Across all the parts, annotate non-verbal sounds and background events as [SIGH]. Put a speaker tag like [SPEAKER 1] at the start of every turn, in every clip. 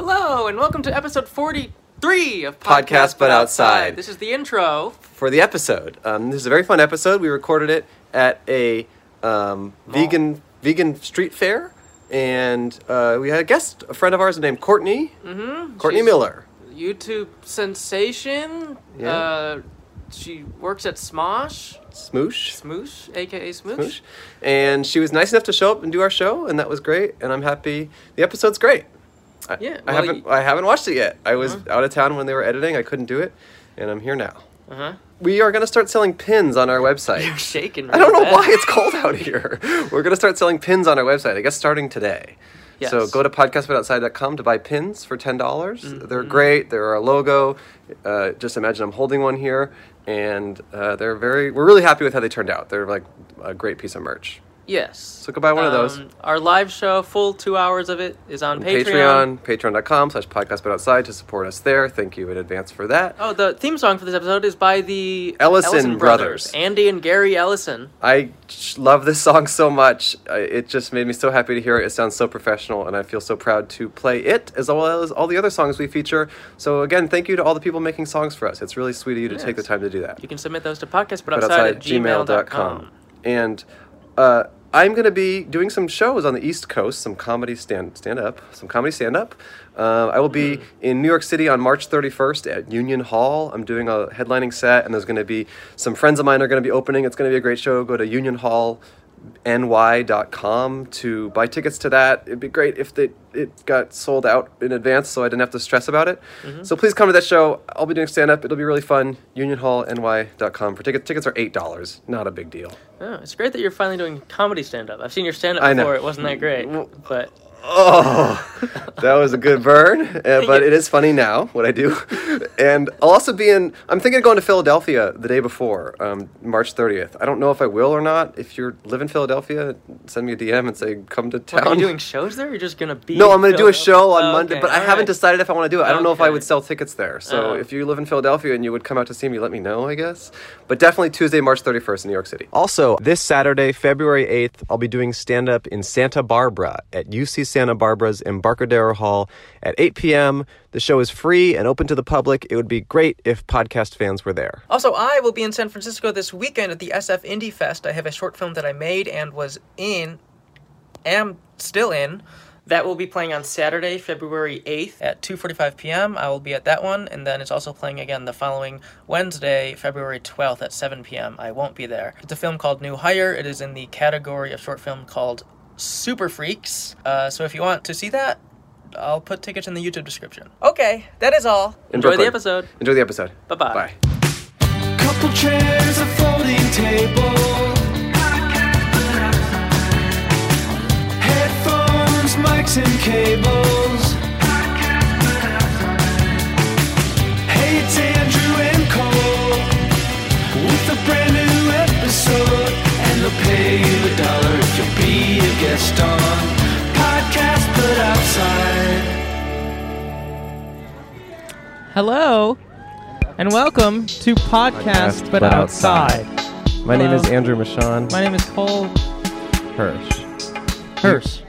[SPEAKER 1] Hello, and welcome to episode 43 of
[SPEAKER 2] Podcast But Outside.
[SPEAKER 1] This is the intro.
[SPEAKER 2] for the episode. Um, this is a very fun episode. We recorded it at a um, vegan vegan street fair, and uh, we had a guest, a friend of ours named Courtney Courtney
[SPEAKER 1] Mm-hmm. She's-
[SPEAKER 2] Miller.
[SPEAKER 1] YouTube sensation.
[SPEAKER 2] Yeah.
[SPEAKER 1] Uh, she works at Smosh,
[SPEAKER 2] Smoosh.
[SPEAKER 1] Smoosh, aka Smoosh.
[SPEAKER 2] Smoosh. And she was nice enough to show up and do our show, and that was great. And I'm happy. The episode's great. I,
[SPEAKER 1] Yeah,
[SPEAKER 2] I
[SPEAKER 1] well,
[SPEAKER 2] haven't.
[SPEAKER 1] you- Uh-huh.
[SPEAKER 2] I haven't watched it yet. I was out of town when they were editing. I couldn't do it, and I'm here now.
[SPEAKER 1] Uh huh.
[SPEAKER 2] We are going to start selling pins on our website.
[SPEAKER 1] You're shaking.
[SPEAKER 2] I don't
[SPEAKER 1] real
[SPEAKER 2] know
[SPEAKER 1] bad.
[SPEAKER 2] why it's cold out here. [LAUGHS] We're going to start selling pins on our website, I guess starting today.
[SPEAKER 1] Yes.
[SPEAKER 2] So go to podcastbutoutside.com to buy pins for $10. dollars They're
[SPEAKER 1] Mm-hmm.
[SPEAKER 2] great. They're our logo. Uh, just imagine I'm holding one here. And uh, they're very, we're really happy with how they turned out. They're like a great piece of merch.
[SPEAKER 1] Yes. Um,
[SPEAKER 2] So go buy one of those.
[SPEAKER 1] Our live show, full two hours of it, is on Patreon.
[SPEAKER 2] Patreon, patreon.com slash podcastbutoutside to support us there. Thank you in advance for that.
[SPEAKER 1] Oh, the theme song for this episode is by the
[SPEAKER 2] Ellison Brothers.
[SPEAKER 1] Andy and Gary Ellison.
[SPEAKER 2] I sh- love this song so much. I- It just made me so happy to hear it. It sounds so professional, and I feel so proud to play it as well as all the other songs we feature. So, again, thank you to all the people making songs for us. It's really sweet of you to take the
[SPEAKER 1] Yes.
[SPEAKER 2] time to do that.
[SPEAKER 1] You can submit those to podcast, but
[SPEAKER 2] But
[SPEAKER 1] outside at gmail.com.
[SPEAKER 2] And uh, I'm going to be doing some shows on the East Coast, some comedy stand stand up, some comedy stand up. Uh, I will be in New York City on March 31st at Union Hall. I'm doing a headlining set, and there's going to be some friends of mine are going to be opening. It's going to be a great show. Go to Union Hall ny.com to buy tickets to that. It'd be great if they, it got sold out in advance so I didn't have to stress about it.
[SPEAKER 1] Mm-hmm.
[SPEAKER 2] So please come to that show. I'll be doing stand up. It'll be really fun. Unionhallny.com for tickets. Tickets are $8. Not a big deal.
[SPEAKER 1] Oh, it's great that you're finally doing comedy stand up. I've seen your stand
[SPEAKER 2] I
[SPEAKER 1] up
[SPEAKER 2] know.
[SPEAKER 1] before, it wasn't that great.
[SPEAKER 2] Well-
[SPEAKER 1] But
[SPEAKER 2] Oh, [LAUGHS] that was a good
[SPEAKER 1] [LAUGHS]
[SPEAKER 2] burn, uh, but it is funny now what I do. [LAUGHS] And I'll also be in. I'm thinking of going to Philadelphia the day before, um, March 30th. I don't know if I will or not. If you live in Philadelphia, send me a DM and say come to town.
[SPEAKER 1] are you
[SPEAKER 2] [LAUGHS]
[SPEAKER 1] doing shows there? You're just gonna be
[SPEAKER 2] No, I'm going to do a
[SPEAKER 1] filled up?
[SPEAKER 2] show on
[SPEAKER 1] Oh,
[SPEAKER 2] Monday,
[SPEAKER 1] okay,
[SPEAKER 2] but I
[SPEAKER 1] all
[SPEAKER 2] haven't
[SPEAKER 1] right.
[SPEAKER 2] decided if I want to do it. I don't know if I
[SPEAKER 1] Okay.
[SPEAKER 2] would sell tickets there. So
[SPEAKER 1] Uh-huh.
[SPEAKER 2] if you live in Philadelphia and you would come out to see me, let me know, I guess. But definitely Tuesday, March 31st in New York City. Also, this Saturday, February 8th, I'll be doing stand up in Santa Barbara at UC Santa Barbara's Embarcadero Hall at 8 p.m. The show is free and open to the public. It would be great if podcast fans were there.
[SPEAKER 1] Also, I will be in San Francisco this weekend at the SF Indie Fest. I have a short film that I made and was in, am still in. That will be playing on Saturday, February 8th at 2:45 p.m. I will be at that one, and then it's also playing again the following Wednesday, February 12th at 7 p.m. I won't be there. It's a film called New Hire. It is in the category of short film called Super Freaks. Uh, so if you want to see that, I'll put tickets in the YouTube description. Okay, that is all.
[SPEAKER 2] In
[SPEAKER 1] Enjoy the
[SPEAKER 2] Brooklyn.
[SPEAKER 1] episode.
[SPEAKER 2] Enjoy the episode.
[SPEAKER 1] Bye-bye.
[SPEAKER 2] Bye.
[SPEAKER 3] Couple chairs, a folding table. Headphones, mics, and cables. Hey, it's Andrew and Cole with a brand new episode. And they'll pay you a dollar if you'll be a guest on Podcast Put Outside.
[SPEAKER 1] Hello, and welcome to Podcast But,
[SPEAKER 2] But
[SPEAKER 1] outside.
[SPEAKER 2] Outside. My
[SPEAKER 1] name
[SPEAKER 2] name
[SPEAKER 1] Hello. is
[SPEAKER 2] is Andrew Michon
[SPEAKER 1] My name is Cole
[SPEAKER 2] Hirsch.
[SPEAKER 1] Hirsch.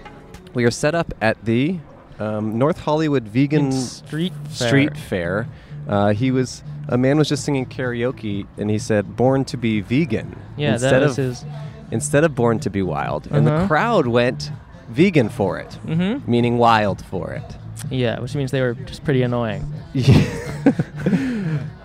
[SPEAKER 2] We are set up at the um, North Hollywood Vegan
[SPEAKER 1] Street Fair.
[SPEAKER 2] Street Fair. Uh, he was a man was just singing karaoke, and he said, "Born to be vegan."
[SPEAKER 1] Yeah,
[SPEAKER 2] instead
[SPEAKER 1] that was
[SPEAKER 2] of,
[SPEAKER 1] his.
[SPEAKER 2] Instead of "Born to be wild," and the
[SPEAKER 1] Uh-huh.
[SPEAKER 2] crowd went vegan for it,
[SPEAKER 1] Mhm.
[SPEAKER 2] meaning wild for it.
[SPEAKER 1] Yeah, which means they were just pretty annoying.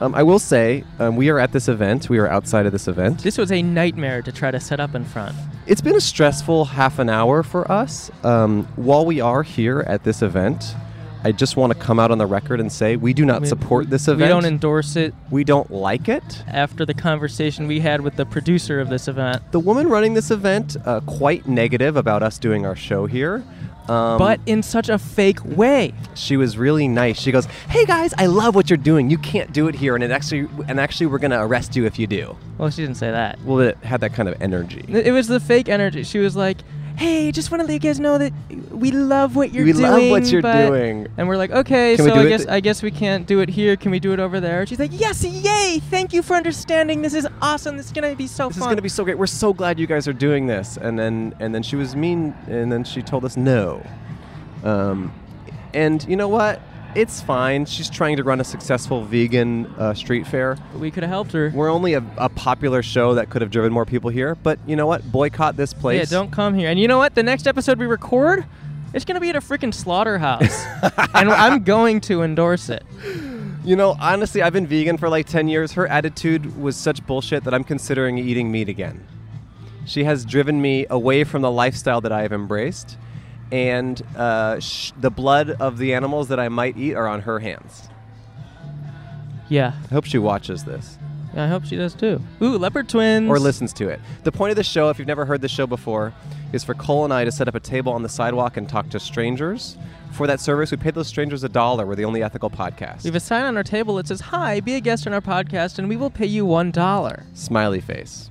[SPEAKER 2] um, I will say, um, we are at this event. We are outside of this
[SPEAKER 1] [LAUGHS]
[SPEAKER 2] event.
[SPEAKER 1] This was a nightmare to try to set up in front.
[SPEAKER 2] It's been a stressful half an hour for us. Um, while we are here at this event, I just want to come out on the record and say we do not
[SPEAKER 1] We-
[SPEAKER 2] support this event.
[SPEAKER 1] We don't endorse it.
[SPEAKER 2] we don't like it.
[SPEAKER 1] After the conversation we had with the producer of this event,
[SPEAKER 2] The woman running this event uh, quite negative about us doing our show here. Um,
[SPEAKER 1] but in such a fake way.
[SPEAKER 2] she was really nice. She goes, "Hey guys, I love what you're doing. You can't do it here, and it actually and actually we're gonna arrest you if you do."
[SPEAKER 1] Well, she didn't say that.
[SPEAKER 2] Well, it had that kind of energy.
[SPEAKER 1] It was the fake energy. She was like, "Hey, just want to let you guys know that we love what you're
[SPEAKER 2] We
[SPEAKER 1] doing.
[SPEAKER 2] love what you're
[SPEAKER 1] but-"
[SPEAKER 2] doing.
[SPEAKER 1] And we're like, "Okay,
[SPEAKER 2] Can we
[SPEAKER 1] so
[SPEAKER 2] do
[SPEAKER 1] I
[SPEAKER 2] it
[SPEAKER 1] guess
[SPEAKER 2] th-
[SPEAKER 1] I guess we can't do it here. Can we do it over there?" She's like, "Yes, yay! Thank you for understanding. This is awesome. This is gonna be so
[SPEAKER 2] This is
[SPEAKER 1] fun."
[SPEAKER 2] gonna be so great. We're so glad you guys are doing this. And then and then she was mean, and then she told us no. Um, And you know what? It's fine. She's trying to run a successful vegan uh, street fair.
[SPEAKER 1] We could have helped her.
[SPEAKER 2] We're only a, a popular show that could have driven more people here, but you know what? Boycott this
[SPEAKER 1] Yeah,
[SPEAKER 2] place.
[SPEAKER 1] don't come here. And you know what? The next episode we record, it's gonna be at a freaking slaughterhouse, and I'm going to endorse it.
[SPEAKER 2] You know, honestly, I've been vegan for like 10 years. Her attitude was such bullshit that I'm considering eating meat again. She has driven me away from the lifestyle that I have embraced, and uh, sh- the blood of the animals that I might eat are on her hands.
[SPEAKER 1] [LAUGHS] [LAUGHS] Yeah,
[SPEAKER 2] I hope she watches this.
[SPEAKER 1] I hope she does too. Ooh, leopard twins.
[SPEAKER 2] or listens to it. The point of the show, if you've never heard the show before, is for Cole and I to set up a table on the sidewalk and talk to strangers. For that service, we pay those strangers a dollar. We're the only ethical podcast.
[SPEAKER 1] We have a sign on our table that says, "Hi, be a guest on our podcast, and we will pay you one dollar."
[SPEAKER 2] Smiley face.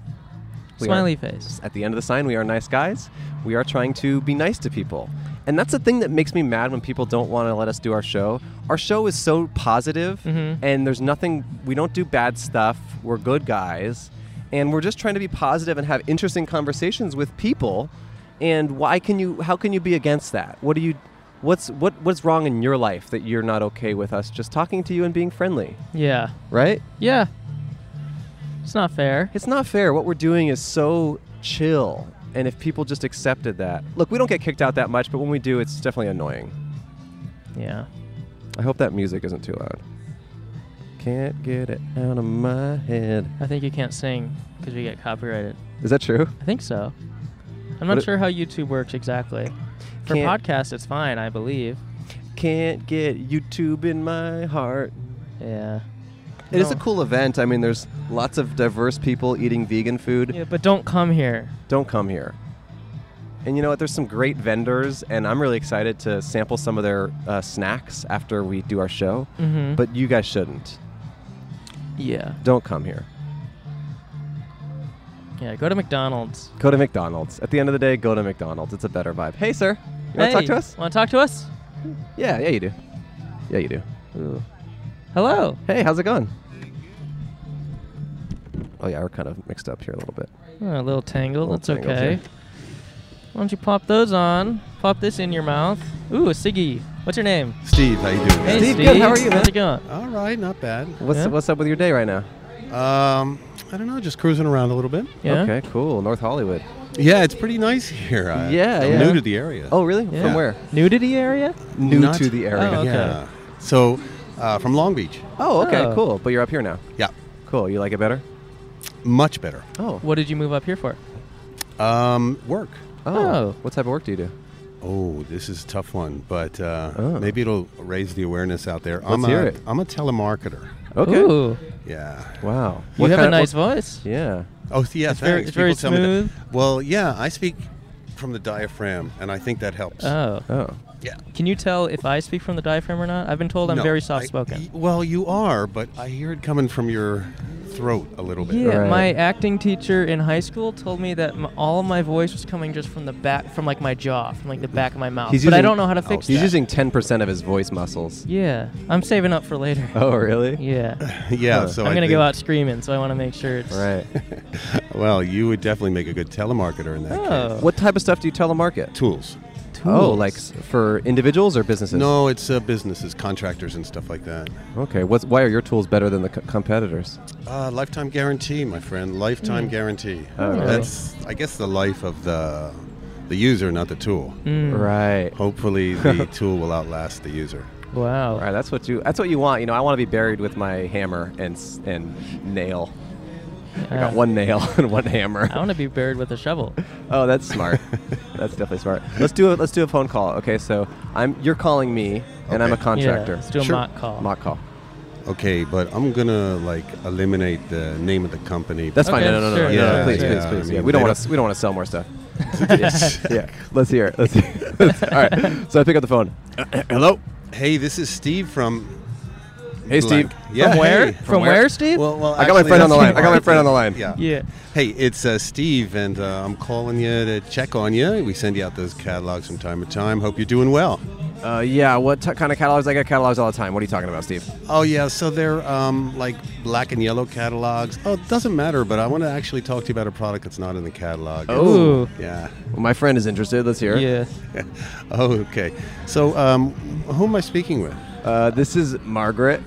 [SPEAKER 2] We are-
[SPEAKER 1] Smiley face.
[SPEAKER 2] At the end of the sign, we are nice guys. We are trying to be nice to people. And that's the thing that makes me mad when people don't want to let us do our show. Our show is so positive,
[SPEAKER 1] Mm-hmm.
[SPEAKER 2] and there's nothing, we don't do bad stuff. We're good guys. And we're just trying to be positive and have interesting conversations with people. And why can you, how can you be against that? What do you, what's, what, what's wrong in your life that you're not okay with us just talking to you and being friendly,
[SPEAKER 1] Yeah,
[SPEAKER 2] right?
[SPEAKER 1] yeah. It's not fair.
[SPEAKER 2] It's not fair. What we're doing is so chill. And if people just accepted that, look, we don't get kicked out that much, but when we do, it's definitely annoying.
[SPEAKER 1] Yeah.
[SPEAKER 2] I hope that music isn't too loud. Can't get it out of my head.
[SPEAKER 1] I think you can't sing because we get copyrighted.
[SPEAKER 2] Is that true?
[SPEAKER 1] I think so. I'm not
[SPEAKER 2] What it-
[SPEAKER 1] sure how YouTube works exactly. For
[SPEAKER 2] Can't-
[SPEAKER 1] podcasts, it's fine, I believe.
[SPEAKER 2] Can't get YouTube in my heart.
[SPEAKER 1] Yeah.
[SPEAKER 2] It is a
[SPEAKER 1] No.
[SPEAKER 2] cool event. I mean, there's lots of diverse people eating vegan food.
[SPEAKER 1] Yeah, but don't come here.
[SPEAKER 2] Don't come here. And you know what? There's some great vendors, and I'm really excited to sample some of their uh, snacks after we do our show.
[SPEAKER 1] Mhm.
[SPEAKER 2] But you guys shouldn't.
[SPEAKER 1] Yeah.
[SPEAKER 2] Don't come here.
[SPEAKER 1] Yeah. Go to McDonald's.
[SPEAKER 2] Go to McDonald's. At the end of the day, go to McDonald's. It's a better vibe. Hey, sir. You want to talk to us?
[SPEAKER 1] Want to talk to us?
[SPEAKER 2] Yeah, yeah, you do. Yeah, you do.
[SPEAKER 1] Hello.
[SPEAKER 2] Hey, how's it going? Oh, yeah, we're kind of mixed up here a little bit.
[SPEAKER 1] Oh, a little tangled.
[SPEAKER 2] Little
[SPEAKER 1] That's
[SPEAKER 2] tangled,
[SPEAKER 1] okay.
[SPEAKER 2] yeah.
[SPEAKER 1] Why don't you pop those on? Pop this in your mouth. Ooh, a Siggy. What's your name?
[SPEAKER 4] Steve, how you doing?
[SPEAKER 1] Hey,
[SPEAKER 2] Steve, good. How are you,
[SPEAKER 1] How's
[SPEAKER 2] man?
[SPEAKER 1] it going?
[SPEAKER 4] All right, not bad.
[SPEAKER 2] What's,
[SPEAKER 1] Yeah?
[SPEAKER 2] what's up with your day right now?
[SPEAKER 4] Um, I don't know, just cruising around a little bit.
[SPEAKER 1] Yeah.
[SPEAKER 2] Okay, cool. North Hollywood.
[SPEAKER 4] Yeah, it's pretty nice here. I,
[SPEAKER 2] Yeah,
[SPEAKER 4] I'm
[SPEAKER 2] yeah.
[SPEAKER 4] new to the area.
[SPEAKER 2] Oh, really? From
[SPEAKER 4] Yeah.
[SPEAKER 2] where?
[SPEAKER 1] Nudity area?
[SPEAKER 2] New
[SPEAKER 4] Not-
[SPEAKER 2] to the area.
[SPEAKER 1] Oh, okay.
[SPEAKER 4] yeah. So, uh, from Long Beach.
[SPEAKER 2] Oh, okay,
[SPEAKER 1] Oh.
[SPEAKER 2] cool. But you're up here now.
[SPEAKER 4] Yeah,
[SPEAKER 2] Cool. You like it better?
[SPEAKER 4] much better.
[SPEAKER 2] Oh.
[SPEAKER 1] What did you move up here for?
[SPEAKER 4] Um, work.
[SPEAKER 1] Oh.
[SPEAKER 2] What type of work do you do?
[SPEAKER 4] Oh, this is a tough one, but uh,
[SPEAKER 2] Oh.
[SPEAKER 4] maybe it'll raise the awareness out there. I'm
[SPEAKER 2] Let's hear
[SPEAKER 4] a,
[SPEAKER 2] it.
[SPEAKER 4] am a telemarketer.
[SPEAKER 2] Okay.
[SPEAKER 1] Ooh,
[SPEAKER 4] Yeah.
[SPEAKER 2] Wow.
[SPEAKER 1] you have a
[SPEAKER 2] kind of-
[SPEAKER 1] nice voice.
[SPEAKER 2] Yeah.
[SPEAKER 4] Oh, yeah.
[SPEAKER 1] It's very-
[SPEAKER 4] thanks.
[SPEAKER 1] it's very
[SPEAKER 4] People tell me that.
[SPEAKER 1] smooth.
[SPEAKER 4] Well, yeah, I speak from the diaphragm, and I think that helps.
[SPEAKER 1] Oh.
[SPEAKER 2] Oh.
[SPEAKER 4] yeah.
[SPEAKER 1] Can you tell if I speak from the diaphragm or not? I've been told I'm
[SPEAKER 4] No,
[SPEAKER 1] very
[SPEAKER 4] I-
[SPEAKER 1] soft spoken.
[SPEAKER 4] y- well, you are, but I hear it coming from your throat a little bit.
[SPEAKER 1] Yeah,
[SPEAKER 2] Right.
[SPEAKER 1] my acting teacher in high school told me that m- all of my voice was coming just from the back, from like my jaw, from like the back of my mouth. but I
[SPEAKER 2] using- Oh,
[SPEAKER 1] don't know how to fix
[SPEAKER 2] He's
[SPEAKER 1] that.
[SPEAKER 2] using 10% of his voice muscles.
[SPEAKER 1] yeah, I'm saving up for later.
[SPEAKER 2] Oh, really?
[SPEAKER 1] Yeah,
[SPEAKER 4] [LAUGHS] yeah.
[SPEAKER 2] Huh.
[SPEAKER 4] So
[SPEAKER 1] I'm
[SPEAKER 4] I
[SPEAKER 1] gonna
[SPEAKER 4] think-
[SPEAKER 1] go out screaming, so I want to make sure it's
[SPEAKER 2] Right.
[SPEAKER 4] [LAUGHS] Well, you would definitely make a good telemarketer in that
[SPEAKER 1] Oh.
[SPEAKER 4] case.
[SPEAKER 2] what type of stuff do you telemarket?
[SPEAKER 4] Tools.
[SPEAKER 2] Oh,
[SPEAKER 1] Tools.
[SPEAKER 2] like s- for individuals or businesses?
[SPEAKER 4] No, it's uh, businesses, contractors, and stuff like that.
[SPEAKER 2] Okay. What's, why are your tools better than the c- competitors?
[SPEAKER 4] Uh, lifetime guarantee, my friend. Lifetime guarantee.
[SPEAKER 2] Oh.
[SPEAKER 4] That's, I guess, the life of the the user, not the tool.
[SPEAKER 2] Hmm. Right.
[SPEAKER 4] Hopefully,
[SPEAKER 2] [LAUGHS]
[SPEAKER 4] the tool will outlast the user.
[SPEAKER 1] wow.
[SPEAKER 2] All right. That's what you. That's what you want. You know, I want to be buried with my hammer and s- and nail. I got
[SPEAKER 1] Uh,
[SPEAKER 2] one nail [LAUGHS] and one hammer.
[SPEAKER 1] I want to be buried with a shovel.
[SPEAKER 2] Oh,
[SPEAKER 1] [LAUGHS]
[SPEAKER 2] that's smart. that's definitely smart. Let's do a let's do a phone call. Okay, so I'm you're calling me and I'm a
[SPEAKER 4] Okay.
[SPEAKER 2] contractor.
[SPEAKER 1] Yeah, let's do a
[SPEAKER 4] Sure.
[SPEAKER 1] mock call.
[SPEAKER 2] Mock call.
[SPEAKER 4] Okay, but I'm gonna like eliminate the name of the company.
[SPEAKER 2] That's fine.
[SPEAKER 1] Okay,
[SPEAKER 2] No, no, no, no,
[SPEAKER 1] sure.
[SPEAKER 2] no,
[SPEAKER 4] Yeah,
[SPEAKER 2] no. Please,
[SPEAKER 4] yeah,
[SPEAKER 2] please,
[SPEAKER 4] I
[SPEAKER 2] please. yeah,
[SPEAKER 4] mean,
[SPEAKER 2] we don't
[SPEAKER 4] they
[SPEAKER 2] want to
[SPEAKER 4] don't-
[SPEAKER 2] we don't want to sell
[SPEAKER 4] [LAUGHS]
[SPEAKER 2] more stuff. yeah. Let's hear it. Let's hear it. All right. So I pick up the phone.
[SPEAKER 4] [CLEARS THROAT] Hello. Hey, this is Steve from.
[SPEAKER 2] Hey, Steve.
[SPEAKER 4] Blank. Yeah.
[SPEAKER 1] From where?
[SPEAKER 4] hey.
[SPEAKER 1] From, where, Steve?
[SPEAKER 4] Well, well,
[SPEAKER 2] I got my
[SPEAKER 4] actually,
[SPEAKER 2] friend on the
[SPEAKER 4] that's-
[SPEAKER 2] line. I got my friend on the line.
[SPEAKER 4] Yeah.
[SPEAKER 1] yeah.
[SPEAKER 4] Hey, it's uh, Steve, and uh, I'm calling you to check on you. We send you out those catalogs from time to time. Hope you're doing well.
[SPEAKER 2] Uh, yeah, what t- kind of catalogs? I got catalogs all the time. What are you talking about, Steve?
[SPEAKER 4] Oh yeah, so they're um, like black and yellow catalogs. Oh, it doesn't matter, but I want to actually talk to you about a product that's not in the catalog.
[SPEAKER 1] Ooh.
[SPEAKER 4] yeah.
[SPEAKER 2] Oh. Well, my friend is interested. Let's hear it.
[SPEAKER 1] Yeah.
[SPEAKER 4] [LAUGHS] Oh, okay. So, um, who am I speaking with?
[SPEAKER 2] Uh, this is
[SPEAKER 4] [LAUGHS]
[SPEAKER 2] Margaret.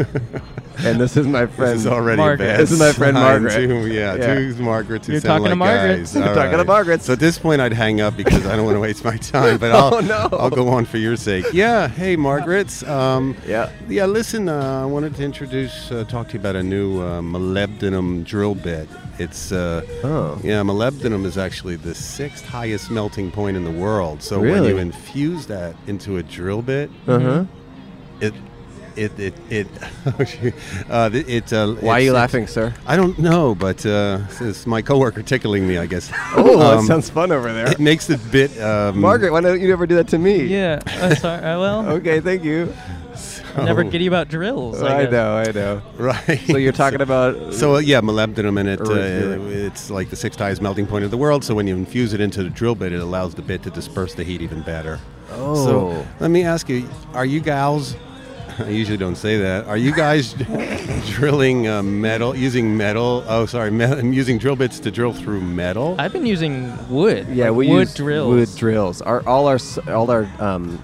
[SPEAKER 2] and this is my friend.
[SPEAKER 4] This is already
[SPEAKER 1] Margaret.
[SPEAKER 4] bad.
[SPEAKER 2] This is my friend
[SPEAKER 4] sign,
[SPEAKER 2] Margaret.
[SPEAKER 4] too. yeah,
[SPEAKER 2] Yeah.
[SPEAKER 4] two Margaret. Two
[SPEAKER 1] You're talking
[SPEAKER 4] sound
[SPEAKER 1] to
[SPEAKER 4] like
[SPEAKER 1] Margaret.
[SPEAKER 4] guys.
[SPEAKER 2] You're
[SPEAKER 4] All
[SPEAKER 2] [LAUGHS] talking to Margaret.
[SPEAKER 4] So at this point, I'd hang up because I don't want to waste my time. But I'll,
[SPEAKER 2] [LAUGHS] Oh, no.
[SPEAKER 4] I'll go on for your sake. [LAUGHS] Yeah. Hey, Margaret. Um,
[SPEAKER 2] Yeah.
[SPEAKER 4] Yeah. Listen, uh, I wanted to introduce, uh, talk to you about a new uh, molybdenum drill bit. It's uh,
[SPEAKER 2] Oh.
[SPEAKER 4] yeah, molybdenum is actually the sixth highest melting point in the world. So when
[SPEAKER 2] Really?
[SPEAKER 4] you infuse that into a drill bit,
[SPEAKER 2] Uh huh.
[SPEAKER 4] it it it it [LAUGHS] uh, th- it uh,
[SPEAKER 2] Why are you
[SPEAKER 4] it's-
[SPEAKER 2] laughing, sir?
[SPEAKER 4] I don't know, but uh, it's my coworker tickling me. I guess. [LAUGHS]
[SPEAKER 2] Oh, that
[SPEAKER 4] Um,
[SPEAKER 2] sounds fun over there.
[SPEAKER 4] It makes the bit. Um,
[SPEAKER 2] Margaret, why don't you never do that to me?
[SPEAKER 1] Yeah. Oh, sorry. Uh, well,
[SPEAKER 2] [LAUGHS] Okay, thank you.
[SPEAKER 1] [LAUGHS] never
[SPEAKER 4] oh,
[SPEAKER 1] get you about drills.
[SPEAKER 2] I
[SPEAKER 1] guess.
[SPEAKER 2] know, I know.
[SPEAKER 4] [LAUGHS] Right.
[SPEAKER 2] So you're talking about.
[SPEAKER 4] So uh, yeah, molybdenum and it
[SPEAKER 2] Or-
[SPEAKER 4] uh, it's like the sixth highest melting point of the world. So when you infuse it into the drill bit, it allows the bit to disperse the heat even better.
[SPEAKER 2] Oh.
[SPEAKER 4] So let me ask you: Are you gals? [LAUGHS] I usually don't say that. Are you guys [LAUGHS] drilling uh, metal using metal? Oh, sorry, me- [LAUGHS] I'm using drill bits to drill through metal.
[SPEAKER 1] I've been using wood.
[SPEAKER 2] yeah,
[SPEAKER 1] like
[SPEAKER 2] we
[SPEAKER 1] wood
[SPEAKER 2] use
[SPEAKER 1] drills.
[SPEAKER 2] wood drills. Our all our s- all our um,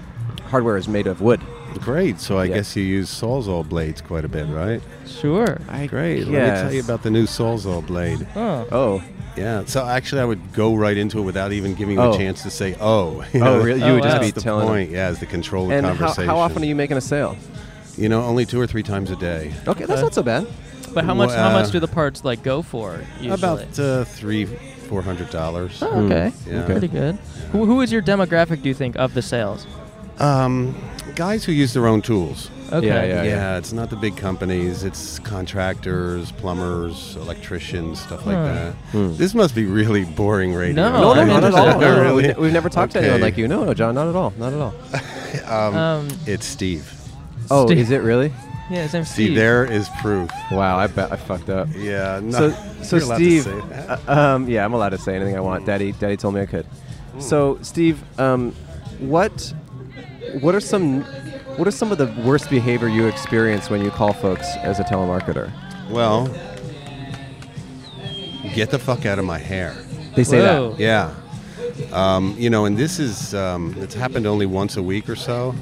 [SPEAKER 2] hardware is made of wood.
[SPEAKER 4] Great. So I
[SPEAKER 2] Yeah.
[SPEAKER 4] guess you use sawzall blades quite a bit, right?
[SPEAKER 1] sure.
[SPEAKER 4] Great. Let me
[SPEAKER 2] guess.
[SPEAKER 4] tell you about the new sawzall blade.
[SPEAKER 1] Oh.
[SPEAKER 2] Oh,
[SPEAKER 4] Yeah. So actually, I would go right into it without even giving you
[SPEAKER 2] Oh.
[SPEAKER 4] a chance to say, "Oh." You [LAUGHS]
[SPEAKER 2] oh, really? You
[SPEAKER 1] Oh,
[SPEAKER 2] would just
[SPEAKER 1] wow.
[SPEAKER 2] be
[SPEAKER 4] That's the
[SPEAKER 2] telling.
[SPEAKER 4] point. Yeah, is the control of
[SPEAKER 2] And how,
[SPEAKER 4] conversation.
[SPEAKER 2] how often are you making a sale?
[SPEAKER 4] You know, only two or three times a day.
[SPEAKER 2] Okay, that's not so bad.
[SPEAKER 1] Uh, But how much?
[SPEAKER 4] Well,
[SPEAKER 1] how
[SPEAKER 4] uh,
[SPEAKER 1] much do the parts like go for usually?
[SPEAKER 4] About uh, three, four hundred dollars.
[SPEAKER 2] Hmm.
[SPEAKER 4] Mm,
[SPEAKER 1] Oh, okay.
[SPEAKER 4] Yeah.
[SPEAKER 1] Pretty good. Who, who is your demographic? Do you think of the sales?
[SPEAKER 4] Um, guys who use their own tools.
[SPEAKER 1] Okay.
[SPEAKER 2] Yeah,
[SPEAKER 4] Yeah,
[SPEAKER 2] yeah.
[SPEAKER 4] it's not the big companies. It's contractors, plumbers, electricians, stuff like
[SPEAKER 1] Hmm.
[SPEAKER 4] that. This must be really boring radio.
[SPEAKER 1] No,
[SPEAKER 2] No,
[SPEAKER 1] Oh,
[SPEAKER 2] no,
[SPEAKER 1] I'm
[SPEAKER 2] not at all.
[SPEAKER 1] interested.
[SPEAKER 2] No, no, no.
[SPEAKER 4] Really?
[SPEAKER 2] We- We've never talked to anyone
[SPEAKER 4] Okay.
[SPEAKER 2] like you. No, no, John, not at all. Not at all.
[SPEAKER 1] Um.
[SPEAKER 4] It's Steve.
[SPEAKER 2] Oh,
[SPEAKER 1] Steve.
[SPEAKER 2] is it really?
[SPEAKER 1] Yeah. His name's
[SPEAKER 4] See,
[SPEAKER 1] Steve.
[SPEAKER 4] there is [LAUGHS] proof.
[SPEAKER 2] Wow, I bet I fucked up.
[SPEAKER 4] Yeah. No,
[SPEAKER 2] So,
[SPEAKER 4] [LAUGHS]
[SPEAKER 2] so
[SPEAKER 4] you're allowed to
[SPEAKER 2] Steve,
[SPEAKER 4] say that.
[SPEAKER 2] uh, um, yeah, I'm allowed to say anything I want. Daddy, Daddy told me I could.
[SPEAKER 4] Hmm.
[SPEAKER 2] So, Steve, um, what, what are some, what are some of the worst behavior you experience when you call folks as a telemarketer?
[SPEAKER 4] Well, get the fuck out of my hair.
[SPEAKER 2] They say
[SPEAKER 1] Whoa.
[SPEAKER 4] Yeah. Um, you know, and this is um, it's happened only once a week or so,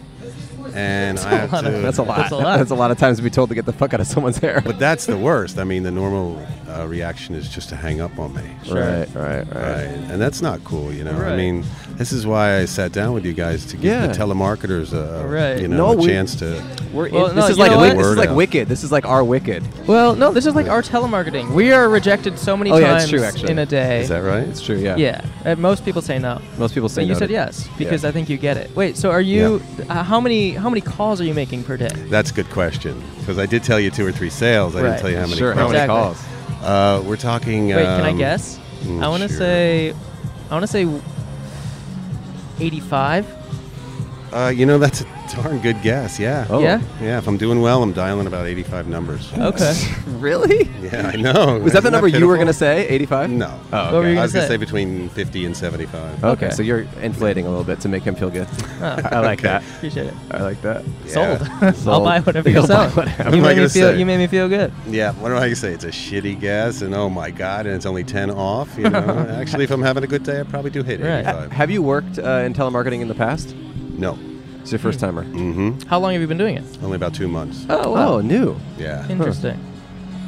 [SPEAKER 4] and I have
[SPEAKER 1] lot
[SPEAKER 4] to.
[SPEAKER 1] of-
[SPEAKER 2] that. That's a lot.
[SPEAKER 1] That's a lot.
[SPEAKER 2] of times to be told to get the fuck out of someone's hair.
[SPEAKER 4] But that's the worst. I mean, the normal uh, reaction is just to hang up on me.
[SPEAKER 2] Right, right, right.
[SPEAKER 4] Right. And that's not cool, you know.
[SPEAKER 1] Right.
[SPEAKER 4] I mean, this is why I sat down with you guys to give
[SPEAKER 2] Yeah.
[SPEAKER 4] the telemarketers a
[SPEAKER 1] Right.
[SPEAKER 4] Oh, you know
[SPEAKER 2] No,
[SPEAKER 4] a
[SPEAKER 2] we-
[SPEAKER 4] chance to.
[SPEAKER 2] We're
[SPEAKER 1] Well,
[SPEAKER 2] in,
[SPEAKER 1] no,
[SPEAKER 2] this is
[SPEAKER 1] you
[SPEAKER 2] like
[SPEAKER 1] know
[SPEAKER 2] wi-
[SPEAKER 4] what?
[SPEAKER 2] this is
[SPEAKER 4] Word
[SPEAKER 2] like
[SPEAKER 4] out.
[SPEAKER 2] wicked. This is like our wicked.
[SPEAKER 1] Well, no. This is like our telemarketing. We are rejected so many
[SPEAKER 2] Oh, yeah, it's
[SPEAKER 1] times
[SPEAKER 2] true, actually.
[SPEAKER 1] in a day.
[SPEAKER 4] Is that right?
[SPEAKER 2] It's true. Yeah.
[SPEAKER 1] Yeah. Uh, most people say no.
[SPEAKER 2] Most people
[SPEAKER 1] So
[SPEAKER 2] say
[SPEAKER 1] you
[SPEAKER 2] no
[SPEAKER 1] said
[SPEAKER 2] to-
[SPEAKER 1] yes because I think you get it. Wait, so are you? Uh, how many how many calls are you making per day?
[SPEAKER 4] That's a good question because I did tell you two or three sales. I
[SPEAKER 1] Right.
[SPEAKER 4] didn't tell you how many.
[SPEAKER 2] Sure. How
[SPEAKER 4] calls.
[SPEAKER 2] many
[SPEAKER 1] Exactly.
[SPEAKER 2] calls?
[SPEAKER 4] Uh, we're talking.
[SPEAKER 1] Wait, can I
[SPEAKER 4] um,
[SPEAKER 1] guess?
[SPEAKER 4] mm,
[SPEAKER 1] I want to
[SPEAKER 4] sure.
[SPEAKER 1] say, I want to say, eighty-five.
[SPEAKER 4] Uh, you know, that's a darn good guess. Yeah.
[SPEAKER 2] Oh.
[SPEAKER 1] Yeah.
[SPEAKER 4] Yeah, if I'm doing well, I'm dialing about 85 numbers.
[SPEAKER 1] Okay.
[SPEAKER 2] [LAUGHS] Really?
[SPEAKER 4] Yeah, I know.
[SPEAKER 2] Was that the
[SPEAKER 4] Isn't
[SPEAKER 2] number you were
[SPEAKER 4] pitiful?
[SPEAKER 2] gonna say? Eighty-five?
[SPEAKER 4] No.
[SPEAKER 2] Oh, okay.
[SPEAKER 1] What were you
[SPEAKER 4] I
[SPEAKER 1] gonna
[SPEAKER 4] was going
[SPEAKER 1] say?
[SPEAKER 4] to say between 50 and 75.
[SPEAKER 2] Okay,
[SPEAKER 1] Okay.
[SPEAKER 2] so you're inflating a little bit to make him feel good.
[SPEAKER 4] [LAUGHS]
[SPEAKER 1] Oh,
[SPEAKER 2] I like
[SPEAKER 4] Okay.
[SPEAKER 2] that.
[SPEAKER 1] appreciate it.
[SPEAKER 2] I like that.
[SPEAKER 4] Yeah. [LAUGHS]
[SPEAKER 1] Sold. I'll buy whatever you're
[SPEAKER 2] You'll buy
[SPEAKER 1] selling.
[SPEAKER 2] whatever.
[SPEAKER 4] What
[SPEAKER 1] You
[SPEAKER 4] am
[SPEAKER 1] made
[SPEAKER 4] I
[SPEAKER 1] me
[SPEAKER 4] gonna
[SPEAKER 1] feel.
[SPEAKER 4] say?
[SPEAKER 1] You made me feel good.
[SPEAKER 4] Yeah, what do I say? It's a shitty guess, and oh my God, and it's only 10 off.
[SPEAKER 1] [LAUGHS]
[SPEAKER 4] You know, actually, if I'm having a good day, I probably do hit
[SPEAKER 1] Right.
[SPEAKER 4] 85.
[SPEAKER 2] Have you worked uh, in telemarketing in the past?
[SPEAKER 4] No.
[SPEAKER 2] It's your first timer.
[SPEAKER 4] Mm-hmm.
[SPEAKER 1] How long have you been doing it?
[SPEAKER 4] Only about two months.
[SPEAKER 1] Hmm. Oh, wow.
[SPEAKER 2] Oh, new.
[SPEAKER 4] Yeah.
[SPEAKER 1] Interesting.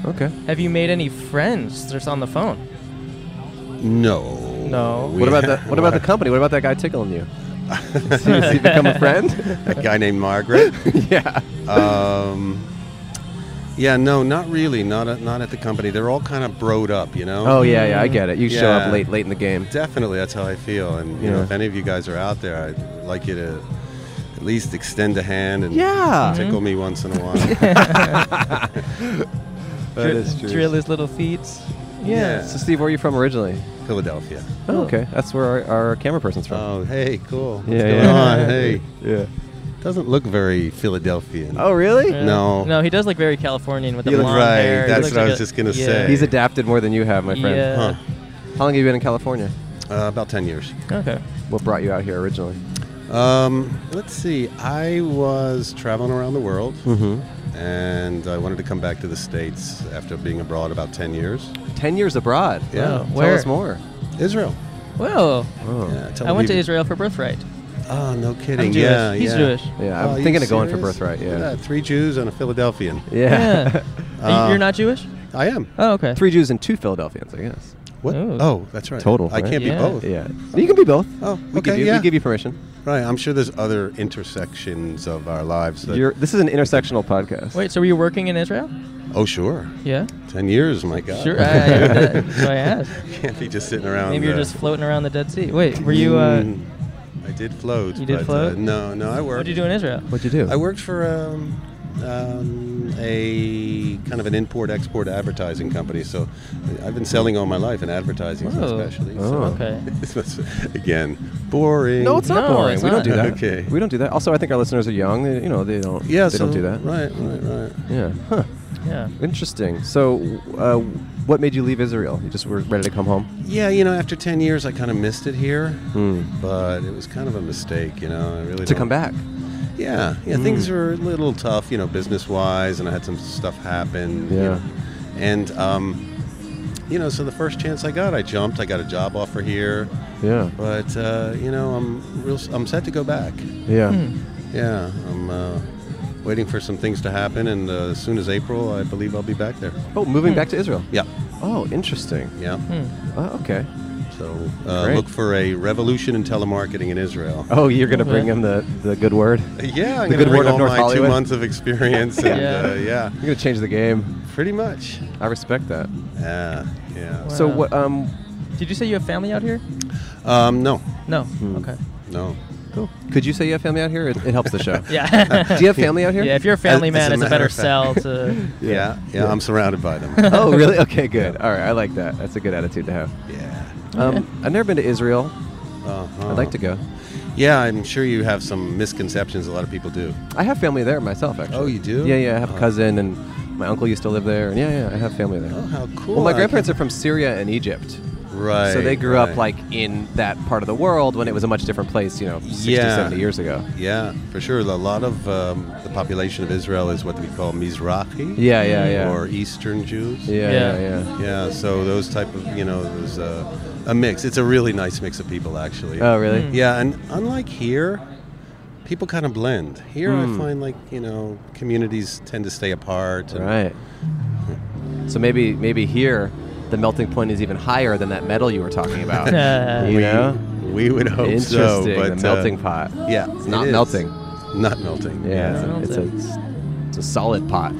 [SPEAKER 2] Okay.
[SPEAKER 1] Have you made any friends that's on the phone?
[SPEAKER 4] No.
[SPEAKER 1] No.
[SPEAKER 4] We-
[SPEAKER 2] What about the
[SPEAKER 4] [LAUGHS]
[SPEAKER 2] What about the company? What about that guy tickling you? [LAUGHS] Has he become a friend?
[SPEAKER 4] [LAUGHS] a guy named Margaret?
[SPEAKER 2] [LAUGHS] yeah.
[SPEAKER 4] [LAUGHS] um, yeah, no, not really. Not at, not at the company. They're all kind of broed up, you know?
[SPEAKER 2] Oh yeah, yeah. I get it. You show up
[SPEAKER 4] Yeah.
[SPEAKER 2] late, late in the game.
[SPEAKER 4] Definitely, that's how I feel. And you know,
[SPEAKER 2] Yeah.
[SPEAKER 4] if any of you guys are out there, I'd like you to at least extend a hand and
[SPEAKER 2] Yeah. Mm-hmm.
[SPEAKER 4] tickle me once in a
[SPEAKER 2] [LAUGHS]
[SPEAKER 4] while. [LAUGHS]
[SPEAKER 2] That
[SPEAKER 1] Dri-
[SPEAKER 2] is true.
[SPEAKER 1] Drill his little feet.
[SPEAKER 4] Yeah.
[SPEAKER 2] So Steve, where are you from originally?
[SPEAKER 4] Philadelphia.
[SPEAKER 2] Oh, okay. That's where our, our camera person's from.
[SPEAKER 4] Oh, hey, cool. What's
[SPEAKER 2] Yeah,
[SPEAKER 4] going
[SPEAKER 2] yeah. [LAUGHS]
[SPEAKER 4] on? Hey,
[SPEAKER 2] yeah.
[SPEAKER 4] doesn't look very Philadelphian.
[SPEAKER 2] Oh really?
[SPEAKER 1] Yeah.
[SPEAKER 4] No.
[SPEAKER 1] No, he does look very Californian with the
[SPEAKER 4] You look
[SPEAKER 1] blonde
[SPEAKER 4] right,
[SPEAKER 1] hair. He
[SPEAKER 4] that's
[SPEAKER 1] looks
[SPEAKER 4] what I
[SPEAKER 1] like
[SPEAKER 4] was
[SPEAKER 1] a-
[SPEAKER 4] just gonna
[SPEAKER 1] yeah.
[SPEAKER 4] say.
[SPEAKER 2] He's adapted more than you have, my friend.
[SPEAKER 1] Yeah.
[SPEAKER 4] Huh.
[SPEAKER 2] How long have you been in California?
[SPEAKER 4] Uh, [LAUGHS] about ten years.
[SPEAKER 1] Okay.
[SPEAKER 2] What brought you out here originally?
[SPEAKER 4] Um, let's see. I was traveling around the world,
[SPEAKER 2] Mm-hmm.
[SPEAKER 4] and I wanted to come back to the states after being abroad about ten years.
[SPEAKER 2] Ten years abroad.
[SPEAKER 1] Wow.
[SPEAKER 4] Yeah.
[SPEAKER 2] Tell
[SPEAKER 1] Where?
[SPEAKER 2] us more.
[SPEAKER 4] Israel.
[SPEAKER 1] Whoa.
[SPEAKER 2] Oh.
[SPEAKER 4] Yeah, Tel
[SPEAKER 1] I went to
[SPEAKER 4] Aviv.
[SPEAKER 1] Israel for birthright.
[SPEAKER 4] Oh, no kidding.
[SPEAKER 1] Jewish.
[SPEAKER 4] Yeah,
[SPEAKER 1] He's
[SPEAKER 4] yeah.
[SPEAKER 1] Jewish.
[SPEAKER 2] Yeah, I'm
[SPEAKER 4] Oh, you
[SPEAKER 2] thinking of going for
[SPEAKER 4] serious?
[SPEAKER 2] birthright.
[SPEAKER 4] Look at
[SPEAKER 2] Yeah.
[SPEAKER 4] that, Three Jews and a Philadelphian.
[SPEAKER 2] Yeah.
[SPEAKER 1] Uh, You're not Jewish?
[SPEAKER 4] I am.
[SPEAKER 1] Oh, okay.
[SPEAKER 2] Three Jews and two Philadelphians, I guess.
[SPEAKER 4] What?
[SPEAKER 1] Oh.
[SPEAKER 4] Oh, that's right.
[SPEAKER 2] Total,
[SPEAKER 4] I
[SPEAKER 2] right?
[SPEAKER 4] can't
[SPEAKER 1] Yeah.
[SPEAKER 4] be both.
[SPEAKER 2] Yeah. You can be both.
[SPEAKER 4] Oh,
[SPEAKER 2] we
[SPEAKER 4] okay,
[SPEAKER 2] Give you,
[SPEAKER 4] yeah.
[SPEAKER 2] We give you permission.
[SPEAKER 4] Right. I'm sure there's other intersections of our lives. That,
[SPEAKER 2] You're, this is an intersectional podcast.
[SPEAKER 1] Wait, so were you working in Israel?
[SPEAKER 4] oh, sure.
[SPEAKER 1] Yeah.
[SPEAKER 4] Ten years, my God.
[SPEAKER 1] Sure. I, I, that's
[SPEAKER 4] [LAUGHS]
[SPEAKER 1] why I asked.
[SPEAKER 4] can't be just sitting around.
[SPEAKER 1] Maybe you're
[SPEAKER 4] uh,
[SPEAKER 1] just floating around the Dead Sea. Wait, were you? Uh,
[SPEAKER 4] Mm, I did float.
[SPEAKER 1] You did
[SPEAKER 4] but,
[SPEAKER 1] float?
[SPEAKER 4] Uh, no, no, I worked.
[SPEAKER 1] what did you do in Israel?
[SPEAKER 2] What'd you do?
[SPEAKER 4] I worked for um, um, a kind of an import-export advertising company. So I've been selling all my life in advertising,
[SPEAKER 1] Oh.
[SPEAKER 4] especially.
[SPEAKER 2] Oh.
[SPEAKER 4] So.
[SPEAKER 1] Okay.
[SPEAKER 4] [LAUGHS] This was, again, boring.
[SPEAKER 2] no, it's not
[SPEAKER 1] No,
[SPEAKER 2] boring.
[SPEAKER 1] it's
[SPEAKER 2] we
[SPEAKER 1] not.
[SPEAKER 2] don't do that.
[SPEAKER 4] Okay.
[SPEAKER 2] We don't do that. Also, I think our listeners are young. They, you know, they don't.
[SPEAKER 4] Yeah,
[SPEAKER 2] They
[SPEAKER 4] so,
[SPEAKER 2] don't do that.
[SPEAKER 4] Right, right, right.
[SPEAKER 2] Yeah. Huh.
[SPEAKER 1] Yeah.
[SPEAKER 2] Interesting. So, uh, what made you leave Israel? You just were ready to come home.
[SPEAKER 4] Yeah, you know, after ten years, I kind of missed it here, but it was kind of a mistake. You know, I really
[SPEAKER 2] Hmm. To
[SPEAKER 4] don't-
[SPEAKER 2] come back. Hmm.
[SPEAKER 4] Yeah, yeah. Things were a little tough, you know, business wise, and I had some stuff happen. you
[SPEAKER 2] Yeah.
[SPEAKER 4] know. and um, you know, so the first chance I got, I jumped. I got a job offer here,
[SPEAKER 2] Yeah.
[SPEAKER 4] but uh, you know, I'm real. I'm set to go back.
[SPEAKER 2] Yeah.
[SPEAKER 4] Yeah, I'm uh, waiting for some things to happen, and uh, as soon as April, I believe I'll be back there.
[SPEAKER 2] Oh, moving back to Israel.
[SPEAKER 4] Yeah,
[SPEAKER 2] Oh, interesting.
[SPEAKER 4] yeah.
[SPEAKER 1] Hmm.
[SPEAKER 2] Oh, okay.
[SPEAKER 4] So uh,
[SPEAKER 2] Great.
[SPEAKER 4] look for a revolution in telemarketing in Israel.
[SPEAKER 2] Oh, you're gonna
[SPEAKER 1] Okay.
[SPEAKER 2] bring him the, the good word. You're
[SPEAKER 4] Yeah, I'm
[SPEAKER 2] The
[SPEAKER 4] going
[SPEAKER 2] good
[SPEAKER 4] to bring
[SPEAKER 2] word of
[SPEAKER 4] all
[SPEAKER 2] North
[SPEAKER 4] my
[SPEAKER 2] Hollywood.
[SPEAKER 4] two months of experience,
[SPEAKER 2] [LAUGHS]
[SPEAKER 4] and
[SPEAKER 1] Yeah.
[SPEAKER 4] yeah, uh, yeah
[SPEAKER 2] gonna change the game.
[SPEAKER 4] pretty much.
[SPEAKER 2] I respect that.
[SPEAKER 4] Yeah, yeah.
[SPEAKER 2] So
[SPEAKER 1] Wow.
[SPEAKER 2] what? Um.
[SPEAKER 1] Did you say you have family out here?
[SPEAKER 4] Um, no,
[SPEAKER 1] No. Okay.
[SPEAKER 4] no.
[SPEAKER 2] Cool. Could you say you have family out here? It, it helps the show.
[SPEAKER 1] [LAUGHS] Yeah.
[SPEAKER 4] [LAUGHS]
[SPEAKER 2] Do you have family out here?
[SPEAKER 1] yeah. If you're a family
[SPEAKER 4] As- as
[SPEAKER 1] man,
[SPEAKER 4] a
[SPEAKER 1] it's a
[SPEAKER 4] matter
[SPEAKER 1] better
[SPEAKER 4] of
[SPEAKER 1] sell
[SPEAKER 4] fact.
[SPEAKER 1] to.
[SPEAKER 4] [LAUGHS] Yeah, yeah. I'm surrounded by them.
[SPEAKER 2] [LAUGHS] oh, really? Okay, good. All right, I like that. That's a good attitude to have.
[SPEAKER 4] yeah.
[SPEAKER 2] Um, I've never been to Israel.
[SPEAKER 4] Uh-huh.
[SPEAKER 2] I'd like to go.
[SPEAKER 4] Yeah, I'm sure you have some misconceptions. A lot of people do.
[SPEAKER 2] I have family there myself, actually.
[SPEAKER 4] Oh, you do?
[SPEAKER 2] Yeah, yeah. I have a
[SPEAKER 4] Oh.
[SPEAKER 2] cousin, and my uncle used to live there, and yeah, yeah. I have family there.
[SPEAKER 4] Oh, how cool!
[SPEAKER 2] Well,
[SPEAKER 4] I
[SPEAKER 2] my
[SPEAKER 4] can-
[SPEAKER 2] grandparents are from Syria and Egypt.
[SPEAKER 4] right.
[SPEAKER 2] so they grew up
[SPEAKER 4] right.
[SPEAKER 2] like in that part of the world when it was a much different place, you know, 60,
[SPEAKER 4] Yeah.
[SPEAKER 2] 70 years ago.
[SPEAKER 4] Yeah, for sure. A lot of um, the population of Israel is what we call Mizrahi.
[SPEAKER 2] Yeah, yeah, yeah.
[SPEAKER 4] Or Eastern Jews.
[SPEAKER 2] yeah,
[SPEAKER 1] Yeah.
[SPEAKER 2] yeah, yeah.
[SPEAKER 4] Yeah, so those type of you know, there's a, a mix. It's a really nice mix of people, actually.
[SPEAKER 2] Oh, really?
[SPEAKER 1] Hmm.
[SPEAKER 4] Yeah, and unlike here, people kind of blend. Here,
[SPEAKER 1] Hmm.
[SPEAKER 2] Hmm.
[SPEAKER 4] I find like you know, communities tend to stay apart. and-
[SPEAKER 2] Right. So maybe maybe here the melting point is even higher than that metal you were talking about.
[SPEAKER 1] [LAUGHS] Uh,
[SPEAKER 2] you know?
[SPEAKER 4] We would hope
[SPEAKER 2] Interesting.
[SPEAKER 4] so, but
[SPEAKER 2] the
[SPEAKER 4] uh,
[SPEAKER 2] melting pot.
[SPEAKER 4] Yeah,
[SPEAKER 2] It's
[SPEAKER 4] it
[SPEAKER 2] not
[SPEAKER 4] is.
[SPEAKER 2] melting.
[SPEAKER 4] Not melting.
[SPEAKER 2] Yeah,
[SPEAKER 1] it's
[SPEAKER 2] it's,
[SPEAKER 1] a-
[SPEAKER 2] a, it's, a, it's a solid
[SPEAKER 1] [LAUGHS]
[SPEAKER 2] pot.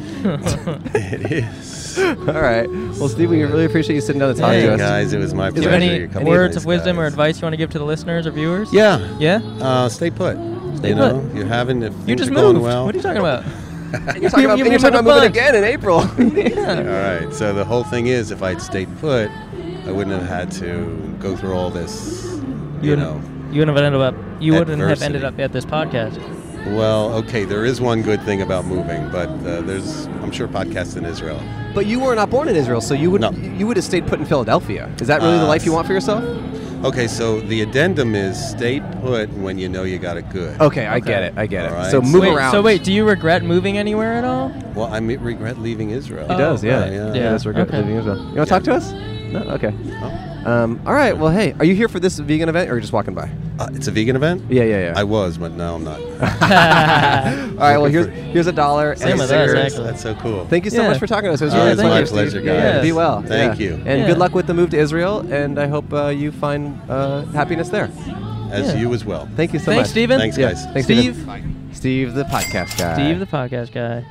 [SPEAKER 4] [LAUGHS] it is.
[SPEAKER 2] [LAUGHS] All right. Well, Steve, we really appreciate you sitting down and talking
[SPEAKER 4] Hey
[SPEAKER 2] to us.
[SPEAKER 4] guys, it was my
[SPEAKER 1] is
[SPEAKER 4] pleasure.
[SPEAKER 1] there any
[SPEAKER 4] You're a couple
[SPEAKER 1] words
[SPEAKER 4] nice
[SPEAKER 1] of wisdom or
[SPEAKER 4] guys.
[SPEAKER 1] advice you want to give to the listeners or viewers?
[SPEAKER 4] Yeah.
[SPEAKER 1] Yeah.
[SPEAKER 4] Uh, stay put.
[SPEAKER 1] Stay put.
[SPEAKER 4] you know, you haven't. If
[SPEAKER 1] You
[SPEAKER 4] things
[SPEAKER 1] just
[SPEAKER 4] are going
[SPEAKER 1] moved.
[SPEAKER 4] Well,
[SPEAKER 1] What are you talking
[SPEAKER 4] [LAUGHS]
[SPEAKER 1] about?
[SPEAKER 2] You're talking about,
[SPEAKER 1] You-
[SPEAKER 2] and
[SPEAKER 1] you
[SPEAKER 2] you're talking
[SPEAKER 1] moved
[SPEAKER 2] about moving
[SPEAKER 1] on.
[SPEAKER 2] again in
[SPEAKER 1] [LAUGHS]
[SPEAKER 2] April. [LAUGHS]
[SPEAKER 4] All right. So the whole thing is, if I'd stayed put, I wouldn't have had to go through all this. You,
[SPEAKER 1] wouldn't-
[SPEAKER 4] know.
[SPEAKER 1] You wouldn't have ended up. You wouldn't have
[SPEAKER 4] Adversity.
[SPEAKER 1] ended up at this podcast.
[SPEAKER 4] Well, okay. There is one good thing about moving, but uh, there's, I'm sure, podcasts in Israel.
[SPEAKER 2] but you were not born in Israel, so you would
[SPEAKER 4] No.
[SPEAKER 2] you would have stayed put in Philadelphia. Is that really the
[SPEAKER 4] Uh,
[SPEAKER 2] life you want for yourself?
[SPEAKER 4] Okay. So the addendum is stay put when you know you got it good.
[SPEAKER 2] Okay, I get it. I get it.
[SPEAKER 4] All right.
[SPEAKER 2] So move
[SPEAKER 1] wait,
[SPEAKER 2] around.
[SPEAKER 1] So wait, do you regret moving anywhere at all?
[SPEAKER 4] Well, I mi- regret leaving Israel.
[SPEAKER 2] He does, yeah.
[SPEAKER 4] Oh, right, yeah.
[SPEAKER 2] yeah.
[SPEAKER 4] Yeah,
[SPEAKER 2] that's regret
[SPEAKER 1] okay.
[SPEAKER 2] leaving Israel. You want to talk to us? No? Okay.
[SPEAKER 4] Oh.
[SPEAKER 2] Um, all
[SPEAKER 4] [LAUGHS]
[SPEAKER 2] right. Well, hey, are you here for this vegan event or are you just walking by?
[SPEAKER 4] Uh, it's a vegan event.
[SPEAKER 2] Yeah, yeah, yeah.
[SPEAKER 4] I was, but now
[SPEAKER 2] [LAUGHS]
[SPEAKER 4] I'm not. [LAUGHS]
[SPEAKER 2] all right. Well, here's here's a dollar.
[SPEAKER 1] Same
[SPEAKER 2] and a
[SPEAKER 1] with us,
[SPEAKER 2] cigarette.
[SPEAKER 1] actually.
[SPEAKER 4] That's so cool.
[SPEAKER 2] Thank you so
[SPEAKER 1] Yeah.
[SPEAKER 2] much for talking to us. It was
[SPEAKER 4] Oh,
[SPEAKER 2] really
[SPEAKER 4] it's
[SPEAKER 2] thank
[SPEAKER 4] my
[SPEAKER 2] you, Steve.
[SPEAKER 4] pleasure,
[SPEAKER 1] guys.
[SPEAKER 2] Be well.
[SPEAKER 4] Thank
[SPEAKER 2] Yeah.
[SPEAKER 4] you.
[SPEAKER 2] And
[SPEAKER 1] Yeah.
[SPEAKER 2] good luck with the move to Israel. And I hope uh, you find uh, happiness there.
[SPEAKER 4] As
[SPEAKER 1] Yeah.
[SPEAKER 4] you as well.
[SPEAKER 2] Thank you so
[SPEAKER 1] Thanks,
[SPEAKER 2] much.
[SPEAKER 1] Steven.
[SPEAKER 4] Thanks,
[SPEAKER 2] Yeah.
[SPEAKER 4] guys.
[SPEAKER 2] Thanks,
[SPEAKER 1] Steve.
[SPEAKER 2] Steven. Steve, the podcast guy.
[SPEAKER 1] Steve, the podcast guy,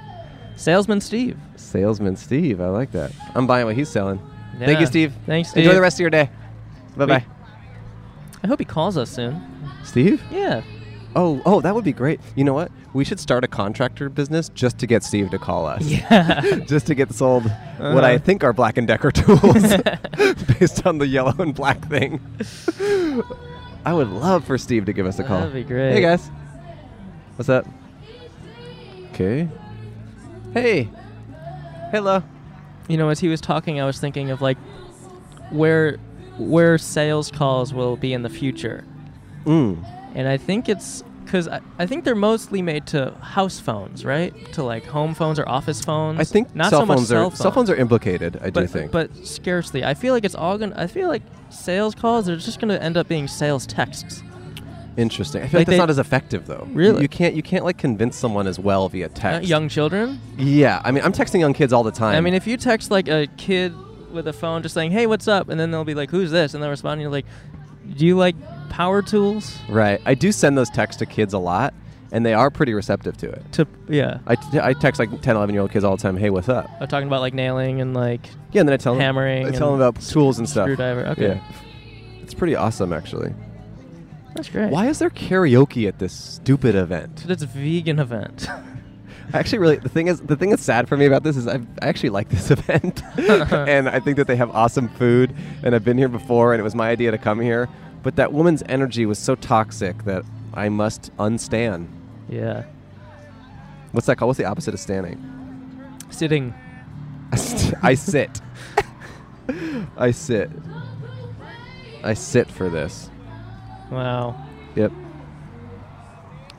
[SPEAKER 1] salesman Steve.
[SPEAKER 2] salesman. Steve, I like that. I'm buying what he's selling.
[SPEAKER 1] Yeah.
[SPEAKER 2] Thank you, Steve.
[SPEAKER 1] Thanks, Steve.
[SPEAKER 2] Enjoy the rest of your day. Bye bye.
[SPEAKER 1] I hope he calls us soon.
[SPEAKER 2] Steve?
[SPEAKER 1] Yeah.
[SPEAKER 2] Oh, oh, that would be great. You know what? We should start a contractor business just to get Steve to call us.
[SPEAKER 1] Yeah.
[SPEAKER 2] [LAUGHS]
[SPEAKER 1] Uh-huh.
[SPEAKER 2] just to get sold what I think are Black and Decker tools, [LAUGHS] based on the yellow and black thing. I would love for Steve to give us a call.
[SPEAKER 1] That'd be great.
[SPEAKER 2] Hey guys, what's up? Okay. Hey. Hello.
[SPEAKER 1] You know, as he was talking, I was thinking of like where where sales calls will be in the future,
[SPEAKER 2] Mm.
[SPEAKER 1] and I think it's because I, I think they're mostly made to house phones, right? To like home phones or office phones.
[SPEAKER 2] I think
[SPEAKER 1] not
[SPEAKER 2] cell
[SPEAKER 1] so much
[SPEAKER 2] phones
[SPEAKER 1] cell
[SPEAKER 2] are cell phones are implicated. I do
[SPEAKER 1] but,
[SPEAKER 2] think.
[SPEAKER 1] but scarcely. I feel like it's all gonna. I feel like sales calls are just gonna end up being sales texts.
[SPEAKER 2] Interesting. I feel
[SPEAKER 1] Like
[SPEAKER 2] like, that's
[SPEAKER 1] they-
[SPEAKER 2] not as effective though. You-
[SPEAKER 1] Really?
[SPEAKER 2] You can't you can't like convince someone as well via
[SPEAKER 1] Not Uh,
[SPEAKER 2] text.
[SPEAKER 1] young children.
[SPEAKER 2] Yeah. I mean, I'm texting young kids all the time.
[SPEAKER 1] I mean, if you text like a kid with a phone, just saying, "Hey, what's up?" and then they'll be like, "Who's this?" and they'll respond, and you're like, "Do you like power tools?"
[SPEAKER 2] right. I do send those texts to kids a lot, and they are pretty receptive to it.
[SPEAKER 1] To yeah,
[SPEAKER 2] I, t- I text like 10, 11 year old kids all the time. Hey, what's up?
[SPEAKER 1] I'm talking about like nailing and like
[SPEAKER 2] Yeah, and then I tell
[SPEAKER 1] Hammering
[SPEAKER 2] them. I tell them
[SPEAKER 1] and
[SPEAKER 2] about tools and stuff.
[SPEAKER 1] screwdriver. Okay,
[SPEAKER 2] Yeah. It's pretty awesome, actually.
[SPEAKER 1] that's great.
[SPEAKER 2] Why is there karaoke at this stupid event?
[SPEAKER 1] That's a vegan event. [LAUGHS]
[SPEAKER 2] I actually really the thing is the thing that's sad for me about this is I've, I actually like
[SPEAKER 1] [LAUGHS]
[SPEAKER 2] this [LAUGHS] event, and I think that they have awesome food, and I've been here before, and it was my idea to come here, but that woman's energy was so toxic that I must unstan.
[SPEAKER 1] yeah,
[SPEAKER 2] What's that called? What's the opposite of standing?
[SPEAKER 1] sitting.
[SPEAKER 2] I st- I sit. I sit. I sit for this.
[SPEAKER 1] Wow.
[SPEAKER 2] Yep.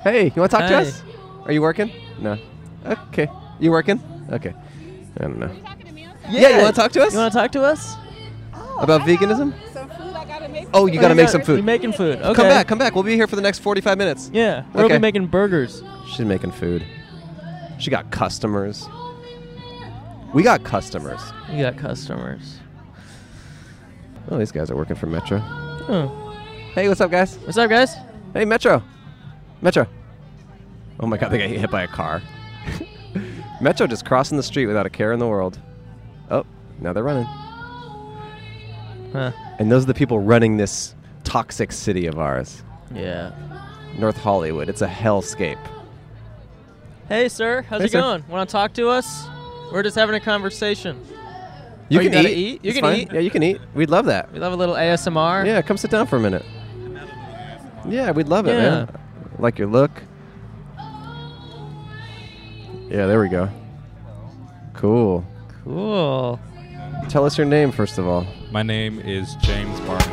[SPEAKER 2] Hey, you want to talk
[SPEAKER 1] Hey.
[SPEAKER 2] to us? Are you working? No. Okay. You working? Okay. I don't know. Yeah, you want to talk to us?
[SPEAKER 1] You want to talk to us?
[SPEAKER 2] About veganism?
[SPEAKER 5] Some food I gotta make.
[SPEAKER 2] Oh, you gotta
[SPEAKER 1] Oh,
[SPEAKER 2] make
[SPEAKER 1] yeah,
[SPEAKER 2] some food.
[SPEAKER 1] You're making food. Okay.
[SPEAKER 2] Come back, come back. We'll be here for the next 45 minutes.
[SPEAKER 1] Yeah, we'll
[SPEAKER 2] Okay.
[SPEAKER 1] be making burgers.
[SPEAKER 2] She's making food. She got customers. We got customers.
[SPEAKER 1] You got customers.
[SPEAKER 2] Oh, these guys are working for Metro.
[SPEAKER 1] Oh.
[SPEAKER 2] Hey, what's up, guys?
[SPEAKER 1] What's up, guys?
[SPEAKER 2] Hey, Metro. Metro. Oh my god, they got hit by a car. [LAUGHS] Metro just crossing the street without a care in the world. Oh, now they're running.
[SPEAKER 1] Huh.
[SPEAKER 2] And those are the people running this toxic city of ours,
[SPEAKER 1] Yeah.
[SPEAKER 2] North Hollywood. It's a hellscape.
[SPEAKER 1] Hey, sir. How's
[SPEAKER 2] Hey,
[SPEAKER 1] it
[SPEAKER 2] sir.
[SPEAKER 1] going? Want to talk to us? We're just having a conversation.
[SPEAKER 2] You
[SPEAKER 1] Oh, you
[SPEAKER 2] can
[SPEAKER 1] gotta
[SPEAKER 2] eat.
[SPEAKER 1] eat? You
[SPEAKER 2] It's
[SPEAKER 1] can
[SPEAKER 2] fine.
[SPEAKER 1] eat?
[SPEAKER 2] Yeah, you can eat. We'd love that.
[SPEAKER 1] We love a little ASMR.
[SPEAKER 2] Yeah, come sit down for a minute. Yeah, we'd love it, man. Like your look. Yeah, there we go. Cool.
[SPEAKER 1] Cool.
[SPEAKER 2] Tell us your name first of all.
[SPEAKER 6] My name is James Barton.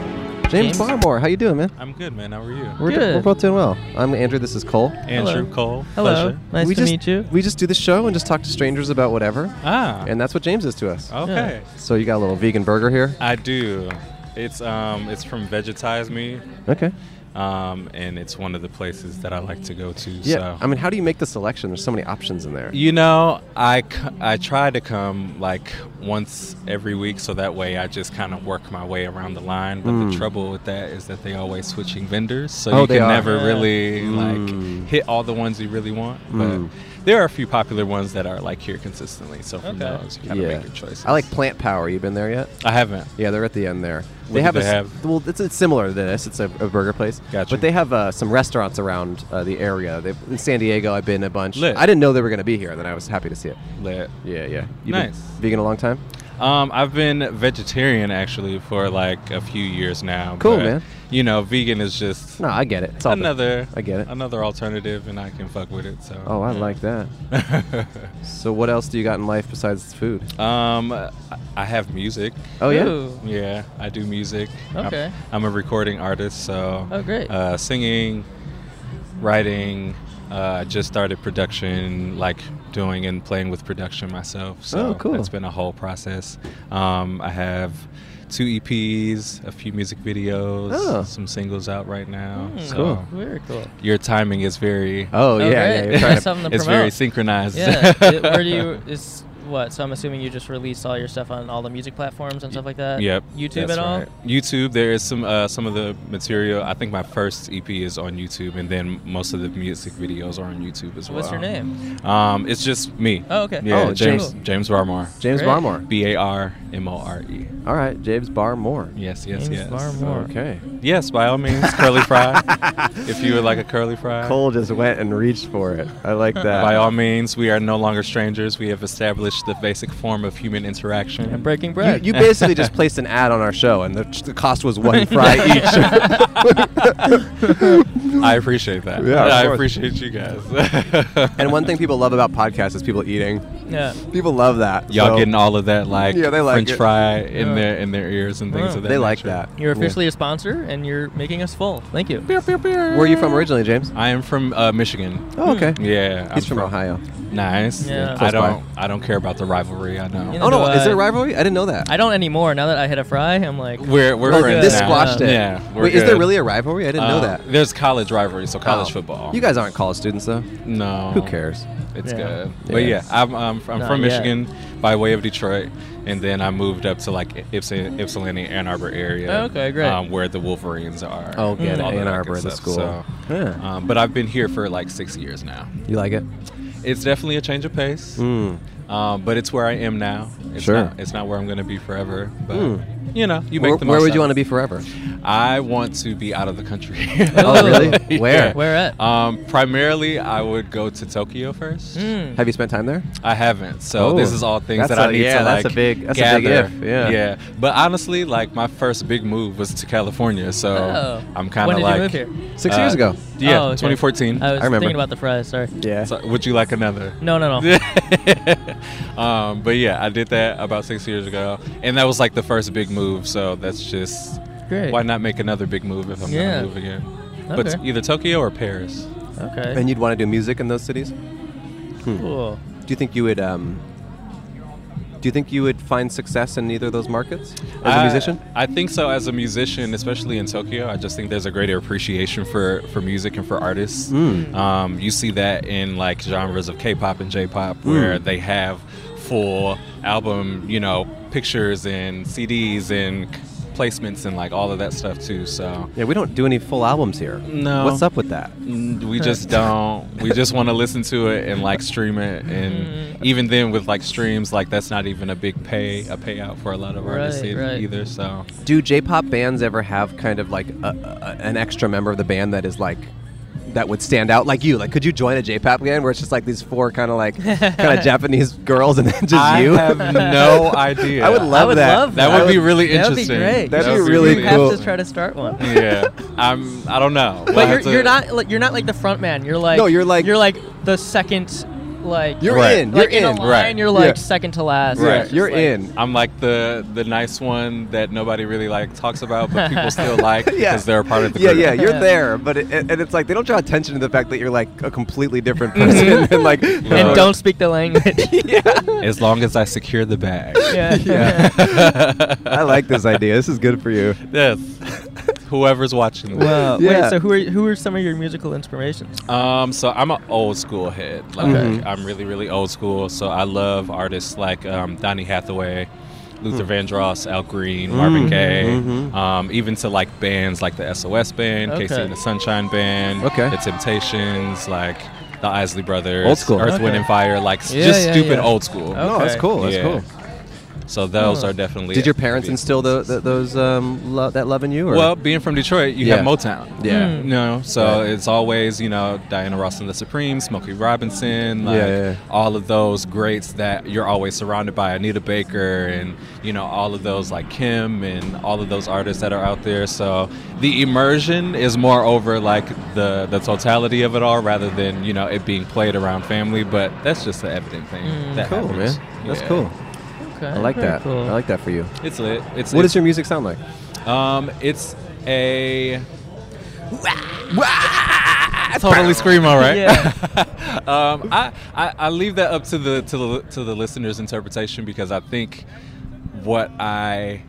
[SPEAKER 2] James,
[SPEAKER 1] James.
[SPEAKER 2] Barmore, how you doing, man?
[SPEAKER 6] I'm good, man. How are you?
[SPEAKER 2] We're, do-
[SPEAKER 1] Good.
[SPEAKER 2] we're both doing well. I'm Andrew. This is Cole.
[SPEAKER 6] Andrew
[SPEAKER 1] Hello.
[SPEAKER 6] Cole.
[SPEAKER 1] Hello.
[SPEAKER 6] Pleasure.
[SPEAKER 1] Nice
[SPEAKER 2] we
[SPEAKER 1] to
[SPEAKER 2] just,
[SPEAKER 1] meet you.
[SPEAKER 2] We just do the show and just talk to strangers about whatever,
[SPEAKER 6] Ah.
[SPEAKER 2] and that's what James is to us.
[SPEAKER 6] okay.
[SPEAKER 2] So you got a little vegan burger here.
[SPEAKER 6] I do. It's um it's from Vegetize Me.
[SPEAKER 2] Okay.
[SPEAKER 6] Um and it's one of the places that I like to go to.
[SPEAKER 2] Yeah.
[SPEAKER 6] So
[SPEAKER 2] I mean, how do you make the selection? There's so many options in there.
[SPEAKER 6] you know, I, c- I try to come like once every week so that way I just kind of work my way around the line. But the trouble with that is that they always switching vendors, so
[SPEAKER 2] Hmm. Oh,
[SPEAKER 6] you
[SPEAKER 2] they
[SPEAKER 6] can
[SPEAKER 2] are.
[SPEAKER 6] never
[SPEAKER 1] Yeah.
[SPEAKER 6] really
[SPEAKER 2] Mm.
[SPEAKER 6] like hit all the ones you really want.
[SPEAKER 2] Mm.
[SPEAKER 6] But there are a few popular ones that are like here consistently. So from
[SPEAKER 1] Okay.
[SPEAKER 6] those, you kind of
[SPEAKER 2] Yeah.
[SPEAKER 6] make your choices.
[SPEAKER 2] I like Plant Power. You been there yet?
[SPEAKER 6] I haven't.
[SPEAKER 2] Yeah, they're at the end there.
[SPEAKER 6] What
[SPEAKER 2] they
[SPEAKER 6] do
[SPEAKER 2] have
[SPEAKER 6] they
[SPEAKER 2] a s-
[SPEAKER 6] have?
[SPEAKER 2] well, it's, it's similar to this. It's a, a burger place.
[SPEAKER 6] Gotcha.
[SPEAKER 2] But they have uh, some restaurants around uh, the area. They've, in San Diego, I've been a bunch.
[SPEAKER 6] Lit.
[SPEAKER 2] I didn't know they were going to be here, and then I was happy to see it.
[SPEAKER 6] Lit.
[SPEAKER 2] Yeah, yeah. been
[SPEAKER 6] Nice.
[SPEAKER 2] vegan a long time.
[SPEAKER 6] Um, I've been vegetarian actually for like a few years now.
[SPEAKER 2] Cool,
[SPEAKER 6] but,
[SPEAKER 2] man.
[SPEAKER 6] You know, vegan is just
[SPEAKER 2] No, I get it. It's all good.
[SPEAKER 6] another.
[SPEAKER 2] I get it.
[SPEAKER 6] Another alternative, and I can fuck with it. So.
[SPEAKER 2] Oh, I like that.
[SPEAKER 6] [LAUGHS]
[SPEAKER 2] so, what else do you got in life besides food?
[SPEAKER 6] Um, I- I have music.
[SPEAKER 2] Oh yeah.
[SPEAKER 1] Ooh.
[SPEAKER 6] Yeah, I do music. I'm-
[SPEAKER 1] Okay.
[SPEAKER 6] I'm, a recording artist, so.
[SPEAKER 1] Oh, great.
[SPEAKER 6] Uh, singing, writing. Uh, I just started production, like doing and playing with production myself. So
[SPEAKER 2] Oh, cool.
[SPEAKER 6] It's been a whole process. Um, I have two EPs, a few music videos,
[SPEAKER 2] Oh.
[SPEAKER 6] some singles out right now. so
[SPEAKER 2] Cool.
[SPEAKER 1] Hmm, Very cool.
[SPEAKER 6] Your timing is very.
[SPEAKER 2] Oh yeah,
[SPEAKER 1] Okay.
[SPEAKER 2] yeah. You're
[SPEAKER 1] That's [LAUGHS]
[SPEAKER 2] trying to,
[SPEAKER 1] something to
[SPEAKER 6] It's
[SPEAKER 1] promote.
[SPEAKER 6] very synchronized. [LAUGHS]
[SPEAKER 1] Yeah. It- where do you is what? So I'm assuming you just released all your stuff on all the music platforms and stuff like that.
[SPEAKER 6] Yep.
[SPEAKER 1] YouTube
[SPEAKER 6] that's
[SPEAKER 1] at all?
[SPEAKER 6] right. YouTube. There is some uh, some of the material. I think my first EP is on YouTube, and then most of the music videos are on YouTube as well.
[SPEAKER 1] What's your name?
[SPEAKER 6] Um, it's just me.
[SPEAKER 1] Oh, okay.
[SPEAKER 6] Yeah,
[SPEAKER 2] Oh,
[SPEAKER 6] James
[SPEAKER 1] cool.
[SPEAKER 6] James Barmore.
[SPEAKER 2] James
[SPEAKER 1] Great.
[SPEAKER 2] Barmore.
[SPEAKER 6] B A R M O R E.
[SPEAKER 2] All right, James Barmore.
[SPEAKER 6] Yes, yes,
[SPEAKER 1] James
[SPEAKER 6] yes.
[SPEAKER 1] Barmore.
[SPEAKER 2] Okay.
[SPEAKER 6] Yes, by all means, curly
[SPEAKER 2] [LAUGHS]
[SPEAKER 6] fry. if you would like a curly fry.
[SPEAKER 2] Cole just went and reached for it. I like that.
[SPEAKER 6] By all means, we are no longer strangers. We have established the basic form of human interaction.
[SPEAKER 1] And breaking
[SPEAKER 2] You,
[SPEAKER 1] bread.
[SPEAKER 2] you basically just
[SPEAKER 6] [LAUGHS]
[SPEAKER 2] placed [LAUGHS] an ad on our show, and the, the cost was one fry each.
[SPEAKER 6] I appreciate that.
[SPEAKER 2] Yeah, of
[SPEAKER 6] I
[SPEAKER 2] course.
[SPEAKER 6] appreciate you guys.
[SPEAKER 2] [LAUGHS] and one thing people love about podcasts is people eating.
[SPEAKER 1] Yeah.
[SPEAKER 2] People love that.
[SPEAKER 6] Y'all
[SPEAKER 2] So
[SPEAKER 6] getting all of that like,
[SPEAKER 2] Yeah, they like
[SPEAKER 6] French
[SPEAKER 2] it.
[SPEAKER 6] fry in
[SPEAKER 1] Yeah.
[SPEAKER 6] their in their ears and things
[SPEAKER 1] Wow.
[SPEAKER 6] of that
[SPEAKER 2] They like
[SPEAKER 6] nature.
[SPEAKER 2] that.
[SPEAKER 1] You're officially a sponsor, and you're making us full. Thank you.
[SPEAKER 2] Where are you from originally, James?
[SPEAKER 6] I am from uh, Michigan. Mm.
[SPEAKER 2] Oh, okay.
[SPEAKER 6] Yeah, I'm
[SPEAKER 2] He's from Ohio.
[SPEAKER 6] Nice.
[SPEAKER 1] Yeah.
[SPEAKER 6] I
[SPEAKER 2] Close by.
[SPEAKER 6] don't. I don't care about the rivalry. I know.
[SPEAKER 1] You know,
[SPEAKER 2] Oh no,
[SPEAKER 1] uh,
[SPEAKER 2] is there a rivalry? I didn't know that.
[SPEAKER 1] I don't anymore. Now that I hit a fry, I'm like,
[SPEAKER 6] We're we're
[SPEAKER 2] Oh,
[SPEAKER 6] friends
[SPEAKER 2] this
[SPEAKER 6] now.
[SPEAKER 2] squashed it.
[SPEAKER 6] Yeah. we're
[SPEAKER 2] Wait, is there
[SPEAKER 6] good.
[SPEAKER 2] really a rivalry? I didn't know
[SPEAKER 6] Uh,
[SPEAKER 2] that.
[SPEAKER 6] There's college rivalry, so college
[SPEAKER 2] Oh.
[SPEAKER 6] football.
[SPEAKER 2] You guys aren't college students though.
[SPEAKER 6] No.
[SPEAKER 2] Who cares?
[SPEAKER 6] It's
[SPEAKER 1] Yeah.
[SPEAKER 6] good.
[SPEAKER 2] Yeah.
[SPEAKER 6] But yeah, I'm, I'm, I'm
[SPEAKER 1] Not
[SPEAKER 6] from
[SPEAKER 1] yet.
[SPEAKER 6] Michigan by way of Detroit, and then I moved up to like Ypsilanti, Ypsilanti Ann Arbor area.
[SPEAKER 1] Oh, okay, great.
[SPEAKER 6] Um, where the Wolverines are.
[SPEAKER 2] Oh, get
[SPEAKER 6] and
[SPEAKER 2] it.
[SPEAKER 6] all that
[SPEAKER 2] Ann
[SPEAKER 6] good
[SPEAKER 2] Arbor, the
[SPEAKER 6] stuff.
[SPEAKER 2] school.
[SPEAKER 6] So,
[SPEAKER 2] Yeah.
[SPEAKER 6] um, but I've been here for like six years now.
[SPEAKER 2] You like it? Hmm.
[SPEAKER 6] It's definitely a change of pace, um, but it's where I am now. It's
[SPEAKER 2] Sure. Hmm.
[SPEAKER 6] Not, it's not where I'm going to be forever, but you know, you make
[SPEAKER 2] Where,
[SPEAKER 6] the
[SPEAKER 2] where
[SPEAKER 6] most
[SPEAKER 2] would you
[SPEAKER 6] out
[SPEAKER 2] want to
[SPEAKER 6] of
[SPEAKER 2] be forever?
[SPEAKER 6] it. I want to be out of the country.
[SPEAKER 2] Oh, really?
[SPEAKER 6] [LAUGHS] Yeah.
[SPEAKER 2] Where?
[SPEAKER 1] where at?
[SPEAKER 6] Um, primarily, I would go to Tokyo first.
[SPEAKER 1] Mm.
[SPEAKER 2] Have you spent time there?
[SPEAKER 6] I haven't. So
[SPEAKER 2] Oh.
[SPEAKER 6] this is all things that
[SPEAKER 2] That's a-
[SPEAKER 6] I need
[SPEAKER 2] yeah,
[SPEAKER 6] to like
[SPEAKER 2] that's a big- that's a big
[SPEAKER 6] gather.
[SPEAKER 2] if, yeah.
[SPEAKER 6] yeah. But honestly, like my first big move was to California, so
[SPEAKER 1] Oh.
[SPEAKER 6] I'm kind
[SPEAKER 1] When
[SPEAKER 6] of
[SPEAKER 1] did you
[SPEAKER 6] like uh,
[SPEAKER 1] move here?
[SPEAKER 2] Six years ago.
[SPEAKER 6] Yeah,
[SPEAKER 1] Oh, okay.
[SPEAKER 6] 2014.
[SPEAKER 1] I was
[SPEAKER 2] remember.
[SPEAKER 1] thinking about the fries. Sorry.
[SPEAKER 2] Yeah.
[SPEAKER 6] So, would you like another?
[SPEAKER 1] No, no, no.
[SPEAKER 6] [LAUGHS] um, but yeah, I did that about six years ago, and that was like the first big move. So that's just
[SPEAKER 1] Great.
[SPEAKER 6] why not make another big move if I'm
[SPEAKER 1] Yeah.
[SPEAKER 6] gonna move again?
[SPEAKER 1] Okay.
[SPEAKER 6] But either Tokyo or Paris.
[SPEAKER 1] Okay.
[SPEAKER 2] And you'd want to do music in those cities? Do
[SPEAKER 1] cool.
[SPEAKER 2] you think you would? Um, do you think you would find success in either of those markets as a
[SPEAKER 6] I-
[SPEAKER 2] musician?
[SPEAKER 6] I think so. As a musician, especially in Tokyo, I just think there's a greater appreciation for for music and for artists.
[SPEAKER 2] Mm.
[SPEAKER 6] Um, you see that in like genres of K-pop and J-pop,
[SPEAKER 2] Mm.
[SPEAKER 6] where they have full album, you know, pictures and CDs and c- placements and like all of that stuff too. So.
[SPEAKER 2] Yeah, we don't do any full albums here.
[SPEAKER 6] No.
[SPEAKER 2] What's up with that?
[SPEAKER 6] mm, We
[SPEAKER 1] [LAUGHS]
[SPEAKER 6] just don't. We just want to listen to it and like stream it,
[SPEAKER 1] Mm.
[SPEAKER 6] and even then with like streams, like that's not even a big pay a payout for a lot of artists
[SPEAKER 1] Right,
[SPEAKER 6] e-
[SPEAKER 1] right.
[SPEAKER 6] either. So
[SPEAKER 2] Do J-pop bands ever have kind of like a, a, an extra member of the band that is like that would stand out like you? Like, could you join a J-pop band where it's just like these four kind of like
[SPEAKER 1] [LAUGHS]
[SPEAKER 2] kind of Japanese girls and then just
[SPEAKER 6] I
[SPEAKER 2] you? [LAUGHS]
[SPEAKER 6] have no idea.
[SPEAKER 2] I would love
[SPEAKER 1] I would
[SPEAKER 2] that.
[SPEAKER 1] love
[SPEAKER 6] That
[SPEAKER 1] I
[SPEAKER 6] would be really
[SPEAKER 1] that would be
[SPEAKER 6] interesting.
[SPEAKER 1] great.
[SPEAKER 2] That'd
[SPEAKER 6] That
[SPEAKER 2] be
[SPEAKER 6] would
[SPEAKER 2] really
[SPEAKER 1] You
[SPEAKER 2] cool.
[SPEAKER 1] have to try to start
[SPEAKER 2] [LAUGHS]
[SPEAKER 1] one.
[SPEAKER 6] yeah, I'm. I don't know. We'll
[SPEAKER 1] But you're,
[SPEAKER 6] have to-
[SPEAKER 1] you're not like you're not like the front man. You're like
[SPEAKER 2] No, you're like-
[SPEAKER 1] you're like the second like
[SPEAKER 2] You're
[SPEAKER 6] Right.
[SPEAKER 2] in. You're
[SPEAKER 1] like in, a
[SPEAKER 2] in.
[SPEAKER 1] line.
[SPEAKER 6] Right.
[SPEAKER 1] You're like
[SPEAKER 2] Yeah.
[SPEAKER 1] second to last.
[SPEAKER 6] Right.
[SPEAKER 1] It's just
[SPEAKER 2] You're
[SPEAKER 1] like-
[SPEAKER 2] in.
[SPEAKER 6] I'm like the the nice one that nobody really like talks about, but
[SPEAKER 2] [LAUGHS]
[SPEAKER 6] people still like because
[SPEAKER 2] Yeah.
[SPEAKER 6] they're a part of the
[SPEAKER 2] yeah,
[SPEAKER 6] group.
[SPEAKER 2] yeah, you're there, but it, and and it's like they don't draw attention to the fact that you're like a completely different person [LAUGHS] and like
[SPEAKER 1] And Mm-hmm. don't speak the
[SPEAKER 2] [LAUGHS]
[SPEAKER 1] language.
[SPEAKER 6] As long as I secure the bag.
[SPEAKER 1] yeah. [LAUGHS]
[SPEAKER 2] I like this idea. This is good for you.
[SPEAKER 6] yes. Whoever's watching. this.
[SPEAKER 1] Wow.
[SPEAKER 2] Yeah.
[SPEAKER 1] Wait. So who are who are some of your musical inspirations?
[SPEAKER 6] Um, so I'm an old school head. Like
[SPEAKER 2] Mm-hmm.
[SPEAKER 6] I'm really, really old school. So I love artists like um, Donny Hathaway, Luther
[SPEAKER 2] Mm.
[SPEAKER 6] Vandross, Al Green,
[SPEAKER 2] Mm-hmm.
[SPEAKER 6] Marvin Gaye, um, even to like bands like the SOS Band,
[SPEAKER 1] Okay.
[SPEAKER 6] Casey and the Sunshine Band,
[SPEAKER 2] Okay.
[SPEAKER 6] the Temptations, like the Isley Brothers,
[SPEAKER 2] Old school.
[SPEAKER 6] Earth, Wind
[SPEAKER 1] Okay.
[SPEAKER 6] and Fire, like s-
[SPEAKER 1] Yeah,
[SPEAKER 6] just
[SPEAKER 1] yeah,
[SPEAKER 6] stupid
[SPEAKER 1] yeah.
[SPEAKER 6] old school.
[SPEAKER 1] Oh.
[SPEAKER 2] No, that's
[SPEAKER 1] Okay.
[SPEAKER 2] cool. That's
[SPEAKER 6] Yeah.
[SPEAKER 2] cool.
[SPEAKER 6] So those are definitely.
[SPEAKER 2] Did your parents
[SPEAKER 6] big-
[SPEAKER 2] instill tho- th those um, lo- that love in you? Or?
[SPEAKER 6] Well, being from Detroit, you have
[SPEAKER 2] Yeah.
[SPEAKER 6] Motown.
[SPEAKER 2] Yeah.
[SPEAKER 6] You know, so it's always, you know, Diana Ross and the Supreme, Smokey Robinson, like
[SPEAKER 2] Yeah, yeah.
[SPEAKER 6] all of those greats that you're always surrounded by, Anita Baker and, you know, all of those like Kim and all of those artists that are out there. So the immersion is more over like the the totality of it all rather than, you know, it being played around family, but that's just the evident thing. that
[SPEAKER 2] cool,
[SPEAKER 6] happens.
[SPEAKER 2] man. That's
[SPEAKER 6] Yeah.
[SPEAKER 2] cool.
[SPEAKER 1] Okay,
[SPEAKER 2] I like
[SPEAKER 1] very
[SPEAKER 2] that.
[SPEAKER 1] Cool.
[SPEAKER 2] I like that for you.
[SPEAKER 6] It's lit. It's
[SPEAKER 2] What
[SPEAKER 6] it's,
[SPEAKER 2] does your music sound like?
[SPEAKER 6] Um, it's a totally screamo, [LAUGHS] right?
[SPEAKER 1] Yeah.
[SPEAKER 6] [LAUGHS] um, I, I I leave that up to the to the to the listener's interpretation because I think what I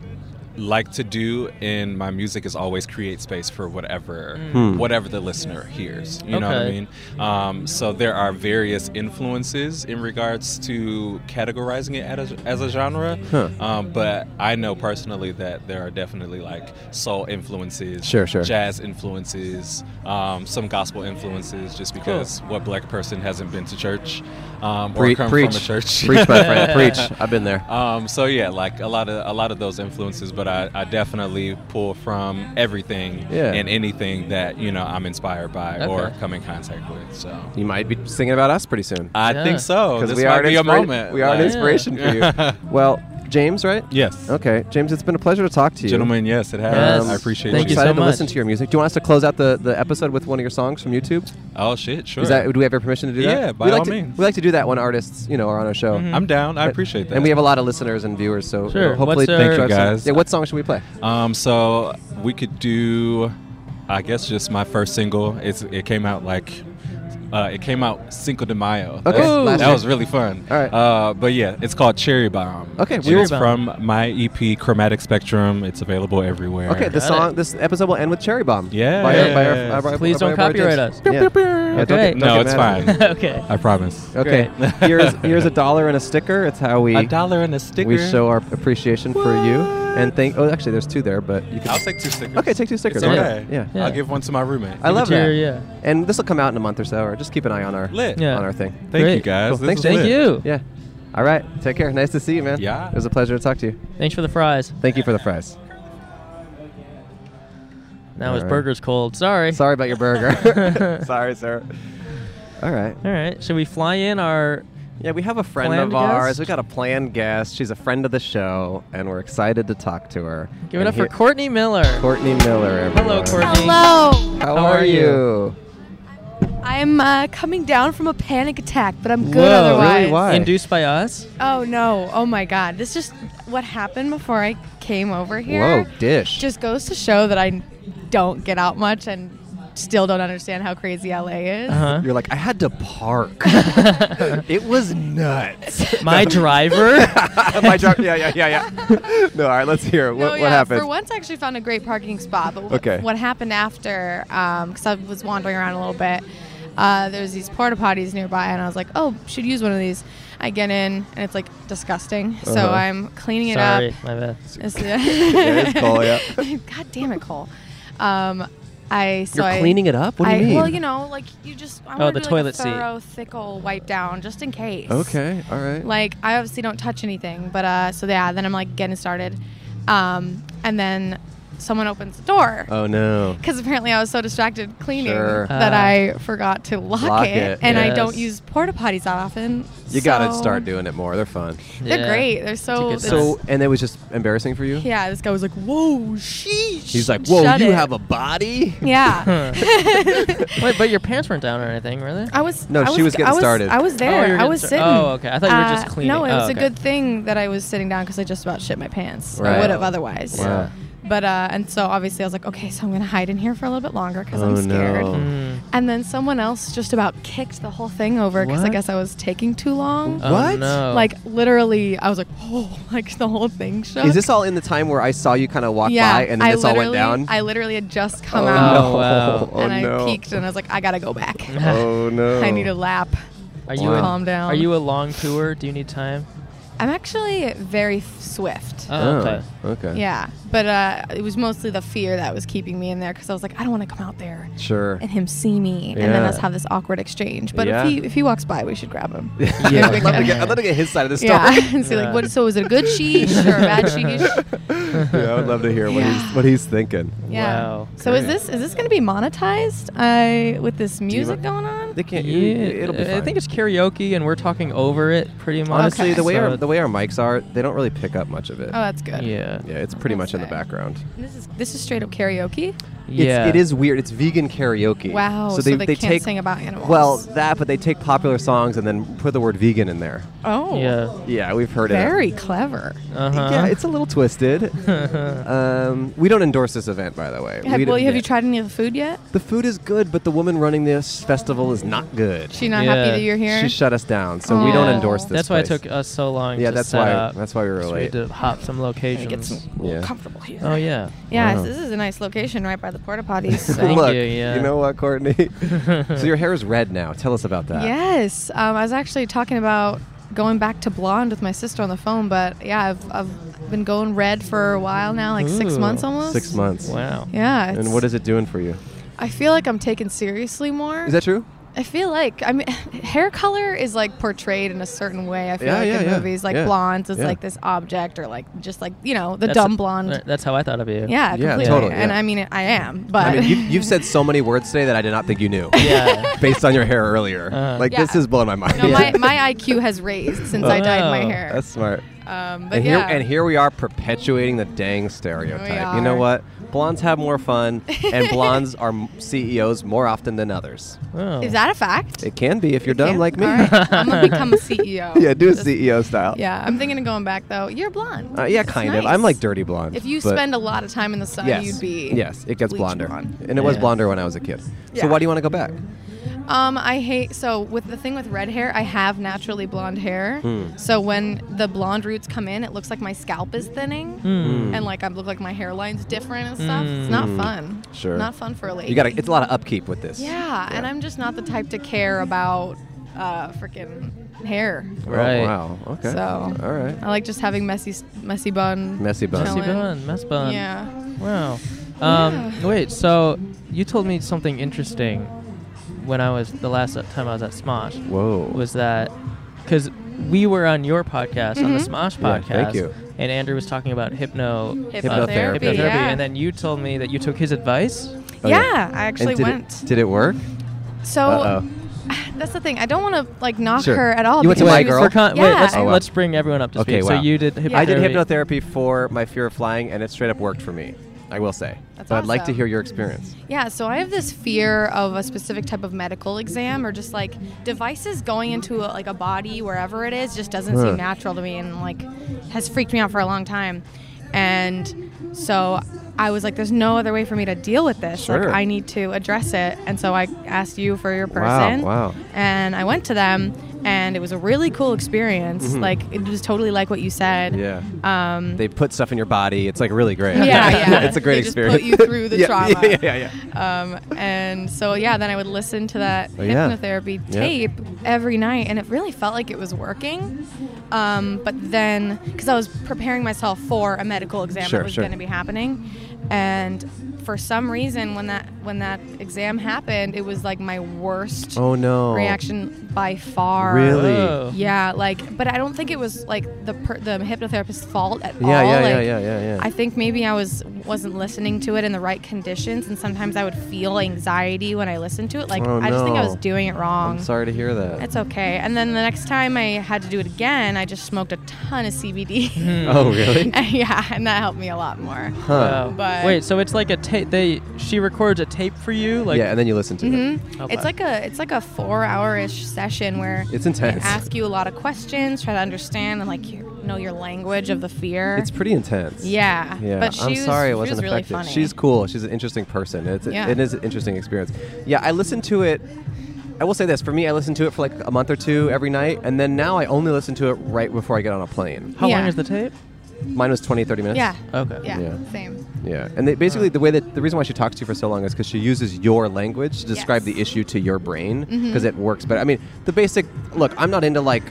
[SPEAKER 6] like to do in my music is always create space for whatever whatever the listener hears. You know what I
[SPEAKER 1] Okay.
[SPEAKER 6] mean? Um, so there are various influences in regards to categorizing it as a, as a genre. Um, but I know personally that there are definitely like soul influences,
[SPEAKER 2] Sure, sure.
[SPEAKER 6] jazz influences, um, some gospel influences, just because what black person hasn't been to church um, or
[SPEAKER 2] Pre-
[SPEAKER 6] come
[SPEAKER 2] preach,
[SPEAKER 6] from a church?
[SPEAKER 2] preach,
[SPEAKER 6] [LAUGHS]
[SPEAKER 2] my friend. Preach. I've been there.
[SPEAKER 6] Um, so yeah, like a lot of a lot of those influences, but I, I definitely pull from everything
[SPEAKER 2] Yeah.
[SPEAKER 6] and anything that you know I'm inspired by or
[SPEAKER 1] Okay.
[SPEAKER 6] come in contact with. So
[SPEAKER 2] You might be singing about us pretty soon.
[SPEAKER 6] I
[SPEAKER 1] Yeah.
[SPEAKER 6] think so.
[SPEAKER 2] Because
[SPEAKER 6] This
[SPEAKER 2] we
[SPEAKER 6] might
[SPEAKER 2] are an
[SPEAKER 6] be a
[SPEAKER 2] inspira-
[SPEAKER 6] moment.
[SPEAKER 2] We are an
[SPEAKER 6] Like, [LAUGHS]
[SPEAKER 2] inspiration for you. Well, James, right?
[SPEAKER 6] Yes.
[SPEAKER 2] Okay, James, it's been a pleasure to talk to you. Um,
[SPEAKER 6] Gentlemen, yes, it has.
[SPEAKER 1] Yes.
[SPEAKER 6] I appreciate
[SPEAKER 1] Thank
[SPEAKER 6] you.
[SPEAKER 1] you so
[SPEAKER 2] excited to
[SPEAKER 1] much.
[SPEAKER 2] listen to your music. Do you want us to close out the, the episode with one of your songs from YouTube?
[SPEAKER 6] Oh, shit, sure.
[SPEAKER 2] Is that do we have your permission to do that?
[SPEAKER 6] Yeah, by
[SPEAKER 2] we like
[SPEAKER 6] all
[SPEAKER 2] to,
[SPEAKER 6] means. Mm-hmm.
[SPEAKER 2] We like to do that when artists, you know, are on a show.
[SPEAKER 6] I'm down. I appreciate that.
[SPEAKER 2] And we have a lot of listeners and viewers, so
[SPEAKER 1] Sure.
[SPEAKER 2] uh, hopefully,
[SPEAKER 1] What's Thank
[SPEAKER 6] you,
[SPEAKER 2] drive some-
[SPEAKER 6] guys.
[SPEAKER 2] Yeah, what song should we play?
[SPEAKER 6] Um, so we could do, I guess, just my first single. It's it came out like, uh, it came out Cinco de Mayo. That
[SPEAKER 2] Okay,
[SPEAKER 6] was-
[SPEAKER 2] last
[SPEAKER 6] that
[SPEAKER 2] year.
[SPEAKER 6] was really fun.
[SPEAKER 2] All right.
[SPEAKER 6] Uh, but yeah, it's called Cherry Bomb.
[SPEAKER 2] Okay,
[SPEAKER 6] And
[SPEAKER 2] Cherry
[SPEAKER 6] it's
[SPEAKER 1] Bomb.
[SPEAKER 6] from my EP Chromatic Spectrum. It's available everywhere.
[SPEAKER 2] Okay, the
[SPEAKER 1] Got
[SPEAKER 2] song,
[SPEAKER 1] it.
[SPEAKER 2] this episode will end with Cherry Bomb.
[SPEAKER 6] Yeah.
[SPEAKER 2] By our- by our-
[SPEAKER 6] Yes.
[SPEAKER 2] by our-
[SPEAKER 1] Please
[SPEAKER 2] by our
[SPEAKER 1] don't
[SPEAKER 2] boy
[SPEAKER 1] copyright
[SPEAKER 2] James.
[SPEAKER 1] us.
[SPEAKER 2] Yeah. Yeah, don't
[SPEAKER 1] Okay.
[SPEAKER 2] get- don't
[SPEAKER 6] no,
[SPEAKER 2] get
[SPEAKER 6] it's
[SPEAKER 2] mad at
[SPEAKER 6] fine.
[SPEAKER 2] us.
[SPEAKER 1] [LAUGHS] okay.
[SPEAKER 6] I promise.
[SPEAKER 2] Okay, [LAUGHS] here's here's a dollar and a sticker. It's how we
[SPEAKER 6] A dollar and a sticker.
[SPEAKER 2] we show our appreciation for you and thank. Oh, actually, there's two there, but you can.
[SPEAKER 6] I'll take two stickers.
[SPEAKER 2] Okay, take two stickers.
[SPEAKER 6] It's
[SPEAKER 2] Why not?
[SPEAKER 6] okay.
[SPEAKER 2] Yeah.
[SPEAKER 1] Yeah.
[SPEAKER 6] I'll give one to my roommate.
[SPEAKER 2] I love
[SPEAKER 1] it to
[SPEAKER 2] that.
[SPEAKER 1] your- yeah.
[SPEAKER 2] And this will come out in a month or so, or just keep an eye on our
[SPEAKER 6] Lit.
[SPEAKER 1] Yeah.
[SPEAKER 2] on our thing.
[SPEAKER 6] Thank you
[SPEAKER 1] Great.
[SPEAKER 6] guys.
[SPEAKER 2] Cool.
[SPEAKER 6] This
[SPEAKER 2] Thanks,
[SPEAKER 6] was
[SPEAKER 1] Thank
[SPEAKER 6] lit.
[SPEAKER 1] you.
[SPEAKER 2] Yeah. All right. Take care. Nice to see you, man.
[SPEAKER 6] Yeah.
[SPEAKER 2] It was a pleasure to talk to you.
[SPEAKER 1] Thanks for the fries.
[SPEAKER 2] Thank you for the fries.
[SPEAKER 1] Now his
[SPEAKER 2] Alright.
[SPEAKER 1] burger's cold. Sorry.
[SPEAKER 2] Sorry about
[SPEAKER 1] [LAUGHS]
[SPEAKER 2] your burger. Sorry, sir. All right.
[SPEAKER 1] All right. Should we fly in our?
[SPEAKER 2] Yeah, we have a friend
[SPEAKER 1] Planned
[SPEAKER 2] of ours.
[SPEAKER 1] guest?
[SPEAKER 2] We got a planned guest. She's a friend of the show, and we're excited to talk to her.
[SPEAKER 1] Give it
[SPEAKER 2] And
[SPEAKER 1] up for
[SPEAKER 2] here-
[SPEAKER 1] Courtney Miller.
[SPEAKER 2] Courtney Miller.
[SPEAKER 1] Hello,
[SPEAKER 2] everyone.
[SPEAKER 1] Courtney.
[SPEAKER 5] Hello.
[SPEAKER 2] How,
[SPEAKER 1] How
[SPEAKER 2] are,
[SPEAKER 1] are
[SPEAKER 2] you?
[SPEAKER 1] you?
[SPEAKER 5] I'm uh, coming down from a panic attack, but I'm good
[SPEAKER 1] Whoa, really?
[SPEAKER 5] otherwise.
[SPEAKER 2] Why?
[SPEAKER 1] Induced by us.
[SPEAKER 5] Oh no! Oh my God! This just what happened before I came over here.
[SPEAKER 2] Whoa, dish.
[SPEAKER 5] Just goes to show that I don't get out much and still don't understand how crazy LA is.
[SPEAKER 2] Uh-huh.
[SPEAKER 1] Uh
[SPEAKER 2] You're like, I had
[SPEAKER 1] [LAUGHS]
[SPEAKER 2] to park.
[SPEAKER 1] huh.
[SPEAKER 2] it was
[SPEAKER 1] [LAUGHS]
[SPEAKER 2] nuts.
[SPEAKER 1] My driver.
[SPEAKER 2] [LAUGHS] My job. Yeah, yeah, yeah, yeah. no, all right. Let's hear it. What,
[SPEAKER 5] No,
[SPEAKER 2] what
[SPEAKER 5] yeah,
[SPEAKER 2] happened?
[SPEAKER 5] For once, I actually found a great parking spot. But what,
[SPEAKER 2] Okay.
[SPEAKER 5] what happened after? Because I was wandering around a little bit. Uh, there's these porta potties nearby, and I was like, "Oh, should use one of these." I get in, and it's like disgusting. So
[SPEAKER 2] Uh-huh.
[SPEAKER 5] I'm cleaning it
[SPEAKER 1] Sorry,
[SPEAKER 5] up.
[SPEAKER 1] my bad.
[SPEAKER 5] [LAUGHS]
[SPEAKER 2] [LAUGHS]
[SPEAKER 5] It's-
[SPEAKER 2] it's Cole, yeah.
[SPEAKER 5] [LAUGHS] God damn it, Cole. Um, I so
[SPEAKER 2] You're
[SPEAKER 5] I-
[SPEAKER 2] cleaning it up. What do
[SPEAKER 5] I,
[SPEAKER 2] you mean?
[SPEAKER 5] Well, you know, like you just I
[SPEAKER 1] Oh,
[SPEAKER 5] wanna
[SPEAKER 1] the
[SPEAKER 5] do,
[SPEAKER 1] toilet
[SPEAKER 5] like, a
[SPEAKER 1] seat.
[SPEAKER 5] thorough, thick old wipe down, just in case.
[SPEAKER 2] Okay. All right.
[SPEAKER 5] Like I obviously don't touch anything, but uh, so yeah, then I'm like getting started, um, and then someone opens the door.
[SPEAKER 2] oh no.
[SPEAKER 5] Because apparently I was so distracted cleaning
[SPEAKER 2] Sure.
[SPEAKER 5] that
[SPEAKER 1] Ah.
[SPEAKER 5] I forgot to lock,
[SPEAKER 2] Lock
[SPEAKER 5] it,
[SPEAKER 2] it,
[SPEAKER 5] and I
[SPEAKER 1] yes.
[SPEAKER 5] don't use porta potties that often.
[SPEAKER 2] You gotta
[SPEAKER 5] so-
[SPEAKER 2] start doing it more. They're fun.
[SPEAKER 5] They're
[SPEAKER 1] Yeah.
[SPEAKER 5] great. They're so.
[SPEAKER 1] good
[SPEAKER 5] it's-
[SPEAKER 2] So, and it was just embarrassing for you.
[SPEAKER 5] yeah, this guy was like, "Whoa, sheesh!"
[SPEAKER 2] [LAUGHS] He's like, whoa,
[SPEAKER 5] Shut
[SPEAKER 2] you
[SPEAKER 5] it."
[SPEAKER 2] have a body.
[SPEAKER 5] Yeah. [LAUGHS]
[SPEAKER 1] Wait, but your pants weren't down or anything, were they?
[SPEAKER 5] I was.
[SPEAKER 2] No,
[SPEAKER 5] I
[SPEAKER 2] she was getting
[SPEAKER 5] I was,
[SPEAKER 2] started.
[SPEAKER 5] I was
[SPEAKER 1] Oh, you were
[SPEAKER 5] there. I
[SPEAKER 1] getting
[SPEAKER 5] was
[SPEAKER 1] star-
[SPEAKER 5] sitting.
[SPEAKER 1] oh, okay. I thought you were just
[SPEAKER 5] Uh,
[SPEAKER 1] cleaning.
[SPEAKER 5] No, it
[SPEAKER 1] Oh,
[SPEAKER 5] was
[SPEAKER 1] okay.
[SPEAKER 5] a good thing that I was sitting down because I just about shit my pants.
[SPEAKER 2] Right.
[SPEAKER 5] I would have otherwise.
[SPEAKER 2] Wow.
[SPEAKER 5] But uh, and so obviously I was like, okay, so I'm gonna hide in here for a little bit longer because
[SPEAKER 2] Oh,
[SPEAKER 5] I'm scared. Hmm.
[SPEAKER 2] no.
[SPEAKER 1] Mm.
[SPEAKER 5] And then someone else just about kicked the whole thing over because I
[SPEAKER 2] What?
[SPEAKER 5] guess I was taking too long.
[SPEAKER 1] Oh,
[SPEAKER 2] What?
[SPEAKER 1] no.
[SPEAKER 5] Like literally, I was like, [LAUGHS] oh, like the whole thing shook.
[SPEAKER 2] Is this all in the time where I saw you kind of walk
[SPEAKER 5] yeah,
[SPEAKER 2] by and then
[SPEAKER 5] I
[SPEAKER 2] this all went
[SPEAKER 5] literally-
[SPEAKER 2] down?
[SPEAKER 5] I literally had just come
[SPEAKER 2] oh,
[SPEAKER 5] out
[SPEAKER 2] No.
[SPEAKER 1] Oh, wow.
[SPEAKER 2] Oh,
[SPEAKER 5] and
[SPEAKER 2] no.
[SPEAKER 5] I
[SPEAKER 2] [LAUGHS]
[SPEAKER 5] peeked and I was like, I gotta go back.
[SPEAKER 2] Oh no.
[SPEAKER 5] [LAUGHS] I need a lap.
[SPEAKER 1] are
[SPEAKER 5] to
[SPEAKER 1] you a-
[SPEAKER 5] calm down.
[SPEAKER 1] Are you a long tour? Do you need time?
[SPEAKER 5] I'm actually very f- swift.
[SPEAKER 1] Oh,
[SPEAKER 2] Oh,
[SPEAKER 1] okay.
[SPEAKER 2] okay.
[SPEAKER 5] Yeah, but uh, it was mostly the fear that was keeping me in there because I was like, I don't want to come out there
[SPEAKER 2] Sure.
[SPEAKER 5] and him see me and then
[SPEAKER 2] Yeah.
[SPEAKER 5] us have this awkward exchange. But
[SPEAKER 2] Yeah.
[SPEAKER 5] if he if he walks by, we should grab him.
[SPEAKER 2] [LAUGHS]
[SPEAKER 5] [LAUGHS]
[SPEAKER 2] Yeah. I'd, love to get, I'd love to get his side of the story.
[SPEAKER 5] Yeah, [LAUGHS] and see
[SPEAKER 1] Yeah.
[SPEAKER 5] like what. So was it a good sheesh or a
[SPEAKER 2] [LAUGHS]
[SPEAKER 5] bad sheesh?
[SPEAKER 2] yeah, I would love to hear what he's what he's thinking.
[SPEAKER 5] Yeah.
[SPEAKER 1] Wow.
[SPEAKER 5] So is this is this going to be monetized I with this music going on?
[SPEAKER 2] They can't. it'll be.
[SPEAKER 1] I
[SPEAKER 2] fine.
[SPEAKER 1] think it's karaoke, and we're talking over it pretty much.
[SPEAKER 2] honestly the way
[SPEAKER 1] so
[SPEAKER 2] our the way our mics are, they don't really pick up much of it.
[SPEAKER 5] Oh, that's good.
[SPEAKER 1] Yeah.
[SPEAKER 2] yeah, it's pretty much in the
[SPEAKER 5] Okay.
[SPEAKER 2] background.
[SPEAKER 5] This is this is straight up karaoke.
[SPEAKER 1] Yeah.
[SPEAKER 2] It's, it is weird. It's vegan karaoke.
[SPEAKER 5] Wow. So they, can't
[SPEAKER 2] take
[SPEAKER 5] sing about animals.
[SPEAKER 2] well that, but they take popular songs and then put the word vegan in there.
[SPEAKER 5] oh,
[SPEAKER 1] Yeah.
[SPEAKER 2] Yeah, we've heard it.
[SPEAKER 5] very clever.
[SPEAKER 1] Uh huh.
[SPEAKER 2] Yeah, it's a little
[SPEAKER 1] [LAUGHS]
[SPEAKER 2] twisted. um, we don't endorse this event, by the way.
[SPEAKER 5] Have,
[SPEAKER 2] We
[SPEAKER 5] well,
[SPEAKER 2] don't-
[SPEAKER 5] have you tried any of the food yet?
[SPEAKER 2] The food is good, but the woman running this festival is not good.
[SPEAKER 5] She not happy
[SPEAKER 1] Yeah.
[SPEAKER 5] that you're here.
[SPEAKER 2] She shut us down, so we don't
[SPEAKER 5] Aw.
[SPEAKER 2] endorse this.
[SPEAKER 1] that's why it
[SPEAKER 2] place.
[SPEAKER 1] took us so long.
[SPEAKER 2] Yeah,
[SPEAKER 1] to
[SPEAKER 2] that's
[SPEAKER 1] set
[SPEAKER 2] why-
[SPEAKER 1] Up,
[SPEAKER 2] that's why we were
[SPEAKER 1] 'cause
[SPEAKER 2] late.
[SPEAKER 1] We had to hop some locations.
[SPEAKER 5] get some
[SPEAKER 2] Yeah.
[SPEAKER 5] comfortable here.
[SPEAKER 1] oh yeah.
[SPEAKER 5] Yeah,
[SPEAKER 2] Wow.
[SPEAKER 5] this is a nice location right by the porta potties.
[SPEAKER 1] Thank
[SPEAKER 5] So.
[SPEAKER 2] [LAUGHS] Look,
[SPEAKER 1] you, yeah.
[SPEAKER 2] know
[SPEAKER 1] [LAUGHS]
[SPEAKER 2] what, Courtney? so your hair is red now. Tell us about that.
[SPEAKER 5] yes, um, I was actually talking about going back to blonde with my sister on the phone, but yeah, I've, I've been going red for a while now, like six
[SPEAKER 1] Ooh.
[SPEAKER 5] months almost.
[SPEAKER 2] Six months.
[SPEAKER 1] Wow.
[SPEAKER 5] Yeah.
[SPEAKER 2] And what is it doing for you?
[SPEAKER 5] I feel like I'm taken seriously more.
[SPEAKER 2] Is that true?
[SPEAKER 5] I feel like I mean, [LAUGHS] hair color is like portrayed in a certain way. I feel
[SPEAKER 2] Yeah,
[SPEAKER 5] like
[SPEAKER 2] yeah,
[SPEAKER 5] in
[SPEAKER 2] yeah,
[SPEAKER 5] movies, like
[SPEAKER 2] yeah,
[SPEAKER 5] blondes is
[SPEAKER 2] yeah.
[SPEAKER 5] like this object, or like just like you know the
[SPEAKER 1] That's
[SPEAKER 5] dumb
[SPEAKER 1] a-
[SPEAKER 5] blonde.
[SPEAKER 1] right, That's how I thought of you.
[SPEAKER 5] Yeah,
[SPEAKER 2] Yeah,
[SPEAKER 5] completely.
[SPEAKER 2] totally,
[SPEAKER 5] And
[SPEAKER 2] yeah.
[SPEAKER 5] I mean, I am, Um, but
[SPEAKER 2] I mean,
[SPEAKER 5] [LAUGHS]
[SPEAKER 2] you, you've said so many words today that I did not think you knew.
[SPEAKER 1] [LAUGHS] Yeah.
[SPEAKER 2] [LAUGHS] Based on your hair earlier,
[SPEAKER 1] Uh-huh.
[SPEAKER 2] like
[SPEAKER 5] Yeah.
[SPEAKER 2] [LAUGHS] this is blowing my mind.
[SPEAKER 5] No,
[SPEAKER 1] Yeah.
[SPEAKER 5] my, my IQ has raised [LAUGHS] since I dyed my
[SPEAKER 1] Wow.
[SPEAKER 5] hair.
[SPEAKER 2] That's smart.
[SPEAKER 5] Um, but
[SPEAKER 2] and
[SPEAKER 5] yeah,
[SPEAKER 2] here and here we are perpetuating the dang stereotype. You know
[SPEAKER 5] are.
[SPEAKER 2] what? Blondes have more fun,
[SPEAKER 5] [LAUGHS]
[SPEAKER 2] and blondes are m- CEOs more often than others.
[SPEAKER 1] Oh.
[SPEAKER 5] is that a fact?
[SPEAKER 2] It can be if you're dumb
[SPEAKER 5] Can-
[SPEAKER 2] like me.
[SPEAKER 5] All right, I'm gonna
[SPEAKER 2] [LAUGHS]
[SPEAKER 5] become a CEO. [LAUGHS]
[SPEAKER 2] yeah, do a
[SPEAKER 5] Just-
[SPEAKER 2] CEO style.
[SPEAKER 5] Yeah, I'm thinking of going back though. You're blonde.
[SPEAKER 2] Uh, yeah,
[SPEAKER 5] It's
[SPEAKER 2] kind of.
[SPEAKER 5] nice.
[SPEAKER 2] I'm like dirty blonde.
[SPEAKER 5] If you
[SPEAKER 2] but-
[SPEAKER 5] spend a lot of time in the sun,
[SPEAKER 2] yes,
[SPEAKER 5] you'd be.
[SPEAKER 2] yes, it gets
[SPEAKER 5] bleach
[SPEAKER 2] blonder,
[SPEAKER 5] blonde.
[SPEAKER 2] and it was
[SPEAKER 1] Yeah.
[SPEAKER 2] blonder when I was a kid.
[SPEAKER 5] Yeah.
[SPEAKER 2] So why do you want to go back?
[SPEAKER 5] Um, I hate so with the thing with red hair. I have naturally blonde hair,
[SPEAKER 2] Hmm.
[SPEAKER 5] so when the blonde roots come in, it looks like my scalp is thinning,
[SPEAKER 1] Hmm.
[SPEAKER 2] Hmm.
[SPEAKER 5] and like I look like my hairline's different and stuff. It's not fun.
[SPEAKER 2] Mm. Sure.
[SPEAKER 5] Not fun for a lady.
[SPEAKER 2] You got to. It's a lot of upkeep with this.
[SPEAKER 5] Yeah, and I'm just not the type to care about uh, freaking hair.
[SPEAKER 2] Oh,
[SPEAKER 1] Right.
[SPEAKER 2] wow. Okay.
[SPEAKER 5] So-
[SPEAKER 2] All right.
[SPEAKER 5] I like just having messy, messy bun.
[SPEAKER 2] Messy bun.
[SPEAKER 1] Messy
[SPEAKER 5] chilling.
[SPEAKER 1] bun, mess bun.
[SPEAKER 5] Yeah.
[SPEAKER 1] Wow. Um,
[SPEAKER 5] Yeah.
[SPEAKER 1] Wait, so you told me something interesting when I was the last time I was at Smosh.
[SPEAKER 2] Whoa.
[SPEAKER 1] Was that because we were on your podcast on the
[SPEAKER 5] Mm-hmm.
[SPEAKER 1] Smosh
[SPEAKER 2] Yeah,
[SPEAKER 1] podcast?
[SPEAKER 2] thank you.
[SPEAKER 1] And Andrew was talking about hypno
[SPEAKER 2] Hypnotherapy,
[SPEAKER 1] hypnotherapy,
[SPEAKER 5] Yeah.
[SPEAKER 1] and then you told me that you took his advice.
[SPEAKER 2] Oh,
[SPEAKER 5] yeah,
[SPEAKER 2] yeah.
[SPEAKER 5] I actually
[SPEAKER 2] and did
[SPEAKER 5] went.
[SPEAKER 2] It, did it work?
[SPEAKER 5] So
[SPEAKER 2] Uh-oh.
[SPEAKER 5] [SIGHS] that's the thing. I don't want to like knock
[SPEAKER 2] Sure.
[SPEAKER 5] her at all.
[SPEAKER 2] You went to
[SPEAKER 5] because
[SPEAKER 2] My
[SPEAKER 5] she was-
[SPEAKER 2] Girl?
[SPEAKER 1] For con-
[SPEAKER 5] yeah.
[SPEAKER 1] Wait, let's,
[SPEAKER 2] Oh, wow.
[SPEAKER 1] let's bring everyone up to
[SPEAKER 2] Okay,
[SPEAKER 1] speed.
[SPEAKER 2] wow.
[SPEAKER 1] So you did hypnotherapy.
[SPEAKER 2] I did hypnotherapy for my fear of flying, and it straight up worked for me. I will say.
[SPEAKER 5] That's
[SPEAKER 2] but I'd like to
[SPEAKER 5] awesome.
[SPEAKER 2] hear your experience.
[SPEAKER 5] Yeah, so I have this fear of a specific type of medical exam or just like devices going into a, like a body wherever it is just doesn't
[SPEAKER 2] Huh.
[SPEAKER 5] seem natural to me and like has freaked me out for a long time. And so I was like there's no other way for me to deal with this.
[SPEAKER 2] Sure.
[SPEAKER 5] Like I need to address it. And so I asked you for your
[SPEAKER 2] Wow,
[SPEAKER 5] person.
[SPEAKER 2] wow.
[SPEAKER 5] And I went to them and it was a really cool experience. Like it was totally like what you said.
[SPEAKER 2] Mm-hmm. Yeah.
[SPEAKER 5] Um
[SPEAKER 2] They put stuff in your body. It's like really great.
[SPEAKER 5] Yeah,
[SPEAKER 2] [LAUGHS]
[SPEAKER 5] yeah.
[SPEAKER 2] it's a great
[SPEAKER 5] They just put
[SPEAKER 2] experience.
[SPEAKER 5] you through the
[SPEAKER 2] [LAUGHS] yeah,
[SPEAKER 5] trauma.
[SPEAKER 2] Yeah, yeah, yeah.
[SPEAKER 5] Um, and so yeah, then I would listen to that
[SPEAKER 2] Oh, yeah.
[SPEAKER 5] hypnotherapy
[SPEAKER 2] Yeah.
[SPEAKER 5] tape every night, and it really felt like it was working. Um, but then, because I was preparing myself for a medical exam
[SPEAKER 2] Sure,
[SPEAKER 5] that was
[SPEAKER 2] sure.
[SPEAKER 5] going to be happening, and for some reason, when that when that exam happened, it was like my worst
[SPEAKER 2] Oh no.
[SPEAKER 5] reaction by far.
[SPEAKER 2] Really?
[SPEAKER 1] Whoa.
[SPEAKER 5] Yeah, like, but I don't think it was like the per- the hypnotherapist's fault at all.
[SPEAKER 2] Yeah, yeah, yeah,
[SPEAKER 5] like,
[SPEAKER 2] yeah, yeah, yeah.
[SPEAKER 5] I think maybe I was wasn't listening to it in the right conditions, and sometimes I would feel anxiety when I listened to it. Like,
[SPEAKER 2] Oh,
[SPEAKER 5] I just think I
[SPEAKER 2] no.
[SPEAKER 5] was doing it wrong.
[SPEAKER 2] I'm sorry to hear that.
[SPEAKER 5] It's okay. And then the next time I had to do it again, I just smoked a ton of
[SPEAKER 1] Hmm.
[SPEAKER 5] CBD.
[SPEAKER 2] oh really?
[SPEAKER 5] [LAUGHS] yeah, and that helped me a lot more.
[SPEAKER 2] Huh.
[SPEAKER 1] Wow.
[SPEAKER 5] But-
[SPEAKER 1] Wait, so it's like a tape. They she records a tape for you, like
[SPEAKER 2] yeah, and then you listen to it.
[SPEAKER 5] Mhm. It's like a it's like a four hour ish session where
[SPEAKER 2] It's intense.
[SPEAKER 5] they ask you a lot of questions, try to understand and like you know your language of the fear.
[SPEAKER 2] It's pretty intense.
[SPEAKER 5] yeah.
[SPEAKER 2] Yeah,
[SPEAKER 5] But she
[SPEAKER 2] I'm
[SPEAKER 5] was,
[SPEAKER 2] sorry
[SPEAKER 5] she
[SPEAKER 2] I wasn't
[SPEAKER 5] was
[SPEAKER 2] affected.
[SPEAKER 5] Really funny.
[SPEAKER 2] She's cool. She's an interesting person. It's
[SPEAKER 5] Yeah.
[SPEAKER 2] it is an interesting experience. Yeah, I listened to it. I will say this for me, I listened to it for like a month or two every night, and then now I only listen to it right before I get on a plane.
[SPEAKER 1] how long
[SPEAKER 5] Yeah.
[SPEAKER 1] is the tape?
[SPEAKER 2] Mine was 20, 30 minutes.
[SPEAKER 5] yeah.
[SPEAKER 1] Okay.
[SPEAKER 5] yeah.
[SPEAKER 2] Yeah.
[SPEAKER 5] Same.
[SPEAKER 2] Yeah, and they, basically the way that the reason why she talks to you for so long is because she uses your language to describe
[SPEAKER 5] Yes.
[SPEAKER 2] the issue to your brain because it works. But I mean, the basic look. I'm not into like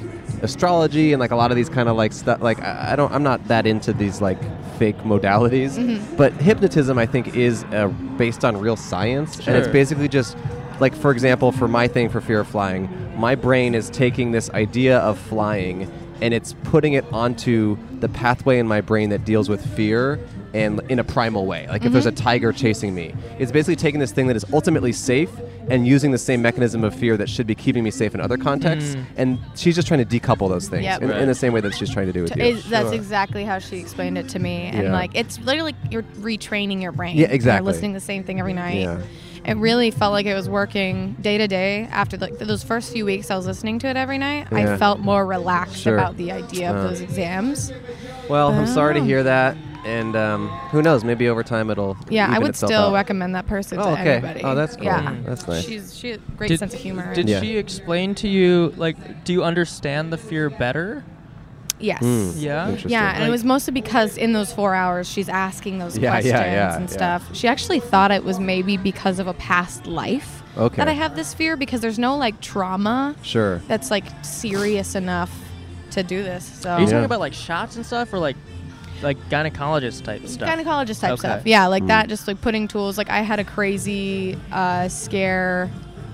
[SPEAKER 2] astrology and like a lot of these kind of like stuff. Like I, I don't. I'm not that into these like fake modalities. But hypnotism, I think, is uh, based on real science, and it's
[SPEAKER 1] Sure.
[SPEAKER 2] basically just like for example, for my thing for fear of flying, my brain is taking this idea of flying and it's putting it onto the pathway in my brain that deals with fear and in a primal way. Like if there's
[SPEAKER 5] Mm-hmm.
[SPEAKER 2] a tiger chasing me, it's basically taking this thing that is ultimately safe and using the same mechanism of fear that should be keeping me safe in other contexts. And she's just trying to decouple those things
[SPEAKER 5] Mm. Yep.
[SPEAKER 2] in, in the same way that she's trying to do with
[SPEAKER 5] T-
[SPEAKER 2] you.
[SPEAKER 5] is- That's exactly how she explained it to me, and
[SPEAKER 2] Yeah.
[SPEAKER 5] like it's literally like you're retraining your brain.
[SPEAKER 2] Yeah,
[SPEAKER 5] You're
[SPEAKER 2] exactly.
[SPEAKER 5] listening to the same thing every night.
[SPEAKER 2] Yeah.
[SPEAKER 5] It really felt like it was working day to day. After like th- those first few weeks, I was listening to it every night.
[SPEAKER 2] Yeah.
[SPEAKER 5] I felt more relaxed
[SPEAKER 2] Sure.
[SPEAKER 5] about the idea
[SPEAKER 2] Uh.
[SPEAKER 5] of those exams.
[SPEAKER 2] Well, I'm sorry to
[SPEAKER 5] Oh.
[SPEAKER 2] hear that. And um, who knows? Maybe over time it'll.
[SPEAKER 5] Yeah, I
[SPEAKER 2] even
[SPEAKER 5] would
[SPEAKER 2] itself
[SPEAKER 5] still
[SPEAKER 2] out.
[SPEAKER 5] recommend that person
[SPEAKER 2] Oh,
[SPEAKER 5] to
[SPEAKER 2] okay.
[SPEAKER 5] anybody.
[SPEAKER 2] Oh, that's cool.
[SPEAKER 5] Yeah,
[SPEAKER 2] That's nice.
[SPEAKER 5] She's she has a great
[SPEAKER 1] Did-
[SPEAKER 5] sense of humor.
[SPEAKER 1] Did
[SPEAKER 2] Yeah.
[SPEAKER 1] she explain to you like do you understand the fear better?
[SPEAKER 5] yes.
[SPEAKER 1] Yeah.
[SPEAKER 2] Hmm. Interesting.
[SPEAKER 5] Yeah, and
[SPEAKER 1] Like-
[SPEAKER 5] it was mostly because in those four hours she's asking those
[SPEAKER 2] Yeah, yeah,
[SPEAKER 5] questions
[SPEAKER 2] yeah,
[SPEAKER 5] and
[SPEAKER 2] yeah.
[SPEAKER 5] stuff. She actually thought it was maybe because of a past life
[SPEAKER 2] Okay.
[SPEAKER 5] that I have this fear because there's no like trauma
[SPEAKER 2] Sure.
[SPEAKER 5] that's like serious enough to do this. So
[SPEAKER 1] Are you
[SPEAKER 2] Yeah.
[SPEAKER 1] talking about like shots and stuff, or like like gynecologist type stuff?
[SPEAKER 5] gynecologist type
[SPEAKER 1] Okay. Hmm.
[SPEAKER 5] stuff. Yeah,
[SPEAKER 2] Hmm.
[SPEAKER 5] like that. Just like putting tools. Like I had a crazy uh, scare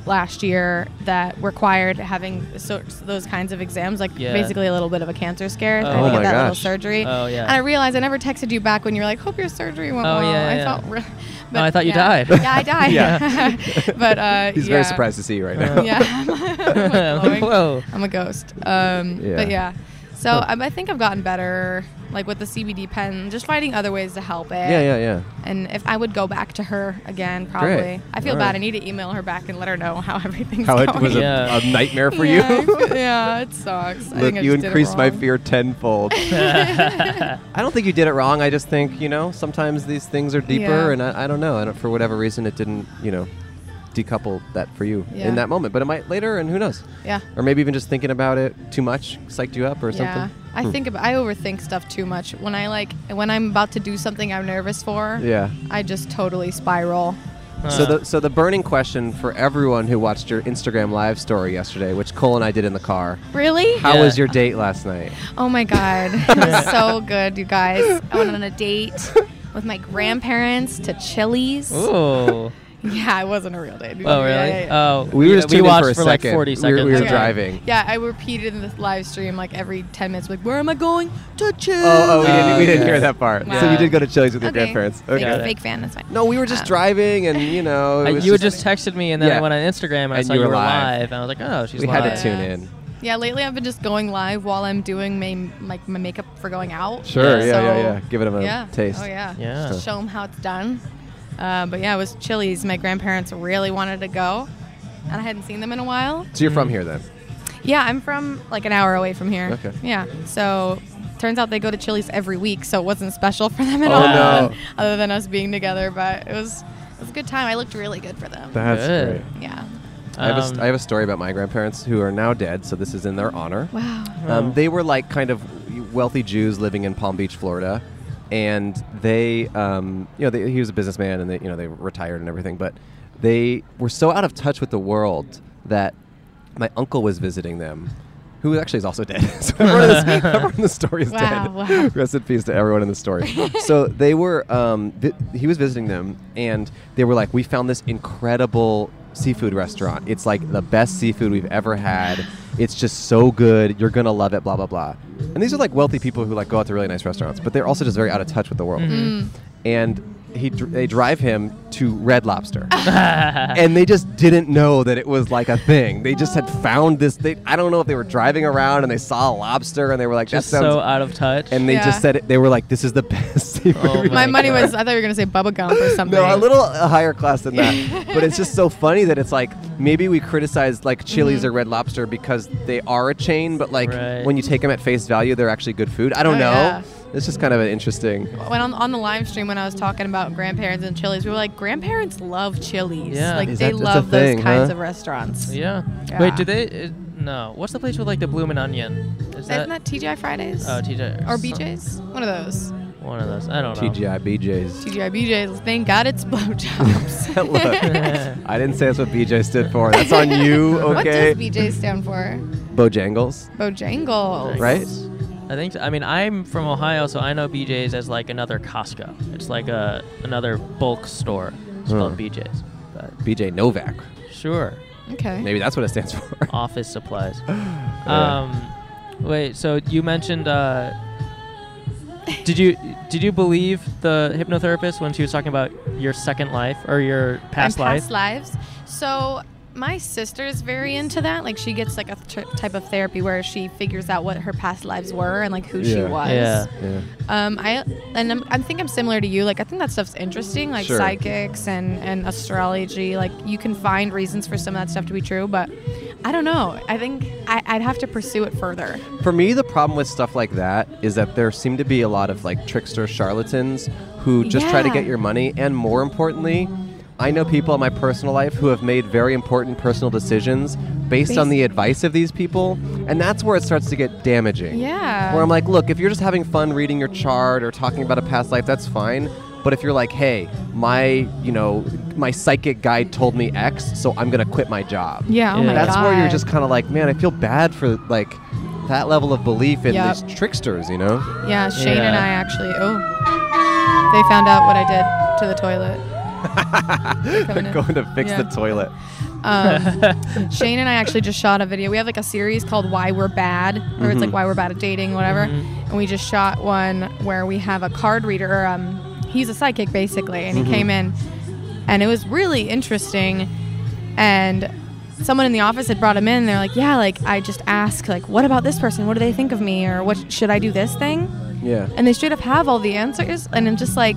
[SPEAKER 5] last year that required having so, those kinds of exams. Like
[SPEAKER 1] Yeah.
[SPEAKER 5] basically a little bit of a cancer scare. I
[SPEAKER 1] Oh.
[SPEAKER 5] had to
[SPEAKER 1] Oh
[SPEAKER 5] get
[SPEAKER 2] my
[SPEAKER 5] that little
[SPEAKER 2] gosh.
[SPEAKER 5] surgery.
[SPEAKER 1] Oh, yeah.
[SPEAKER 5] And I realized I never texted you back when you were like, "Hope your surgery went
[SPEAKER 1] Oh,
[SPEAKER 5] well."
[SPEAKER 1] yeah,
[SPEAKER 5] I
[SPEAKER 1] yeah.
[SPEAKER 5] felt.
[SPEAKER 1] [LAUGHS]
[SPEAKER 5] Re-
[SPEAKER 1] Oh, I thought you
[SPEAKER 5] yeah.
[SPEAKER 1] died.
[SPEAKER 5] Yeah, I
[SPEAKER 1] [LAUGHS]
[SPEAKER 5] died. [LAUGHS] but uh,
[SPEAKER 2] He's
[SPEAKER 5] yeah.
[SPEAKER 2] very surprised to see you right
[SPEAKER 1] [LAUGHS]
[SPEAKER 2] now.
[SPEAKER 5] Yeah. [LAUGHS] I'm glowing.
[SPEAKER 1] Whoa.
[SPEAKER 5] I'm a ghost. Um, But yeah.
[SPEAKER 2] Yeah.
[SPEAKER 5] So um, I think I've gotten better, like with the CBD pen, just finding other ways to help it.
[SPEAKER 2] Yeah, yeah, yeah.
[SPEAKER 5] And if I would go back to her again, probably.
[SPEAKER 2] Great.
[SPEAKER 5] I feel
[SPEAKER 2] All
[SPEAKER 5] bad.
[SPEAKER 2] right.
[SPEAKER 5] I need to email her back and let her know how everything's
[SPEAKER 2] How it
[SPEAKER 5] going.
[SPEAKER 2] was a,
[SPEAKER 1] Yeah.
[SPEAKER 2] a nightmare for
[SPEAKER 5] yeah, I
[SPEAKER 2] [LAUGHS] you.
[SPEAKER 5] feel- yeah, it sucks. I
[SPEAKER 2] Look,
[SPEAKER 5] think I
[SPEAKER 2] you
[SPEAKER 5] just did it
[SPEAKER 2] increased my
[SPEAKER 5] wrong.
[SPEAKER 2] fear
[SPEAKER 5] [LAUGHS]
[SPEAKER 2] tenfold. [LAUGHS] I don't think you did it wrong. I just think you know sometimes these things are deeper,
[SPEAKER 5] Yeah.
[SPEAKER 2] and I, I don't know. I don't, for whatever reason, it didn't you know decouple that for you
[SPEAKER 5] Yeah.
[SPEAKER 2] in that moment, but it might later, and who knows?
[SPEAKER 5] Yeah.
[SPEAKER 2] Or maybe even just thinking about it too much psyched you up or
[SPEAKER 5] Yeah,
[SPEAKER 2] something. Hmm.
[SPEAKER 5] I think about, I overthink stuff too much. When I like when I'm about to do something I'm nervous for,
[SPEAKER 2] Yeah.
[SPEAKER 5] I just totally spiral.
[SPEAKER 2] So
[SPEAKER 1] Huh.
[SPEAKER 2] the so the burning question for everyone who watched your Instagram live story yesterday, which Cole and I did in the car.
[SPEAKER 5] Really?
[SPEAKER 2] How
[SPEAKER 1] Yeah.
[SPEAKER 2] was your date last night?
[SPEAKER 5] Oh my
[SPEAKER 2] [LAUGHS]
[SPEAKER 5] god, it was so good, you guys. I went on a date with my grandparents to Chili's.
[SPEAKER 1] Ooh.
[SPEAKER 5] Yeah, it wasn't a real date.
[SPEAKER 1] Oh, really?
[SPEAKER 5] Yeah, yeah, yeah.
[SPEAKER 1] Oh, yeah,
[SPEAKER 2] just tuned in
[SPEAKER 1] watched
[SPEAKER 2] a
[SPEAKER 1] for like
[SPEAKER 2] second.
[SPEAKER 1] 40
[SPEAKER 2] We were-
[SPEAKER 1] seconds.
[SPEAKER 2] We were,
[SPEAKER 5] Okay.
[SPEAKER 2] driving.
[SPEAKER 5] Yeah, I repeated in the live stream like every 10 minutes, like, where am I going? To Chili's.
[SPEAKER 2] Oh, oh, we didn't, we
[SPEAKER 1] Uh,
[SPEAKER 2] didn't
[SPEAKER 1] yeah.
[SPEAKER 2] hear that part. So
[SPEAKER 5] Wow.
[SPEAKER 2] you did go to Chili's with your
[SPEAKER 5] Okay.
[SPEAKER 2] grandparents.
[SPEAKER 5] Fake,
[SPEAKER 1] Got it.
[SPEAKER 5] fake fan, that's fine.
[SPEAKER 2] No, we were just
[SPEAKER 5] Um,
[SPEAKER 2] driving, and you know, it
[SPEAKER 1] I-
[SPEAKER 2] was
[SPEAKER 1] you had just texted me, and then
[SPEAKER 2] Yeah.
[SPEAKER 1] I went on Instagram, and, I
[SPEAKER 2] And
[SPEAKER 1] saw
[SPEAKER 2] you
[SPEAKER 1] you
[SPEAKER 2] were
[SPEAKER 1] were,
[SPEAKER 2] live.
[SPEAKER 1] live. and I was like, oh, she's
[SPEAKER 2] we
[SPEAKER 1] live.
[SPEAKER 2] had to
[SPEAKER 5] Yeah.
[SPEAKER 2] tune in.
[SPEAKER 5] Yeah, lately I've been just going live while I'm doing my, like, my makeup for going out.
[SPEAKER 2] Sure, yeah, yeah,
[SPEAKER 5] So-
[SPEAKER 2] yeah, Give it a
[SPEAKER 5] Yeah.
[SPEAKER 2] taste.
[SPEAKER 5] Oh, yeah.
[SPEAKER 1] Yeah.
[SPEAKER 5] Just show them how it's done. Uh, but yeah, it was Chili's. My grandparents really wanted to go, and I hadn't seen them in a while.
[SPEAKER 2] So you're
[SPEAKER 1] Mm.
[SPEAKER 2] from here then?
[SPEAKER 5] Yeah, I'm from like an hour away from here.
[SPEAKER 2] Okay.
[SPEAKER 5] Yeah. So turns out they go to Chili's every week, so it wasn't special for them at
[SPEAKER 2] Oh,
[SPEAKER 5] all.
[SPEAKER 2] no.
[SPEAKER 5] [LAUGHS] Other than us being together, but it was it was a good time. I looked really good for them.
[SPEAKER 2] That's
[SPEAKER 1] Good.
[SPEAKER 2] great.
[SPEAKER 5] yeah.
[SPEAKER 2] I have, a st-
[SPEAKER 1] Um,
[SPEAKER 2] I have a story about my grandparents who are now dead, so this is in their honor.
[SPEAKER 5] Wow.
[SPEAKER 2] Um, they were like kind of wealthy Jews living in Palm Beach, Florida, and they, um, you know, they, he was a businessman, and they, you know, they retired and everything, but they were so out of touch with the world that my uncle was visiting them, who actually is also dead. [LAUGHS] so everyone in, this, everyone in the story is dead.
[SPEAKER 5] Wow, wow.
[SPEAKER 2] Rest in peace to everyone in the
[SPEAKER 5] [LAUGHS]
[SPEAKER 2] story. so they were, um, th- he was visiting them, and they were like, "We found this incredible seafood restaurant. It's like the best seafood we've ever had. It's just so good. You're gonna love it." Blah blah blah. And these are like wealthy people who like go out to really nice restaurants, but they're also just very out of touch with the world.
[SPEAKER 3] Mm-hmm.
[SPEAKER 1] [LAUGHS]
[SPEAKER 2] And he, dr- they drive him to Red Lobster
[SPEAKER 1] [LAUGHS]
[SPEAKER 2] and they just didn't know that it was like a thing. They just had found this. They I don't know if they were driving around and they saw a lobster and they were like,
[SPEAKER 1] just
[SPEAKER 2] "That sounds."
[SPEAKER 1] so out of touch.
[SPEAKER 2] and they
[SPEAKER 5] Yeah.
[SPEAKER 2] just said it. They were like, "This is the [LAUGHS] best seafood."
[SPEAKER 1] Oh
[SPEAKER 2] we've
[SPEAKER 5] My
[SPEAKER 1] my
[SPEAKER 5] money
[SPEAKER 1] God.
[SPEAKER 5] was I thought you were gonna say bubble gum or something.
[SPEAKER 2] [LAUGHS] no, a little uh, higher class
[SPEAKER 5] [LAUGHS]
[SPEAKER 2] than that. but it's just so funny that it's like maybe we criticize like Chili's
[SPEAKER 5] Mm-hmm.
[SPEAKER 2] or Red Lobster because they are a chain, but like
[SPEAKER 1] Right.
[SPEAKER 2] when you take them at face value, they're actually good food. I don't
[SPEAKER 5] Oh,
[SPEAKER 2] know.
[SPEAKER 5] yeah.
[SPEAKER 2] It's just kind of an interesting.
[SPEAKER 5] When on, on the live stream when I was talking about grandparents and Chili's, we were like, grandparents love Chili's.
[SPEAKER 1] Yeah.
[SPEAKER 5] Like
[SPEAKER 2] Is
[SPEAKER 5] they
[SPEAKER 2] that- that's a
[SPEAKER 5] love
[SPEAKER 2] thing,
[SPEAKER 5] those kinds
[SPEAKER 2] huh?
[SPEAKER 5] of restaurants.
[SPEAKER 1] yeah.
[SPEAKER 5] Yeah.
[SPEAKER 1] Wait, did they? Uh, no. What's the place with like the bloomin' onion? Is
[SPEAKER 5] Isn't that TGI Fridays?
[SPEAKER 1] Oh, TJ.
[SPEAKER 5] or BJ's? One of those.
[SPEAKER 1] One of those. I don't know.
[SPEAKER 2] TGI BJ's.
[SPEAKER 5] TGI BJ's. Thank God it's [LAUGHS] blowjobs.
[SPEAKER 2] [LAUGHS] Look, I didn't say that's what BJ stood for. That's on
[SPEAKER 5] [LAUGHS]
[SPEAKER 2] you,
[SPEAKER 5] What does
[SPEAKER 2] okay?
[SPEAKER 5] BJ stand for?
[SPEAKER 2] Bojangles.
[SPEAKER 5] Bojangles.
[SPEAKER 2] Right?
[SPEAKER 1] I think. So. I mean, I'm from Ohio, so I know BJ's as like another Costco. It's like a another bulk store. It's called BJ's. But
[SPEAKER 2] BJ Hmm. Novak.
[SPEAKER 1] sure,
[SPEAKER 5] Okay.
[SPEAKER 2] Maybe that's what it stands for.
[SPEAKER 1] [LAUGHS] office
[SPEAKER 2] [LAUGHS]
[SPEAKER 1] supplies. Um, wait. So you mentioned. Uh, did you did you believe the hypnotherapist when she was talking about your second life or your past
[SPEAKER 5] and
[SPEAKER 1] life?
[SPEAKER 5] past lives. So my sister's very into that. Like she gets like a th- type of therapy where she figures out what her past lives were and like who she
[SPEAKER 2] Yeah.
[SPEAKER 5] was.
[SPEAKER 1] yeah.
[SPEAKER 2] Yeah.
[SPEAKER 5] Um, I and I'm, I think I'm similar to you. Like I think that stuff's interesting, like
[SPEAKER 2] Sure.
[SPEAKER 5] psychics and and astrology. Like you can find reasons for some of that stuff to be true, but I don't know. I think I, I'd have to pursue it further.
[SPEAKER 2] For me, the problem with stuff like that is that there seem to be a lot of like trickster charlatans who just try to
[SPEAKER 5] Yeah.
[SPEAKER 2] get your money. And more importantly, I know people in my personal life who have made very important personal decisions based on
[SPEAKER 5] Based-
[SPEAKER 2] the advice of these people. And that's where it starts to get damaging.
[SPEAKER 5] Yeah.
[SPEAKER 2] Where I'm like, look, if you're just having fun reading your chart or talking about a past life, that's fine. But if you're like, hey, my, you know, my psychic guide told me X, so I'm gonna quit my job.
[SPEAKER 5] yeah. Oh
[SPEAKER 1] Yeah.
[SPEAKER 5] my god.
[SPEAKER 2] That's where you're just kind of like, man, I feel bad for like that level of belief in
[SPEAKER 5] Yep.
[SPEAKER 2] these tricksters, you know?
[SPEAKER 5] Yeah, Shane and
[SPEAKER 1] Yeah.
[SPEAKER 5] I actually. Oh, they found out what I did to the toilet.
[SPEAKER 2] [LAUGHS]
[SPEAKER 5] They're coming in.
[SPEAKER 2] Going to fix
[SPEAKER 5] Yeah.
[SPEAKER 2] the toilet. [LAUGHS]
[SPEAKER 5] Um, Shane and I actually just shot a video. We have like a series called "Why We're Bad," where
[SPEAKER 2] Mm-hmm.
[SPEAKER 5] it's like why we're bad at dating, whatever. And we just shot one where we have a card reader. Or, um, he's a psychic
[SPEAKER 2] Mm-hmm.
[SPEAKER 5] basically, and he came in, and it was really interesting. And someone in the office had brought him in. And they're like, yeah, like I just ask, like, what about this person? What do they think of me? Or what should I do this thing?
[SPEAKER 2] Yeah.
[SPEAKER 5] And they straight up have all the answers. And I'm just like,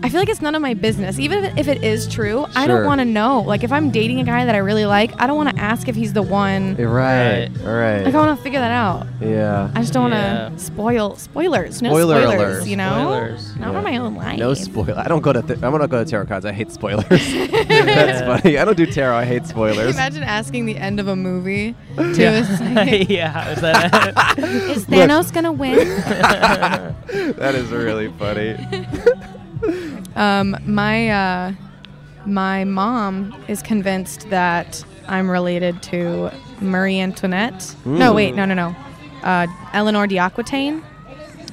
[SPEAKER 5] I feel like it's none of my business. Even if it, if it is true, I
[SPEAKER 2] Sure.
[SPEAKER 5] don't want to know. Like, if I'm dating a guy that I really like, I don't want to ask if he's the one.
[SPEAKER 2] You're right. All right.
[SPEAKER 5] Like, I want to figure that out.
[SPEAKER 2] yeah.
[SPEAKER 5] I just don't
[SPEAKER 1] Yeah.
[SPEAKER 5] want to spoil spoilers. No
[SPEAKER 2] Spoiler
[SPEAKER 5] spoilers,
[SPEAKER 2] alert.
[SPEAKER 5] you know.
[SPEAKER 1] Spoilers.
[SPEAKER 5] Not
[SPEAKER 2] Yeah.
[SPEAKER 5] for my own life.
[SPEAKER 2] No spoiler. I don't go to. Th- I'm gonna go to tarot cards. I
[SPEAKER 5] [LAUGHS]
[SPEAKER 2] hate spoilers. That's funny. I don't do tarot. I hate spoilers.
[SPEAKER 5] Imagine asking the end of a
[SPEAKER 2] [LAUGHS]
[SPEAKER 5] movie. To [LAUGHS]
[SPEAKER 1] [LAUGHS] yeah, [LAUGHS] is that it?
[SPEAKER 5] Is Thanos gonna win?
[SPEAKER 2] [LAUGHS] that is really funny.
[SPEAKER 5] Um, my uh, my mom is convinced that I'm related to Marie Antoinette. No, wait, no, no, no. Uh, Eleanor de Aquitaine.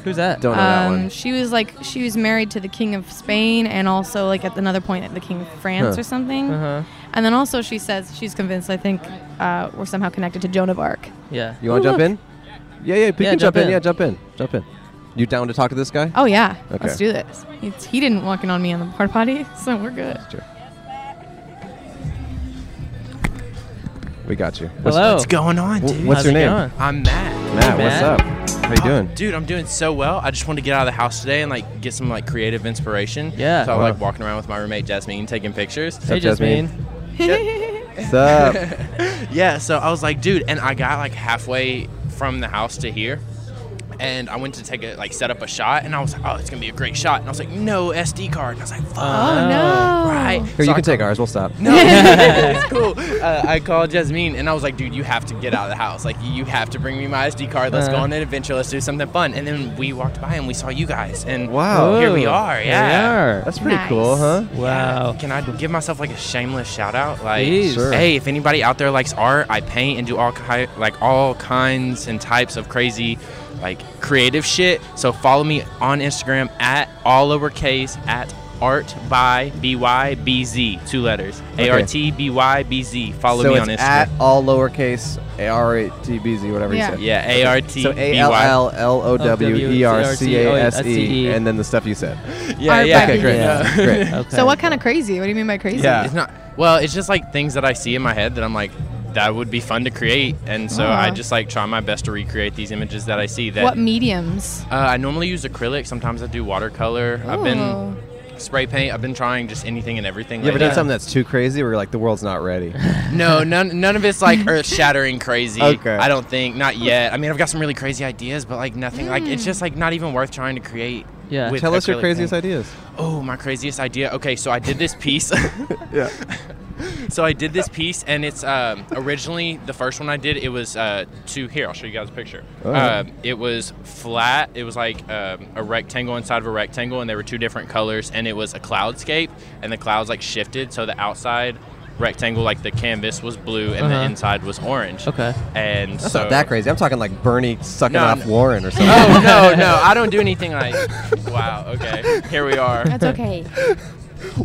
[SPEAKER 1] Who's that?
[SPEAKER 2] Don't know that
[SPEAKER 5] Um,
[SPEAKER 2] one.
[SPEAKER 5] she was like she was married to the King of Spain and also like at another point the King of France
[SPEAKER 2] Huh.
[SPEAKER 5] or something.
[SPEAKER 7] Uh-huh.
[SPEAKER 1] Uh huh.
[SPEAKER 5] And then also she says she's convinced I think uh, we're somehow connected to Joan of Arc.
[SPEAKER 1] Yeah.
[SPEAKER 2] You want to
[SPEAKER 5] Oh,
[SPEAKER 2] jump in? Yeah, yeah. You
[SPEAKER 1] Yeah,
[SPEAKER 2] can jump
[SPEAKER 1] jump
[SPEAKER 2] in.
[SPEAKER 1] in.
[SPEAKER 2] Yeah, jump in. Jump in. You down to talk to this guy?
[SPEAKER 5] Oh yeah,
[SPEAKER 2] Okay.
[SPEAKER 5] let's do this. It's, he didn't walk in on me on the porta potty, [LAUGHS] so we're good.
[SPEAKER 2] We got you. What's,
[SPEAKER 1] Hello.
[SPEAKER 7] What's going on,
[SPEAKER 2] wh-
[SPEAKER 7] dude?
[SPEAKER 2] what's
[SPEAKER 1] How's
[SPEAKER 2] your
[SPEAKER 1] it
[SPEAKER 2] name?
[SPEAKER 1] going?
[SPEAKER 7] I'm Matt.
[SPEAKER 1] Matt.
[SPEAKER 2] Matt, what's up? How you
[SPEAKER 5] [LAUGHS]
[SPEAKER 2] doing?
[SPEAKER 7] Dude, I'm doing so well. I just wanted to get out of the house today and like get some like creative inspiration.
[SPEAKER 1] Yeah.
[SPEAKER 7] So I'm like
[SPEAKER 2] Wow.
[SPEAKER 7] walking around with my roommate Jasmine taking pictures.
[SPEAKER 1] Hey,
[SPEAKER 2] Jasmine?
[SPEAKER 1] Jasmine.
[SPEAKER 2] What's up?
[SPEAKER 7] [LAUGHS] Yeah, so I was like, dude, and I got like halfway from the house to here. And I went to take a like set up a shot, and I was like, "Oh, it's gonna be a great shot." And I was like, "No SD card." And I was like, "Fuck,
[SPEAKER 1] Oh.
[SPEAKER 5] Oh no!
[SPEAKER 7] right?"
[SPEAKER 2] Here,
[SPEAKER 7] So
[SPEAKER 2] you
[SPEAKER 7] I
[SPEAKER 2] can take ours. We'll stop.
[SPEAKER 7] No,
[SPEAKER 1] [LAUGHS]
[SPEAKER 7] it's cool. Uh, I called Jasmine and I was like, dude, you have to get out of the house. Like, you have to bring me my SD card. Let's go
[SPEAKER 1] Uh-huh.
[SPEAKER 7] on an adventure. Let's do something fun. And then we walked by and we saw you guys. And
[SPEAKER 2] Wow.
[SPEAKER 7] here we
[SPEAKER 1] Whoa,
[SPEAKER 7] are.
[SPEAKER 1] here
[SPEAKER 7] Yeah.
[SPEAKER 1] we are.
[SPEAKER 2] That's pretty
[SPEAKER 5] Nice.
[SPEAKER 2] cool, huh?
[SPEAKER 1] Wow.
[SPEAKER 7] Can I give myself like a shameless shout out? Like,
[SPEAKER 1] Please.
[SPEAKER 2] Sure.
[SPEAKER 7] hey, if anybody out there likes art, I paint and do all ki- like all kinds and types of crazy, like creative shit. So follow me on Instagram at all lowercase at art by b y b z two letters a r t b y b z. Follow
[SPEAKER 2] so
[SPEAKER 7] me
[SPEAKER 2] it's
[SPEAKER 7] on Instagram.
[SPEAKER 2] at all lowercase a r a t b z whatever
[SPEAKER 5] Yeah.
[SPEAKER 2] you said.
[SPEAKER 7] yeah, A R T
[SPEAKER 2] So
[SPEAKER 7] B
[SPEAKER 2] A
[SPEAKER 7] Y.
[SPEAKER 2] L L L O W E R C A S E, and then the stuff you said.
[SPEAKER 7] Yeah,
[SPEAKER 5] Art
[SPEAKER 7] yeah.
[SPEAKER 5] by
[SPEAKER 2] Okay, great,
[SPEAKER 1] Yeah.
[SPEAKER 2] great.
[SPEAKER 1] Okay.
[SPEAKER 5] So what kind of crazy? What do you mean by crazy?
[SPEAKER 2] Yeah.
[SPEAKER 7] It's not. Well, it's just like things that I see in my head that I'm like, that would be fun to create, and so I
[SPEAKER 2] Uh-huh.
[SPEAKER 5] Aw.
[SPEAKER 7] just like try my best to recreate these images that I see. That
[SPEAKER 5] What mediums?
[SPEAKER 7] Uh, I normally use acrylic. Sometimes I do watercolor. I've been spray paint. I've been trying just anything and everything.
[SPEAKER 2] You ever
[SPEAKER 7] lately.
[SPEAKER 2] done something that's too crazy where you're like, the world's not ready?
[SPEAKER 7] No, none, none of it's
[SPEAKER 2] [LAUGHS]
[SPEAKER 7] like earth shattering crazy.
[SPEAKER 2] Okay.
[SPEAKER 7] I don't think. Not yet. I mean, I've got some really crazy ideas, but like nothing. Like it's just like not even worth trying to create.
[SPEAKER 1] [LAUGHS] Yeah.
[SPEAKER 7] with
[SPEAKER 2] Tell us your
[SPEAKER 7] acrylic
[SPEAKER 2] craziest
[SPEAKER 7] paint.
[SPEAKER 2] ideas.
[SPEAKER 7] Oh, my craziest idea. Okay, so I did this piece. [LAUGHS]
[SPEAKER 2] Yeah.
[SPEAKER 7] so I did this piece, and it's um, originally the first one I did. It was uh, to here. I'll show you guys a picture.
[SPEAKER 2] Alright.
[SPEAKER 7] Um, it was flat. It was like um, a rectangle inside of a rectangle, and there were two different colors. And it was a cloudscape, and the clouds like shifted, so the outside rectangle, like the canvas, was blue, and the
[SPEAKER 1] Uh-huh.
[SPEAKER 7] inside was orange.
[SPEAKER 1] Okay.
[SPEAKER 7] And
[SPEAKER 2] That's
[SPEAKER 7] so
[SPEAKER 2] not that crazy. I'm talking like Bernie sucking
[SPEAKER 7] No,
[SPEAKER 2] off
[SPEAKER 7] no.
[SPEAKER 2] Warren or
[SPEAKER 7] [LAUGHS]
[SPEAKER 2] something.
[SPEAKER 7] Oh no,
[SPEAKER 2] [LAUGHS]
[SPEAKER 7] no, I don't do anything like. Wow. Okay. Here we are.
[SPEAKER 5] That's okay.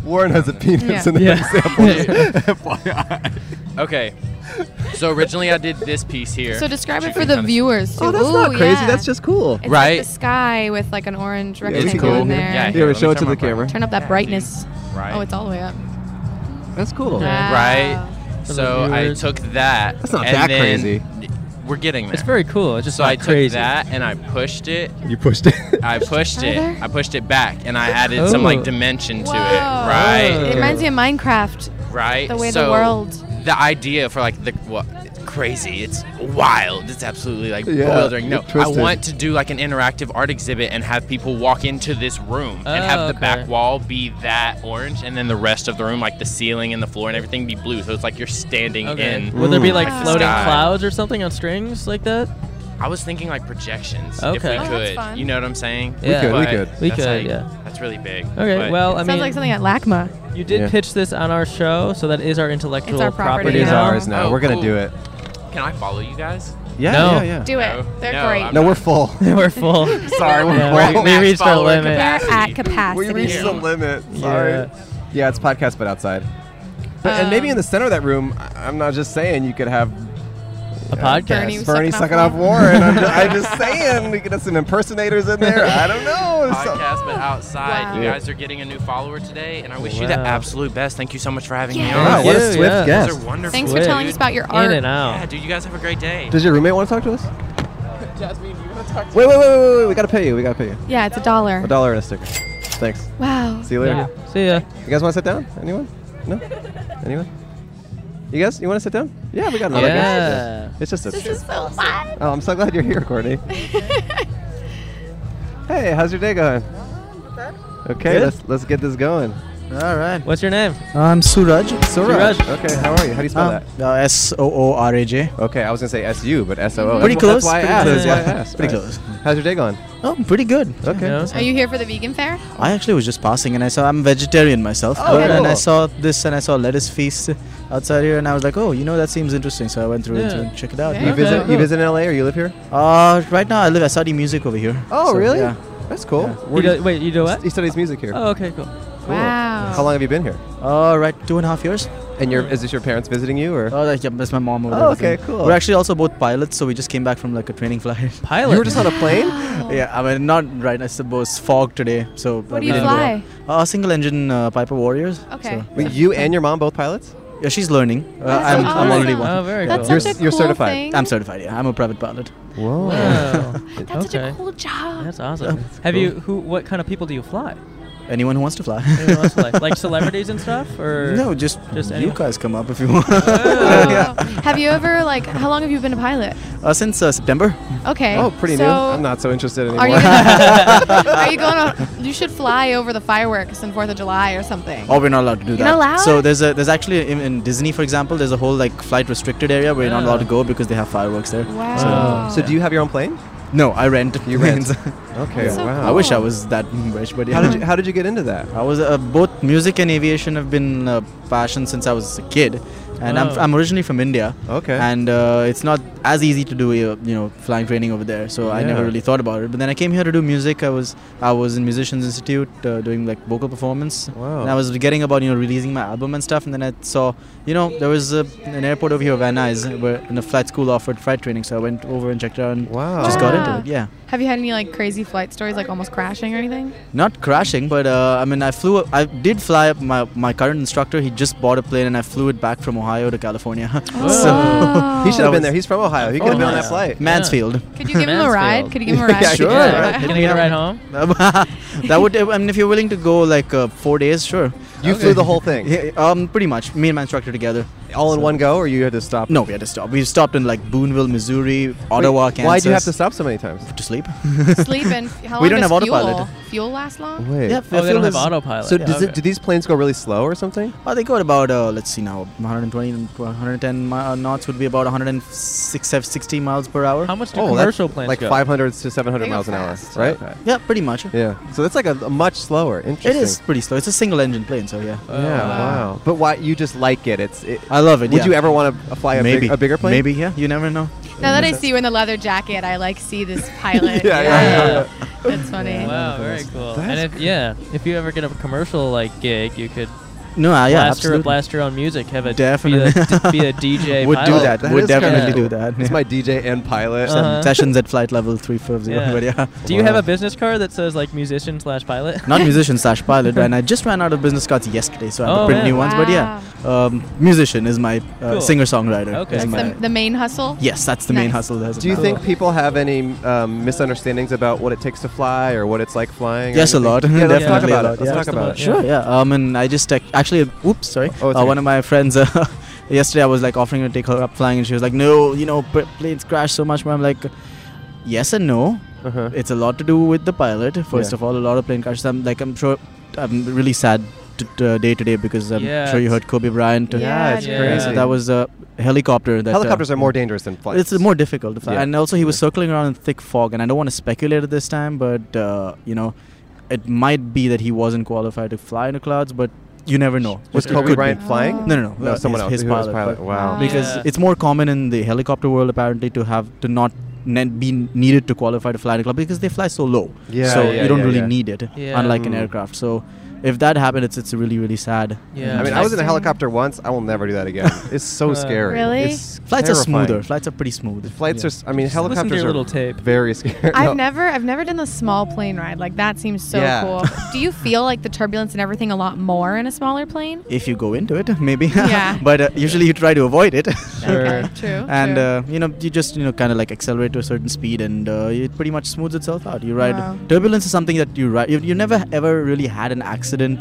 [SPEAKER 2] Warren has a penis
[SPEAKER 5] Yeah.
[SPEAKER 2] in the
[SPEAKER 1] Yeah.
[SPEAKER 2] example. [LAUGHS]
[SPEAKER 7] Okay. So originally I did this piece here.
[SPEAKER 5] So describe it
[SPEAKER 7] Which you
[SPEAKER 5] for
[SPEAKER 7] can
[SPEAKER 5] the
[SPEAKER 7] kinda-
[SPEAKER 5] viewers. Too.
[SPEAKER 2] oh, that's
[SPEAKER 5] Ooh,
[SPEAKER 2] not crazy.
[SPEAKER 5] yeah.
[SPEAKER 2] That's just cool.
[SPEAKER 5] It's
[SPEAKER 7] Right.
[SPEAKER 5] Like the sky with like an orange
[SPEAKER 2] it's
[SPEAKER 5] rectangle
[SPEAKER 2] cool.
[SPEAKER 5] in there.
[SPEAKER 7] Yeah,
[SPEAKER 2] Here,
[SPEAKER 7] let me
[SPEAKER 2] show it
[SPEAKER 7] turn
[SPEAKER 2] to
[SPEAKER 7] my
[SPEAKER 2] the camera.
[SPEAKER 7] brightness.
[SPEAKER 5] Turn up that brightness.
[SPEAKER 7] Right.
[SPEAKER 5] Oh, it's all the way up.
[SPEAKER 2] That's cool.
[SPEAKER 1] Yeah.
[SPEAKER 7] Right.
[SPEAKER 1] For the
[SPEAKER 7] So I
[SPEAKER 1] viewers.
[SPEAKER 7] took that.
[SPEAKER 2] That's not
[SPEAKER 7] and
[SPEAKER 2] that
[SPEAKER 7] then-
[SPEAKER 2] crazy.
[SPEAKER 7] We're getting there.
[SPEAKER 1] It's very cool. It's just
[SPEAKER 7] so
[SPEAKER 1] not
[SPEAKER 7] I took
[SPEAKER 1] crazy.
[SPEAKER 7] that and I pushed it.
[SPEAKER 2] You pushed it.
[SPEAKER 7] I pushed it.
[SPEAKER 5] further?
[SPEAKER 7] I pushed it back and I added some
[SPEAKER 1] Oh.
[SPEAKER 7] like dimension to it.
[SPEAKER 5] Whoa.
[SPEAKER 7] Right.
[SPEAKER 5] It reminds me of Minecraft.
[SPEAKER 7] Right.
[SPEAKER 5] The way the
[SPEAKER 7] so
[SPEAKER 5] world-
[SPEAKER 7] The idea for like the what it's crazy. It's wild. It's absolutely like
[SPEAKER 2] Yeah,
[SPEAKER 7] bewildering. No,
[SPEAKER 2] you're
[SPEAKER 7] I
[SPEAKER 2] twisted.
[SPEAKER 7] want to do like an interactive art exhibit and have people walk into this room and
[SPEAKER 1] Oh,
[SPEAKER 7] have the
[SPEAKER 1] okay.
[SPEAKER 7] back wall be that orange and then the rest of the room, like the ceiling and the floor and everything, be blue. So it's like you're standing
[SPEAKER 1] Okay.
[SPEAKER 7] in.
[SPEAKER 1] Would there be like
[SPEAKER 5] Wow.
[SPEAKER 1] floating
[SPEAKER 7] Sky.
[SPEAKER 1] clouds or something on strings like that?
[SPEAKER 7] I was thinking like projections if
[SPEAKER 1] Okay.
[SPEAKER 7] we
[SPEAKER 1] Oh,
[SPEAKER 5] that's
[SPEAKER 7] could.
[SPEAKER 5] fun.
[SPEAKER 7] You know what I'm saying?
[SPEAKER 1] We Yeah. could,
[SPEAKER 2] we
[SPEAKER 7] But
[SPEAKER 2] could.
[SPEAKER 1] We
[SPEAKER 7] that's,
[SPEAKER 1] could,
[SPEAKER 7] like-
[SPEAKER 1] yeah.
[SPEAKER 7] That's really big.
[SPEAKER 1] Okay.
[SPEAKER 7] but-
[SPEAKER 1] well, I
[SPEAKER 5] Sounds
[SPEAKER 1] mean,
[SPEAKER 5] like something at LACMA.
[SPEAKER 1] you did
[SPEAKER 2] Yeah.
[SPEAKER 1] pitch this on our show, so that is our intellectual
[SPEAKER 5] It's our
[SPEAKER 1] property.
[SPEAKER 5] property
[SPEAKER 2] It is
[SPEAKER 5] now.
[SPEAKER 2] ours now.
[SPEAKER 7] Oh,
[SPEAKER 2] We're gonna
[SPEAKER 7] cool.
[SPEAKER 2] do it.
[SPEAKER 7] can I follow you guys?
[SPEAKER 2] Yeah,
[SPEAKER 1] No.
[SPEAKER 2] yeah, yeah.
[SPEAKER 5] Do it.
[SPEAKER 7] No.
[SPEAKER 5] They're
[SPEAKER 7] No,
[SPEAKER 5] great.
[SPEAKER 7] I'm
[SPEAKER 2] No, we're full.
[SPEAKER 1] [LAUGHS] We're full.
[SPEAKER 2] Sorry, we're
[SPEAKER 1] Yeah,
[SPEAKER 2] full.
[SPEAKER 1] we- we reached our
[SPEAKER 7] follower
[SPEAKER 1] limit.
[SPEAKER 5] They're
[SPEAKER 7] capacity.
[SPEAKER 5] at capacity.
[SPEAKER 2] We reached the limit. Sorry.
[SPEAKER 1] Yeah.
[SPEAKER 2] Yeah, it's podcast, but outside. But, and maybe
[SPEAKER 5] Um,
[SPEAKER 2] in the center of that room, I- I'm not just saying you could have
[SPEAKER 1] a podcast.
[SPEAKER 5] Bernie was
[SPEAKER 2] Bernie
[SPEAKER 5] sucking
[SPEAKER 2] sucking
[SPEAKER 5] off
[SPEAKER 2] off Warren. I'm, just,
[SPEAKER 5] [LAUGHS]
[SPEAKER 2] I'm just saying, we could have some impersonators in there. [LAUGHS] I don't know. There's some-
[SPEAKER 7] podcast, but outside. You
[SPEAKER 2] Wow.
[SPEAKER 7] guys are getting a new follower today, and I wish you the
[SPEAKER 1] Wow.
[SPEAKER 7] absolute best. Thank you so much for having me
[SPEAKER 5] Yeah.
[SPEAKER 7] on.
[SPEAKER 2] Wow, what
[SPEAKER 1] Yeah,
[SPEAKER 2] a swift
[SPEAKER 1] yeah.
[SPEAKER 7] You
[SPEAKER 2] guest.
[SPEAKER 7] guys are wonderful.
[SPEAKER 5] Thanks for telling us about your art.
[SPEAKER 1] In and out.
[SPEAKER 7] Yeah, dude, you guys have a great day.
[SPEAKER 2] Does your roommate want to talk to us? Jasmine, you want to talk to wait, wait, wait, wait, wait. We got to pay you. We got to pay you.
[SPEAKER 5] Yeah, it's a dollar.
[SPEAKER 2] A dollar and a sticker. Thanks.
[SPEAKER 5] Wow.
[SPEAKER 2] See you later.
[SPEAKER 1] See ya.
[SPEAKER 2] You guys want to sit down? Anyone? No? Anyone? You guys, you want to sit down? Yeah, we got another guy.
[SPEAKER 1] Yeah.
[SPEAKER 2] It's just a.
[SPEAKER 5] This is so fun.
[SPEAKER 2] Oh, I'm so glad you're
[SPEAKER 5] [LAUGHS]
[SPEAKER 2] here, Courtney. hey, how's your day going? Okay,
[SPEAKER 1] Good.
[SPEAKER 2] let's let's get this going.
[SPEAKER 8] All right.
[SPEAKER 1] What's your name?
[SPEAKER 8] I'm Suraj.
[SPEAKER 2] Suraj.
[SPEAKER 1] Suraj.
[SPEAKER 2] Okay, how are you? How do you spell that?
[SPEAKER 8] Um, S O O R A J.
[SPEAKER 2] Okay, I was gonna say S U, but S O O.
[SPEAKER 8] Pretty
[SPEAKER 2] That's-
[SPEAKER 8] close,
[SPEAKER 2] That's why I
[SPEAKER 8] pretty close,
[SPEAKER 2] asked. that's why I
[SPEAKER 8] yeah.
[SPEAKER 2] asked.
[SPEAKER 8] Pretty
[SPEAKER 2] All right.
[SPEAKER 8] close.
[SPEAKER 2] How's your day going?
[SPEAKER 8] Oh, pretty good.
[SPEAKER 2] Okay.
[SPEAKER 1] No?
[SPEAKER 5] Are you here for the vegan fair?
[SPEAKER 8] I actually was just passing and I saw I'm vegetarian myself.
[SPEAKER 2] Oh,
[SPEAKER 8] but- And I
[SPEAKER 2] cool.
[SPEAKER 8] saw this and I saw lettuce feast outside here and I was like, oh, you know, that seems interesting. So I went through
[SPEAKER 1] Yeah.
[SPEAKER 8] it and check it out. Oh.
[SPEAKER 5] Yeah.
[SPEAKER 2] You
[SPEAKER 1] Okay.
[SPEAKER 2] visit you visit LA or you live here?
[SPEAKER 8] Uh, right now I live, I study music over here.
[SPEAKER 2] Oh,
[SPEAKER 8] So,
[SPEAKER 2] really?
[SPEAKER 8] Yeah.
[SPEAKER 2] That's cool.
[SPEAKER 8] Yeah.
[SPEAKER 1] You
[SPEAKER 2] Where
[SPEAKER 1] do, wait, you do what?
[SPEAKER 2] He studies music here.
[SPEAKER 1] Oh, okay, cool.
[SPEAKER 2] Cool.
[SPEAKER 5] Wow.
[SPEAKER 2] How long have you been here?
[SPEAKER 8] Uh, right, two and a half years.
[SPEAKER 2] And your is this your parents visiting you or?
[SPEAKER 8] Oh, that- yeah, that's my mom over
[SPEAKER 2] Oh,
[SPEAKER 8] there. with
[SPEAKER 2] okay,
[SPEAKER 8] me.
[SPEAKER 2] cool.
[SPEAKER 8] We're actually also both pilots, so we just came back from like a training
[SPEAKER 5] [LAUGHS]
[SPEAKER 8] flight.
[SPEAKER 1] Pilot.
[SPEAKER 2] you were just on a plane?
[SPEAKER 8] yeah, I mean, not right, I suppose, fog today. So, uh,
[SPEAKER 5] What do
[SPEAKER 8] we
[SPEAKER 5] you
[SPEAKER 8] didn't go
[SPEAKER 5] fly?
[SPEAKER 8] out. Uh, single engine uh, Piper Warriors.
[SPEAKER 5] Okay.
[SPEAKER 8] So,
[SPEAKER 2] Wait, you and your mom both pilots?
[SPEAKER 8] yeah, she's learning. Uh,
[SPEAKER 5] That's
[SPEAKER 8] I'm, I'm already
[SPEAKER 5] awesome.
[SPEAKER 8] one.
[SPEAKER 1] Oh, very
[SPEAKER 5] That's
[SPEAKER 1] cool.
[SPEAKER 2] You're
[SPEAKER 5] such
[SPEAKER 2] s-
[SPEAKER 5] a
[SPEAKER 2] you're
[SPEAKER 5] cool
[SPEAKER 2] certified.
[SPEAKER 5] thing.
[SPEAKER 8] I'm certified. Yeah, I'm a private pilot.
[SPEAKER 2] Whoa.
[SPEAKER 1] Wow.
[SPEAKER 2] [LAUGHS]
[SPEAKER 5] That's such
[SPEAKER 1] Okay.
[SPEAKER 5] a cool job.
[SPEAKER 1] That's awesome. Have you who? What kind of people do you fly?
[SPEAKER 8] Anyone who wants to fly.
[SPEAKER 1] Who else fly?
[SPEAKER 8] [LAUGHS]
[SPEAKER 1] like celebrities and stuff, or
[SPEAKER 8] no, just,
[SPEAKER 1] Just
[SPEAKER 8] you
[SPEAKER 1] anyone.
[SPEAKER 8] guys come up if you want. [LAUGHS]
[SPEAKER 5] Oh. Have you ever like? How long have you been a pilot?
[SPEAKER 8] uh, since uh, September,
[SPEAKER 5] Okay.
[SPEAKER 2] Oh, pretty
[SPEAKER 5] so
[SPEAKER 2] new. I'm not so interested anymore.
[SPEAKER 5] Are you, gonna, [LAUGHS] are you going on? You should fly over the fireworks on Fourth of July or something.
[SPEAKER 8] oh, we're not allowed to do
[SPEAKER 5] You're not
[SPEAKER 8] that.
[SPEAKER 5] allowed?
[SPEAKER 8] So there's a there's actually in, in Disney, for example, there's a whole like flight restricted area where you're not allowed to go because they have fireworks there.
[SPEAKER 5] Wow.
[SPEAKER 2] so do you have your own plane?
[SPEAKER 8] No, I rent.
[SPEAKER 2] You
[SPEAKER 8] [LAUGHS]
[SPEAKER 2] rent. Okay.
[SPEAKER 5] That's so
[SPEAKER 2] wow.
[SPEAKER 5] cool.
[SPEAKER 8] I wish I was that rich, but yeah.
[SPEAKER 2] How did you how did you get into that?
[SPEAKER 8] I was uh, both music and aviation have been a passion since I was a kid, and I'm,
[SPEAKER 1] Wow.
[SPEAKER 8] I'm originally from India.
[SPEAKER 2] Oh. Okay.
[SPEAKER 8] And uh, it's not as easy to do uh, you know flying training over there, so I never
[SPEAKER 2] Yeah.
[SPEAKER 8] really thought about it. But then I came here to do music. I was I was in Musicians Institute uh, doing like vocal performance.
[SPEAKER 2] Wow.
[SPEAKER 8] And I was getting about you know releasing my album and stuff, and then I saw you know there was a, an airport over here, Van Nuys, where and a flight school offered flight training, so I went over and checked it out and
[SPEAKER 2] Wow.
[SPEAKER 8] just got
[SPEAKER 5] Wow.
[SPEAKER 8] into it. Yeah.
[SPEAKER 5] Have you had any like crazy flight stories, like almost crashing or anything?
[SPEAKER 8] not crashing but uh, i mean i flew i did fly up my, my current instructor he just bought a plane and i flew it back from ohio to california [LAUGHS]
[SPEAKER 5] Wow.
[SPEAKER 2] Oh. He should
[SPEAKER 8] That
[SPEAKER 2] have been
[SPEAKER 8] was-
[SPEAKER 2] there. He's from Ohio. He could have been on that
[SPEAKER 1] Ohio.
[SPEAKER 2] flight.
[SPEAKER 8] mansfield
[SPEAKER 5] Could you give him a ride?
[SPEAKER 1] Mansfield.
[SPEAKER 5] Could you give him a ride?
[SPEAKER 2] [LAUGHS] Yeah, Sure,
[SPEAKER 1] Yeah.
[SPEAKER 2] right.
[SPEAKER 1] Can I get a ride home?
[SPEAKER 8] [LAUGHS] that would i mean if you're willing to go like uh, four days sure
[SPEAKER 2] You flew the whole thing,
[SPEAKER 8] yeah, um pretty much me and my instructor together
[SPEAKER 2] all in one go, or you had to stop?
[SPEAKER 8] no we had to stop we stopped in like booneville missouri ottawa
[SPEAKER 2] Wait,
[SPEAKER 8] kansas
[SPEAKER 2] Why do you have to stop so many times?
[SPEAKER 8] to sleep
[SPEAKER 5] Sleep
[SPEAKER 8] [LAUGHS]
[SPEAKER 5] and how long
[SPEAKER 8] We don't
[SPEAKER 5] does
[SPEAKER 8] have
[SPEAKER 5] fuel?
[SPEAKER 8] autopilot.
[SPEAKER 5] Fuel last long?
[SPEAKER 2] Wait.
[SPEAKER 1] Oh, they don't have autopilot.
[SPEAKER 2] So
[SPEAKER 1] Yeah,
[SPEAKER 2] does it,
[SPEAKER 1] okay.
[SPEAKER 2] do these planes go really slow or something?
[SPEAKER 8] Oh, they go at about uh, let's see now 120 110 mi- uh, knots would be about 106 60 miles per hour
[SPEAKER 1] How much do
[SPEAKER 2] Oh, that's
[SPEAKER 1] commercial planes
[SPEAKER 2] like
[SPEAKER 1] go?
[SPEAKER 2] 500 to 700
[SPEAKER 5] They go
[SPEAKER 2] miles an hour,
[SPEAKER 5] fast.
[SPEAKER 2] right?
[SPEAKER 8] yeah pretty much
[SPEAKER 2] Yeah. So that's like a, a much slower.
[SPEAKER 8] It
[SPEAKER 2] Interesting.
[SPEAKER 8] is pretty slow. It's a single engine plane, so yeah.
[SPEAKER 2] Yeah. Wow. But why you just like it? It's. It,
[SPEAKER 8] I love it.
[SPEAKER 2] would
[SPEAKER 8] yeah.
[SPEAKER 2] you ever want to fly a,
[SPEAKER 8] maybe
[SPEAKER 2] big, a bigger plane?
[SPEAKER 8] Maybe yeah. You never know.
[SPEAKER 5] Now that I see you in the leather jacket, I like see this pilot.
[SPEAKER 2] Yeah, yeah,
[SPEAKER 1] yeah.
[SPEAKER 5] That's funny.
[SPEAKER 1] Wow, very cool.
[SPEAKER 2] That's
[SPEAKER 1] and if yeah, if you ever get a commercial like gig, you could
[SPEAKER 8] No, uh, yeah,
[SPEAKER 1] blast, your,
[SPEAKER 8] absolutely.
[SPEAKER 1] blast your own music. Have a [LAUGHS]
[SPEAKER 8] Definitely. [LAUGHS]
[SPEAKER 1] be a, d- be a DJ.
[SPEAKER 8] Would do
[SPEAKER 1] pilot.
[SPEAKER 8] that.
[SPEAKER 2] Oh, That
[SPEAKER 8] Would
[SPEAKER 2] is
[SPEAKER 8] definitely
[SPEAKER 1] kinda
[SPEAKER 8] do that.
[SPEAKER 2] It's
[SPEAKER 8] yeah.
[SPEAKER 2] my DJ and pilot.
[SPEAKER 1] Uh-huh.
[SPEAKER 8] [LAUGHS] Sessions at flight level three five zero.
[SPEAKER 1] Yeah.
[SPEAKER 8] But yeah.
[SPEAKER 1] Do you have
[SPEAKER 2] Wow.
[SPEAKER 1] a business card that says like musician slash pilot?
[SPEAKER 8] [LAUGHS]
[SPEAKER 1] [LAUGHS]
[SPEAKER 8] Not musician slash pilot, and I just ran out of business cards yesterday, so I have
[SPEAKER 1] Oh,
[SPEAKER 8] to print
[SPEAKER 1] man.
[SPEAKER 8] new ones. But yeah, um, musician is my uh,
[SPEAKER 1] Cool.
[SPEAKER 8] singer songwriter.
[SPEAKER 1] Okay.
[SPEAKER 8] Is
[SPEAKER 5] That's
[SPEAKER 8] my,
[SPEAKER 5] the, the main hustle.
[SPEAKER 8] yes, that's the main
[SPEAKER 5] Nice.
[SPEAKER 8] hustle. That's Oh.
[SPEAKER 2] Do you
[SPEAKER 8] about
[SPEAKER 2] think
[SPEAKER 8] it.
[SPEAKER 2] people have any um, misunderstandings about what it takes to fly or what it's like flying? or
[SPEAKER 8] Yes, a
[SPEAKER 2] anything?
[SPEAKER 8] lot.
[SPEAKER 2] [LAUGHS]
[SPEAKER 8] [LAUGHS]
[SPEAKER 2] Yeah, let's talk
[SPEAKER 8] Definitely a
[SPEAKER 2] about
[SPEAKER 8] lot,
[SPEAKER 2] it. Let's
[SPEAKER 8] yeah.
[SPEAKER 2] talk about it.
[SPEAKER 1] Yeah.
[SPEAKER 8] Sure, yeah. Um, and I just tec- actually, oops, sorry.
[SPEAKER 2] Oh, it's
[SPEAKER 8] uh,
[SPEAKER 2] okay.
[SPEAKER 8] One of my friends uh, [LAUGHS] yesterday, I was like offering to take her up flying, and she was like, "No, you know, pl- planes crash so much." But I'm like, "Yes and no.
[SPEAKER 2] Uh-huh.
[SPEAKER 8] It's a lot to do with the pilot. First
[SPEAKER 2] Yeah.
[SPEAKER 8] of all, a lot of plane crashes. I'm like, I'm sure, I'm really sad t- t- uh, day to day because I'm
[SPEAKER 1] Yeah,
[SPEAKER 8] sure you
[SPEAKER 1] it's-
[SPEAKER 8] heard Kobe Bryant.
[SPEAKER 5] Yeah,
[SPEAKER 2] it's
[SPEAKER 1] dude.
[SPEAKER 2] crazy.
[SPEAKER 8] So that was a helicopter. That, uh,
[SPEAKER 2] Helicopters are more dangerous than flights.
[SPEAKER 8] it's more difficult to fly.
[SPEAKER 2] Yeah.
[SPEAKER 8] And also, he was circling around in thick fog, and I don't want to speculate at this time, but uh, you know, it might be that he wasn't qualified to fly in the clouds, but you never know.
[SPEAKER 2] Was
[SPEAKER 8] It
[SPEAKER 2] Kobe
[SPEAKER 8] could
[SPEAKER 2] Bryant
[SPEAKER 8] Be.
[SPEAKER 2] flying?
[SPEAKER 8] No, no, no.
[SPEAKER 2] No,
[SPEAKER 8] Uh,
[SPEAKER 2] someone
[SPEAKER 8] his-
[SPEAKER 2] else.
[SPEAKER 8] His
[SPEAKER 2] who was
[SPEAKER 8] pilot.
[SPEAKER 2] pilot.
[SPEAKER 8] but-
[SPEAKER 2] Wow.
[SPEAKER 5] Wow.
[SPEAKER 8] Because
[SPEAKER 1] Yeah.
[SPEAKER 8] it's more common in the helicopter world apparently to have to not ne- be needed to qualify to fly in a club because they fly so low.
[SPEAKER 2] Yeah,
[SPEAKER 8] so
[SPEAKER 2] yeah,
[SPEAKER 8] you don't
[SPEAKER 2] yeah,
[SPEAKER 8] really
[SPEAKER 2] yeah.
[SPEAKER 8] need it,
[SPEAKER 1] Yeah.
[SPEAKER 8] unlike an
[SPEAKER 2] Mm.
[SPEAKER 8] aircraft. So if that happened, it's it's really really sad.
[SPEAKER 1] Yeah.
[SPEAKER 2] I mean, I was in a
[SPEAKER 5] Interesting.
[SPEAKER 2] helicopter once. I will never do that
[SPEAKER 8] [LAUGHS]
[SPEAKER 2] again. It's so
[SPEAKER 1] Uh,
[SPEAKER 2] scary.
[SPEAKER 5] Really?
[SPEAKER 2] It's
[SPEAKER 8] Flights
[SPEAKER 2] terrifying.
[SPEAKER 8] are smoother. Flights are pretty smooth.
[SPEAKER 2] Flights
[SPEAKER 1] Yeah.
[SPEAKER 2] are. s- I mean,
[SPEAKER 1] Just listen to
[SPEAKER 2] helicopters
[SPEAKER 1] your
[SPEAKER 2] are
[SPEAKER 1] little tape.
[SPEAKER 2] very scary.
[SPEAKER 5] I've
[SPEAKER 2] [LAUGHS] No.
[SPEAKER 5] never I've never done the small plane ride. Like that seems so
[SPEAKER 2] Yeah.
[SPEAKER 5] cool. Do you feel like the turbulence and everything a lot more in a smaller plane?
[SPEAKER 8] If you go into it, [LAUGHS] maybe.
[SPEAKER 5] Yeah.
[SPEAKER 8] but uh, usually you try to avoid
[SPEAKER 1] [LAUGHS]
[SPEAKER 8] it.
[SPEAKER 1] Sure.
[SPEAKER 5] True.
[SPEAKER 8] and
[SPEAKER 5] true.
[SPEAKER 8] uh, you know you just you know kind of like accelerate to a certain speed and uh, it pretty much smooths itself out you ride
[SPEAKER 5] Wow.
[SPEAKER 8] turbulence is something that you ride you, you never ever really had an accident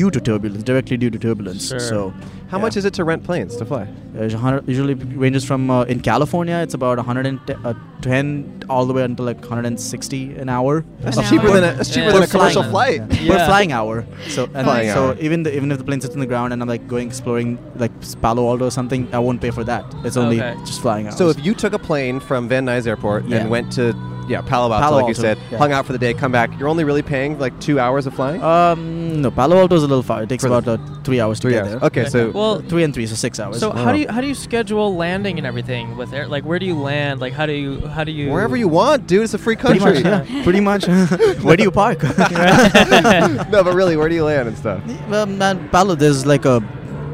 [SPEAKER 8] due to turbulence directly due to turbulence
[SPEAKER 1] Sure.
[SPEAKER 8] so
[SPEAKER 2] How much is it to rent planes to fly?
[SPEAKER 8] it usually ranges from uh, in california it's about 110 uh, 10 all the way until like 160 an hour
[SPEAKER 2] That's
[SPEAKER 5] An
[SPEAKER 2] cheaper
[SPEAKER 5] hour.
[SPEAKER 2] than a, that's cheaper
[SPEAKER 1] Yeah.
[SPEAKER 2] than
[SPEAKER 1] We're
[SPEAKER 2] a commercial
[SPEAKER 1] flying.
[SPEAKER 2] flight.
[SPEAKER 8] but
[SPEAKER 1] Yeah.
[SPEAKER 8] flying hour. So and
[SPEAKER 2] Flying
[SPEAKER 8] so
[SPEAKER 2] hour.
[SPEAKER 8] even the, even if the plane sits on the ground and I'm like going exploring like Palo Alto or something, I won't pay for that. It's only
[SPEAKER 1] Okay.
[SPEAKER 8] just flying hours.
[SPEAKER 2] So if you took a plane from Van Nuys Airport
[SPEAKER 8] Yeah.
[SPEAKER 2] and went to yeah Palo Alto,
[SPEAKER 8] Palo
[SPEAKER 2] like you
[SPEAKER 8] Alto,
[SPEAKER 2] said,
[SPEAKER 8] yeah.
[SPEAKER 2] hung out for the day, come back, you're only really paying like two hours of flying.
[SPEAKER 8] Um, no, Palo Alto is a little far. It takes
[SPEAKER 2] For the-
[SPEAKER 8] about uh, three hours to
[SPEAKER 2] Three
[SPEAKER 8] get
[SPEAKER 2] hours.
[SPEAKER 8] there.
[SPEAKER 2] Okay, so
[SPEAKER 1] well,
[SPEAKER 8] Three and three, so six hours.
[SPEAKER 1] so
[SPEAKER 2] I
[SPEAKER 1] how
[SPEAKER 2] don't
[SPEAKER 1] do you
[SPEAKER 2] know.
[SPEAKER 1] how do you schedule landing and everything with air? Like, where do you land? Like, how do you how do you
[SPEAKER 2] wherever you want, dude, it's a free
[SPEAKER 8] pretty
[SPEAKER 2] country.
[SPEAKER 8] much,
[SPEAKER 2] [LAUGHS]
[SPEAKER 8] yeah. pretty much. [LAUGHS] Where do you park? [LAUGHS]
[SPEAKER 2] no, but really, where do you land and stuff?
[SPEAKER 8] well, man, Palo, there's like a,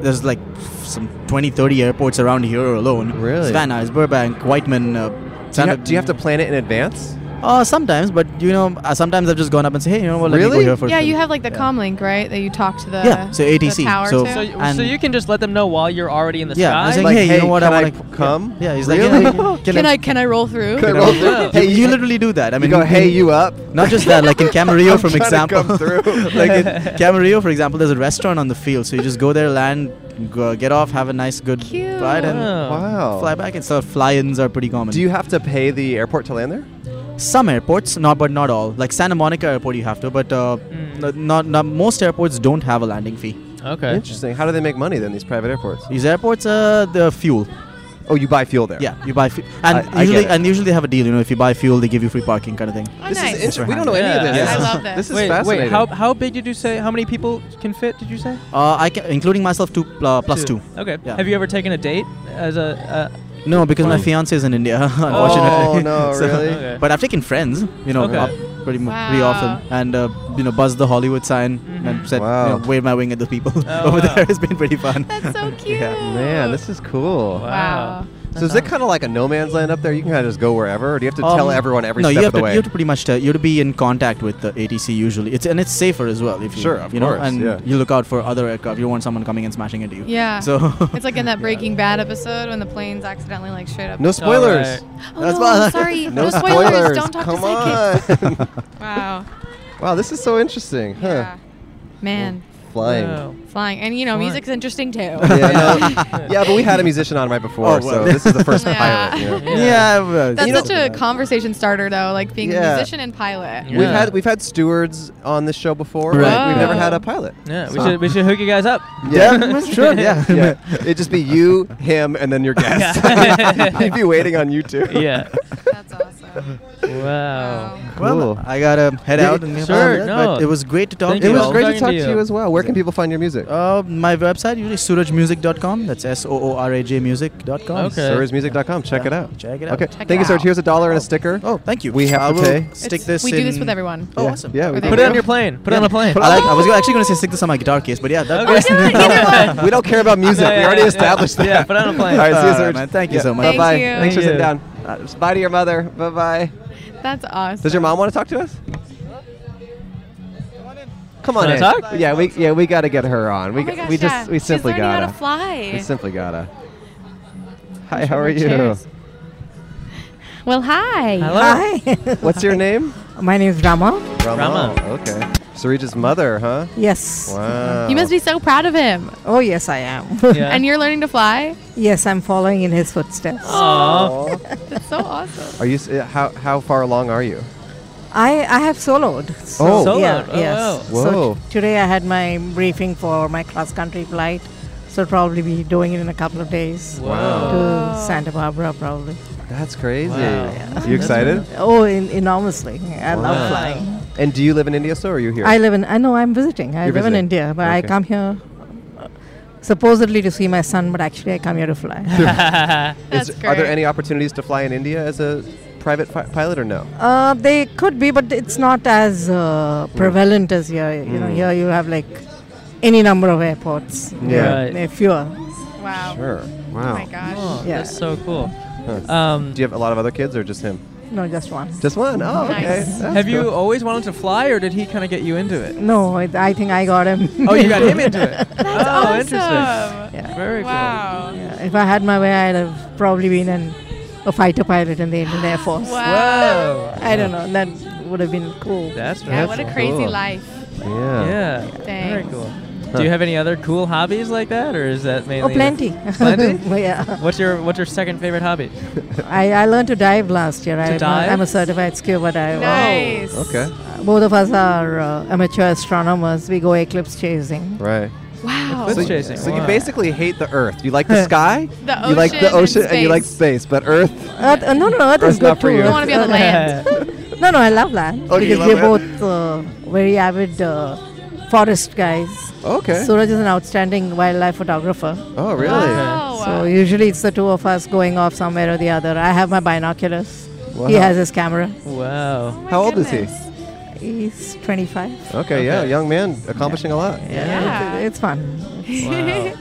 [SPEAKER 8] there's like some 20, 30 airports around here alone.
[SPEAKER 2] Really?
[SPEAKER 8] Van Nuys, Burbank, Whiteman. Uh,
[SPEAKER 2] Do you,
[SPEAKER 8] Santa-
[SPEAKER 2] have, do you have to plan it in advance?
[SPEAKER 8] Uh, sometimes, but you know, uh, sometimes I've just gone up and say, hey, you know what? Let me
[SPEAKER 2] Really?
[SPEAKER 8] go here for
[SPEAKER 5] yeah,
[SPEAKER 8] the-
[SPEAKER 5] you have like the
[SPEAKER 8] yeah.
[SPEAKER 5] comlink, right? That you talk to the
[SPEAKER 8] Yeah, so ATC,
[SPEAKER 5] The tower
[SPEAKER 8] so-
[SPEAKER 5] to?
[SPEAKER 1] So, so
[SPEAKER 8] And-
[SPEAKER 1] you can just let them know while you're already in the
[SPEAKER 8] Yeah, I
[SPEAKER 1] sky.
[SPEAKER 8] was saying,
[SPEAKER 2] Like,
[SPEAKER 8] hey, you
[SPEAKER 2] hey,
[SPEAKER 8] know what?
[SPEAKER 2] can I
[SPEAKER 8] I want
[SPEAKER 2] p-
[SPEAKER 8] to
[SPEAKER 2] come?
[SPEAKER 8] Yeah, he's
[SPEAKER 2] Really?
[SPEAKER 8] like, yeah,
[SPEAKER 5] can I can I roll through?
[SPEAKER 2] Could
[SPEAKER 8] [LAUGHS]
[SPEAKER 2] I
[SPEAKER 8] Yeah.
[SPEAKER 2] roll through?
[SPEAKER 8] You,
[SPEAKER 2] Hey,
[SPEAKER 8] you literally do that. I
[SPEAKER 2] I
[SPEAKER 8] mean,
[SPEAKER 2] mean, go, hey, you up?
[SPEAKER 8] Not just that, like in Camarillo,
[SPEAKER 2] [LAUGHS] I'm
[SPEAKER 8] from
[SPEAKER 2] trying to
[SPEAKER 8] example.
[SPEAKER 2] come through.
[SPEAKER 8] [LAUGHS] like in Camarillo, for example, there's a restaurant on the field, so you just go there, land, go, get off, have a nice good
[SPEAKER 5] Cute.
[SPEAKER 8] ride, and
[SPEAKER 1] Wow.
[SPEAKER 2] Wow.
[SPEAKER 8] fly back. And so fly-ins are pretty common.
[SPEAKER 2] Do you have to pay the airport to land there?
[SPEAKER 8] Some airports, not but not all. Like Santa Monica Airport, you have to, but uh,
[SPEAKER 1] Mm.
[SPEAKER 8] n- not, not most airports don't have a landing fee.
[SPEAKER 1] okay.
[SPEAKER 2] Interesting. How do they make money then? These private airports?
[SPEAKER 8] These airports, uh, the fuel.
[SPEAKER 2] Oh, you buy fuel there.
[SPEAKER 8] Yeah, you buy fuel, and
[SPEAKER 2] I- I get
[SPEAKER 8] usually
[SPEAKER 2] it.
[SPEAKER 8] and usually they have a deal. You know, if you buy fuel, they give you free parking, kind of thing.
[SPEAKER 5] Oh,
[SPEAKER 2] This
[SPEAKER 5] nice.
[SPEAKER 2] is interesting. We don't know
[SPEAKER 1] Yeah.
[SPEAKER 2] any of this.
[SPEAKER 1] Yeah.
[SPEAKER 2] This
[SPEAKER 1] I
[SPEAKER 2] is-
[SPEAKER 5] love this.
[SPEAKER 2] This is
[SPEAKER 1] wait,
[SPEAKER 2] fascinating.
[SPEAKER 1] wait. How how big did you say? How many people can fit? Did you say?
[SPEAKER 8] Uh, I can, including myself, two pl- plus two.
[SPEAKER 1] Okay.
[SPEAKER 8] Yeah.
[SPEAKER 1] Have you ever taken a date as a? Uh,
[SPEAKER 8] No, because my
[SPEAKER 9] Fun.
[SPEAKER 8] fiance is in India, [LAUGHS]
[SPEAKER 2] oh
[SPEAKER 8] unfortunately.
[SPEAKER 2] no,
[SPEAKER 8] [LAUGHS] So-
[SPEAKER 2] really?
[SPEAKER 1] okay.
[SPEAKER 8] But I've taken friends, you know,
[SPEAKER 1] Okay.
[SPEAKER 8] up pretty, mu- pretty
[SPEAKER 5] Wow.
[SPEAKER 8] often, and uh, you know, buzzed the Hollywood sign and said,
[SPEAKER 2] Mm-hmm. Wow.
[SPEAKER 8] you know, wave my wing at the people [LAUGHS]
[SPEAKER 1] Oh,
[SPEAKER 8] over
[SPEAKER 1] wow.
[SPEAKER 8] there. It's been pretty fun.
[SPEAKER 5] That's
[SPEAKER 8] [LAUGHS]
[SPEAKER 5] so cute.
[SPEAKER 2] Man, this is cool.
[SPEAKER 5] wow.
[SPEAKER 2] So is it kind of like a no man's land up there? You can kind of just go wherever, or do you have to tell
[SPEAKER 8] Um,
[SPEAKER 2] everyone every
[SPEAKER 8] no, you
[SPEAKER 2] step of
[SPEAKER 8] have
[SPEAKER 2] the
[SPEAKER 8] to,
[SPEAKER 2] way?
[SPEAKER 8] You have to pretty much tell, you have to be in contact with the ATC usually. It's and it's safer as well. If you,
[SPEAKER 2] Sure, of
[SPEAKER 8] you know,
[SPEAKER 2] course,
[SPEAKER 8] and
[SPEAKER 2] yeah.
[SPEAKER 8] you look out for other aircraft. You don't want someone coming and smashing into you.
[SPEAKER 5] Yeah.
[SPEAKER 8] So [LAUGHS]
[SPEAKER 5] It's like in that Breaking Bad episode when the plane's accidentally like straight up.
[SPEAKER 2] no spoilers.
[SPEAKER 5] oh,
[SPEAKER 8] that's
[SPEAKER 5] no,
[SPEAKER 8] why- [LAUGHS]
[SPEAKER 5] sorry.
[SPEAKER 2] [LAUGHS] No,
[SPEAKER 5] No, spoilers.
[SPEAKER 2] spoilers.
[SPEAKER 5] Don't talk
[SPEAKER 2] Come
[SPEAKER 5] to sidekicks.
[SPEAKER 2] on. [LAUGHS]
[SPEAKER 5] Wow.
[SPEAKER 2] wow, this is so interesting. Huh.
[SPEAKER 5] Yeah. Man,
[SPEAKER 2] Flying.
[SPEAKER 5] flying. And you know,
[SPEAKER 1] Flying.
[SPEAKER 5] music's interesting too.
[SPEAKER 2] [LAUGHS] Yeah,
[SPEAKER 8] [LAUGHS]
[SPEAKER 2] no- yeah, but we had a musician on right before,
[SPEAKER 8] Oh, well.
[SPEAKER 2] so this is the
[SPEAKER 5] [LAUGHS]
[SPEAKER 2] first
[SPEAKER 5] Yeah.
[SPEAKER 2] pilot. You know?
[SPEAKER 1] Yeah.
[SPEAKER 8] yeah, well,
[SPEAKER 5] That's
[SPEAKER 8] you know-
[SPEAKER 5] such a conversation starter though, like being
[SPEAKER 2] Yeah.
[SPEAKER 5] a musician and pilot.
[SPEAKER 1] Yeah.
[SPEAKER 2] We've had we've had stewards on this show before,
[SPEAKER 8] Right.
[SPEAKER 2] but we've never
[SPEAKER 5] Wow.
[SPEAKER 2] had a pilot.
[SPEAKER 1] Yeah, we
[SPEAKER 2] So-
[SPEAKER 1] should we should hook you guys up.
[SPEAKER 2] [LAUGHS] Yeah.
[SPEAKER 8] sure,
[SPEAKER 1] [LAUGHS]
[SPEAKER 8] yeah.
[SPEAKER 2] yeah. It'd just be you, him, and then your guest.
[SPEAKER 1] [LAUGHS]
[SPEAKER 2] [LAUGHS]
[SPEAKER 1] Yeah.
[SPEAKER 2] You'd be waiting on you two. [LAUGHS]
[SPEAKER 1] Yeah.
[SPEAKER 5] That's awesome.
[SPEAKER 1] wow.
[SPEAKER 5] Wow.
[SPEAKER 2] Cool.
[SPEAKER 8] Well, I gotta head
[SPEAKER 2] Yeah,
[SPEAKER 8] out. And
[SPEAKER 1] sure, no.
[SPEAKER 8] But it was great to talk
[SPEAKER 1] Thank
[SPEAKER 8] to
[SPEAKER 2] It
[SPEAKER 1] you.
[SPEAKER 8] you.
[SPEAKER 2] was
[SPEAKER 8] all.
[SPEAKER 2] great to
[SPEAKER 1] Talking
[SPEAKER 2] talk
[SPEAKER 1] to
[SPEAKER 2] to
[SPEAKER 1] you.
[SPEAKER 2] you as well. Where can people find your music?
[SPEAKER 8] Uh, my website usually surajmusic.com. That's S O O R A J music.com.
[SPEAKER 1] Okay.
[SPEAKER 2] Surgersmusic.com. Check it out.
[SPEAKER 8] Check it out.
[SPEAKER 2] Okay.
[SPEAKER 5] Check
[SPEAKER 2] Thank
[SPEAKER 5] it
[SPEAKER 2] you, Serge.
[SPEAKER 5] out.
[SPEAKER 2] Here's a dollar and a sticker.
[SPEAKER 8] Oh, thank you.
[SPEAKER 2] We have
[SPEAKER 8] I
[SPEAKER 2] to
[SPEAKER 8] will
[SPEAKER 2] pay.
[SPEAKER 8] Stick
[SPEAKER 5] It's-
[SPEAKER 8] this.
[SPEAKER 5] we do this
[SPEAKER 8] in-
[SPEAKER 5] with everyone.
[SPEAKER 8] Oh,
[SPEAKER 2] Yeah.
[SPEAKER 8] awesome.
[SPEAKER 2] Yeah, we
[SPEAKER 5] Or
[SPEAKER 2] can
[SPEAKER 5] they
[SPEAKER 1] Put
[SPEAKER 2] do
[SPEAKER 1] it on your plane. Put it on a plane.
[SPEAKER 8] I, like, I was
[SPEAKER 2] [LAUGHS]
[SPEAKER 8] actually going to say stick this on my guitar case, but yeah, that
[SPEAKER 1] Okay. [LAUGHS]
[SPEAKER 8] works.
[SPEAKER 5] Either
[SPEAKER 8] [LAUGHS]
[SPEAKER 5] one.
[SPEAKER 2] We don't care about music. we already
[SPEAKER 1] yeah,
[SPEAKER 2] established
[SPEAKER 1] yeah.
[SPEAKER 2] that.
[SPEAKER 1] Yeah, put it on a plane.
[SPEAKER 2] All right, see you,
[SPEAKER 8] All right,
[SPEAKER 2] Serge.
[SPEAKER 8] man. Thank you so much.
[SPEAKER 2] Bye bye.
[SPEAKER 5] Thank you.
[SPEAKER 2] Thanks for
[SPEAKER 1] Thank you.
[SPEAKER 2] sitting down. Uh, just bye to your mother. Bye bye.
[SPEAKER 5] That's awesome.
[SPEAKER 2] Does your mom want to talk to us? Come on
[SPEAKER 1] Wanna
[SPEAKER 2] in.
[SPEAKER 1] talk?
[SPEAKER 2] Yeah, we yeah we got to get her on. We
[SPEAKER 5] Oh my
[SPEAKER 2] g-
[SPEAKER 5] gosh,
[SPEAKER 2] we just
[SPEAKER 5] yeah.
[SPEAKER 2] we simply
[SPEAKER 5] She's learning
[SPEAKER 2] gotta.
[SPEAKER 5] how to fly.
[SPEAKER 2] We simply gotta. Hi,
[SPEAKER 5] She's
[SPEAKER 2] how are
[SPEAKER 5] learning
[SPEAKER 2] you?
[SPEAKER 5] chairs. Well, hi.
[SPEAKER 1] Hello.
[SPEAKER 2] [LAUGHS] What's your name?
[SPEAKER 10] My name is Rama.
[SPEAKER 2] Rama.
[SPEAKER 1] Rama.
[SPEAKER 2] Okay. Sarij's mother, huh?
[SPEAKER 10] Yes.
[SPEAKER 2] Wow.
[SPEAKER 5] You must be so proud of him.
[SPEAKER 10] Oh, yes, I am.
[SPEAKER 1] Yeah.
[SPEAKER 5] [LAUGHS] And you're learning to fly?
[SPEAKER 10] yes, I'm following in his footsteps.
[SPEAKER 1] Aw.
[SPEAKER 2] Aw.
[SPEAKER 5] [LAUGHS] That's so awesome.
[SPEAKER 2] Are you? s- uh, How how far along are you?
[SPEAKER 10] I, I have soloed. So,
[SPEAKER 2] Oh.
[SPEAKER 1] Soloed.
[SPEAKER 10] Yeah,
[SPEAKER 1] Oh,
[SPEAKER 10] yes.
[SPEAKER 2] wow.
[SPEAKER 10] So
[SPEAKER 2] Whoa.
[SPEAKER 10] t- today I had my briefing for my cross country flight. So I'll probably be doing it in a couple of days
[SPEAKER 1] Wow.
[SPEAKER 10] to Santa Barbara, probably.
[SPEAKER 2] That's crazy.
[SPEAKER 1] Wow.
[SPEAKER 2] You excited?
[SPEAKER 10] Oh, in, enormously. I
[SPEAKER 2] Wow.
[SPEAKER 10] love flying.
[SPEAKER 2] And do you live in India still, or are you here?
[SPEAKER 10] I
[SPEAKER 2] [LAUGHS]
[SPEAKER 10] [LAUGHS] live in. I know I'm visiting. I
[SPEAKER 2] You're
[SPEAKER 10] live
[SPEAKER 2] visiting.
[SPEAKER 10] in India, but I
[SPEAKER 2] Okay.
[SPEAKER 10] come here uh, supposedly to see my son, but actually I come here to fly.
[SPEAKER 1] Wow.
[SPEAKER 2] Is-
[SPEAKER 5] That's
[SPEAKER 2] Are there
[SPEAKER 5] great.
[SPEAKER 2] any opportunities to fly in India as a private fi- pilot or no?
[SPEAKER 10] [LAUGHS] Uh, they could be, but it's not as uh, prevalent as here. You know,
[SPEAKER 2] Mm.
[SPEAKER 1] Hmm.
[SPEAKER 10] here you have like any number of airports.
[SPEAKER 2] Yeah.
[SPEAKER 1] Right.
[SPEAKER 10] Uh, Fewer.
[SPEAKER 5] Wow.
[SPEAKER 2] Sure. Wow.
[SPEAKER 5] Oh my gosh.
[SPEAKER 1] Oh,
[SPEAKER 10] Yeah.
[SPEAKER 1] That's so cool.
[SPEAKER 2] Huh.
[SPEAKER 1] Um,
[SPEAKER 2] Do you have a lot of other kids or just him?
[SPEAKER 10] No, just one.
[SPEAKER 2] Just one. Oh,
[SPEAKER 5] Nice.
[SPEAKER 2] okay. That's
[SPEAKER 1] have you
[SPEAKER 2] cool.
[SPEAKER 1] always wanted to fly, or did he kind of get you into it?
[SPEAKER 10] No, I, I think I got him.
[SPEAKER 1] [LAUGHS] Oh, you got him
[SPEAKER 10] [LAUGHS]
[SPEAKER 1] into it. oh, interesting.
[SPEAKER 5] Awesome.
[SPEAKER 10] Yeah.
[SPEAKER 1] Um, Very
[SPEAKER 5] Wow.
[SPEAKER 10] Yeah, If I had my way, I'd have probably been an, a fighter pilot in the Indian Air Force.
[SPEAKER 1] cool.
[SPEAKER 5] Wow.
[SPEAKER 1] Wow.
[SPEAKER 10] I don't know. That would have been cool.
[SPEAKER 1] That's right.
[SPEAKER 5] Yeah, what a crazy
[SPEAKER 2] cool.
[SPEAKER 5] life.
[SPEAKER 2] Yeah.
[SPEAKER 1] Yeah. Very
[SPEAKER 5] Thanks.
[SPEAKER 1] cool. Do you have any other cool hobbies like that, or is that
[SPEAKER 10] Oh,
[SPEAKER 1] mainly?
[SPEAKER 10] plenty. [LAUGHS]
[SPEAKER 1] Plenty?
[SPEAKER 10] yeah.
[SPEAKER 1] What's your What's your second favorite
[SPEAKER 5] [LAUGHS]
[SPEAKER 2] [LAUGHS]
[SPEAKER 1] hobby?
[SPEAKER 10] I, I learned to dive last year. I'm, a-
[SPEAKER 1] dive?
[SPEAKER 10] I'm a certified scuba diver.
[SPEAKER 5] Nice.
[SPEAKER 1] Oh,
[SPEAKER 2] Okay.
[SPEAKER 10] Both of us are uh, amateur astronomers. We go eclipse chasing.
[SPEAKER 2] Right.
[SPEAKER 5] Wow.
[SPEAKER 1] Eclipse Oh. chasing.
[SPEAKER 2] So you
[SPEAKER 1] Wow.
[SPEAKER 2] basically hate the Earth. You
[SPEAKER 1] [LAUGHS]
[SPEAKER 2] like the sky.
[SPEAKER 5] The
[SPEAKER 2] you like the
[SPEAKER 5] ocean
[SPEAKER 2] ocean
[SPEAKER 5] and
[SPEAKER 2] and you like
[SPEAKER 5] space.
[SPEAKER 2] space, but Earth.
[SPEAKER 10] Earth, uh, no, no, Earth
[SPEAKER 2] Earth
[SPEAKER 10] is good
[SPEAKER 2] not for
[SPEAKER 10] too.
[SPEAKER 2] you.
[SPEAKER 5] Don't want to be on the land.
[SPEAKER 10] No, no, I love land
[SPEAKER 2] Okay, Oh, you
[SPEAKER 10] because
[SPEAKER 2] love
[SPEAKER 10] we're
[SPEAKER 2] land.
[SPEAKER 10] both uh, very avid uh, forest guys.
[SPEAKER 2] Okay.
[SPEAKER 10] Suraj is an outstanding wildlife photographer.
[SPEAKER 2] oh, really?
[SPEAKER 5] Wow.
[SPEAKER 10] So usually it's the two of us going off somewhere or the other. I have my binoculars. He
[SPEAKER 2] Wow.
[SPEAKER 10] has his camera.
[SPEAKER 1] [LAUGHS]
[SPEAKER 5] Oh
[SPEAKER 1] wow.
[SPEAKER 2] How old is he?
[SPEAKER 10] He's 25.
[SPEAKER 2] Okay, Yeah. Young man, accomplishing a lot.
[SPEAKER 10] Yeah,
[SPEAKER 5] Yeah.
[SPEAKER 10] It's, it's fun.
[SPEAKER 1] Wow.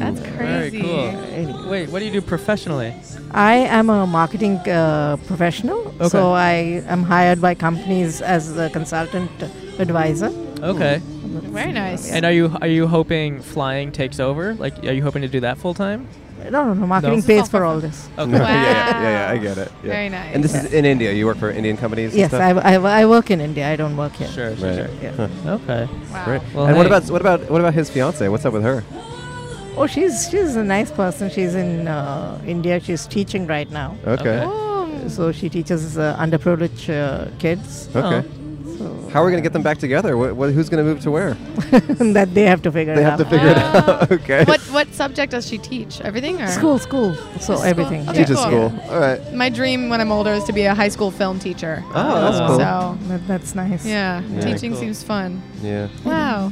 [SPEAKER 5] That's crazy.
[SPEAKER 1] Very cool. Wait, what do you do professionally?
[SPEAKER 10] I am a marketing uh, professional,
[SPEAKER 1] Okay.
[SPEAKER 10] so I am hired by companies as a consultant advisor.
[SPEAKER 1] Okay.
[SPEAKER 5] Very nice.
[SPEAKER 1] And are you are you hoping flying takes over? Like, are you hoping to do that full time?
[SPEAKER 10] No, no, no. Marketing
[SPEAKER 1] No.
[SPEAKER 10] pays for all this.
[SPEAKER 5] Wow.
[SPEAKER 1] Okay.
[SPEAKER 2] [LAUGHS] yeah, yeah, yeah, yeah, I get it. Yeah.
[SPEAKER 5] Very nice.
[SPEAKER 2] And this is in India. You work for Indian companies.
[SPEAKER 10] Yes,
[SPEAKER 2] and stuff?
[SPEAKER 10] I, I, I work in India. I don't work here.
[SPEAKER 1] Sure. sure,
[SPEAKER 2] Right.
[SPEAKER 1] sure.
[SPEAKER 10] Yeah.
[SPEAKER 1] Okay.
[SPEAKER 5] wow.
[SPEAKER 2] Right.
[SPEAKER 1] Well,
[SPEAKER 2] and what
[SPEAKER 1] hey.
[SPEAKER 2] about what about what about his fiance? What's up with her?
[SPEAKER 10] Oh, she's she's a nice person. She's in uh, India. She's teaching right now. Oh.
[SPEAKER 2] Okay.
[SPEAKER 1] Okay.
[SPEAKER 10] So she teaches uh, underprivileged uh, kids.
[SPEAKER 5] Oh.
[SPEAKER 2] Okay.
[SPEAKER 1] Uh-huh.
[SPEAKER 10] So
[SPEAKER 2] How are we gonna get them back together? What, what, who's gonna move to
[SPEAKER 5] [LAUGHS]
[SPEAKER 2] where?
[SPEAKER 10] that they have to figure
[SPEAKER 2] They
[SPEAKER 10] it
[SPEAKER 2] have
[SPEAKER 10] out.
[SPEAKER 2] to figure it out. [LAUGHS]
[SPEAKER 5] Uh,
[SPEAKER 2] okay.
[SPEAKER 5] What what subject does she teach? Everything or
[SPEAKER 10] school, school. So
[SPEAKER 5] School.
[SPEAKER 10] everything.
[SPEAKER 5] Okay,
[SPEAKER 2] Teaches
[SPEAKER 5] cool.
[SPEAKER 2] school. All right.
[SPEAKER 5] My dream when I'm older is to be a high school film teacher.
[SPEAKER 2] Oh, that's
[SPEAKER 1] Oh.
[SPEAKER 2] cool.
[SPEAKER 5] So
[SPEAKER 10] That, that's nice.
[SPEAKER 5] yeah,
[SPEAKER 2] Yeah.
[SPEAKER 5] teaching
[SPEAKER 1] Cool.
[SPEAKER 5] seems fun.
[SPEAKER 2] Yeah.
[SPEAKER 5] Wow.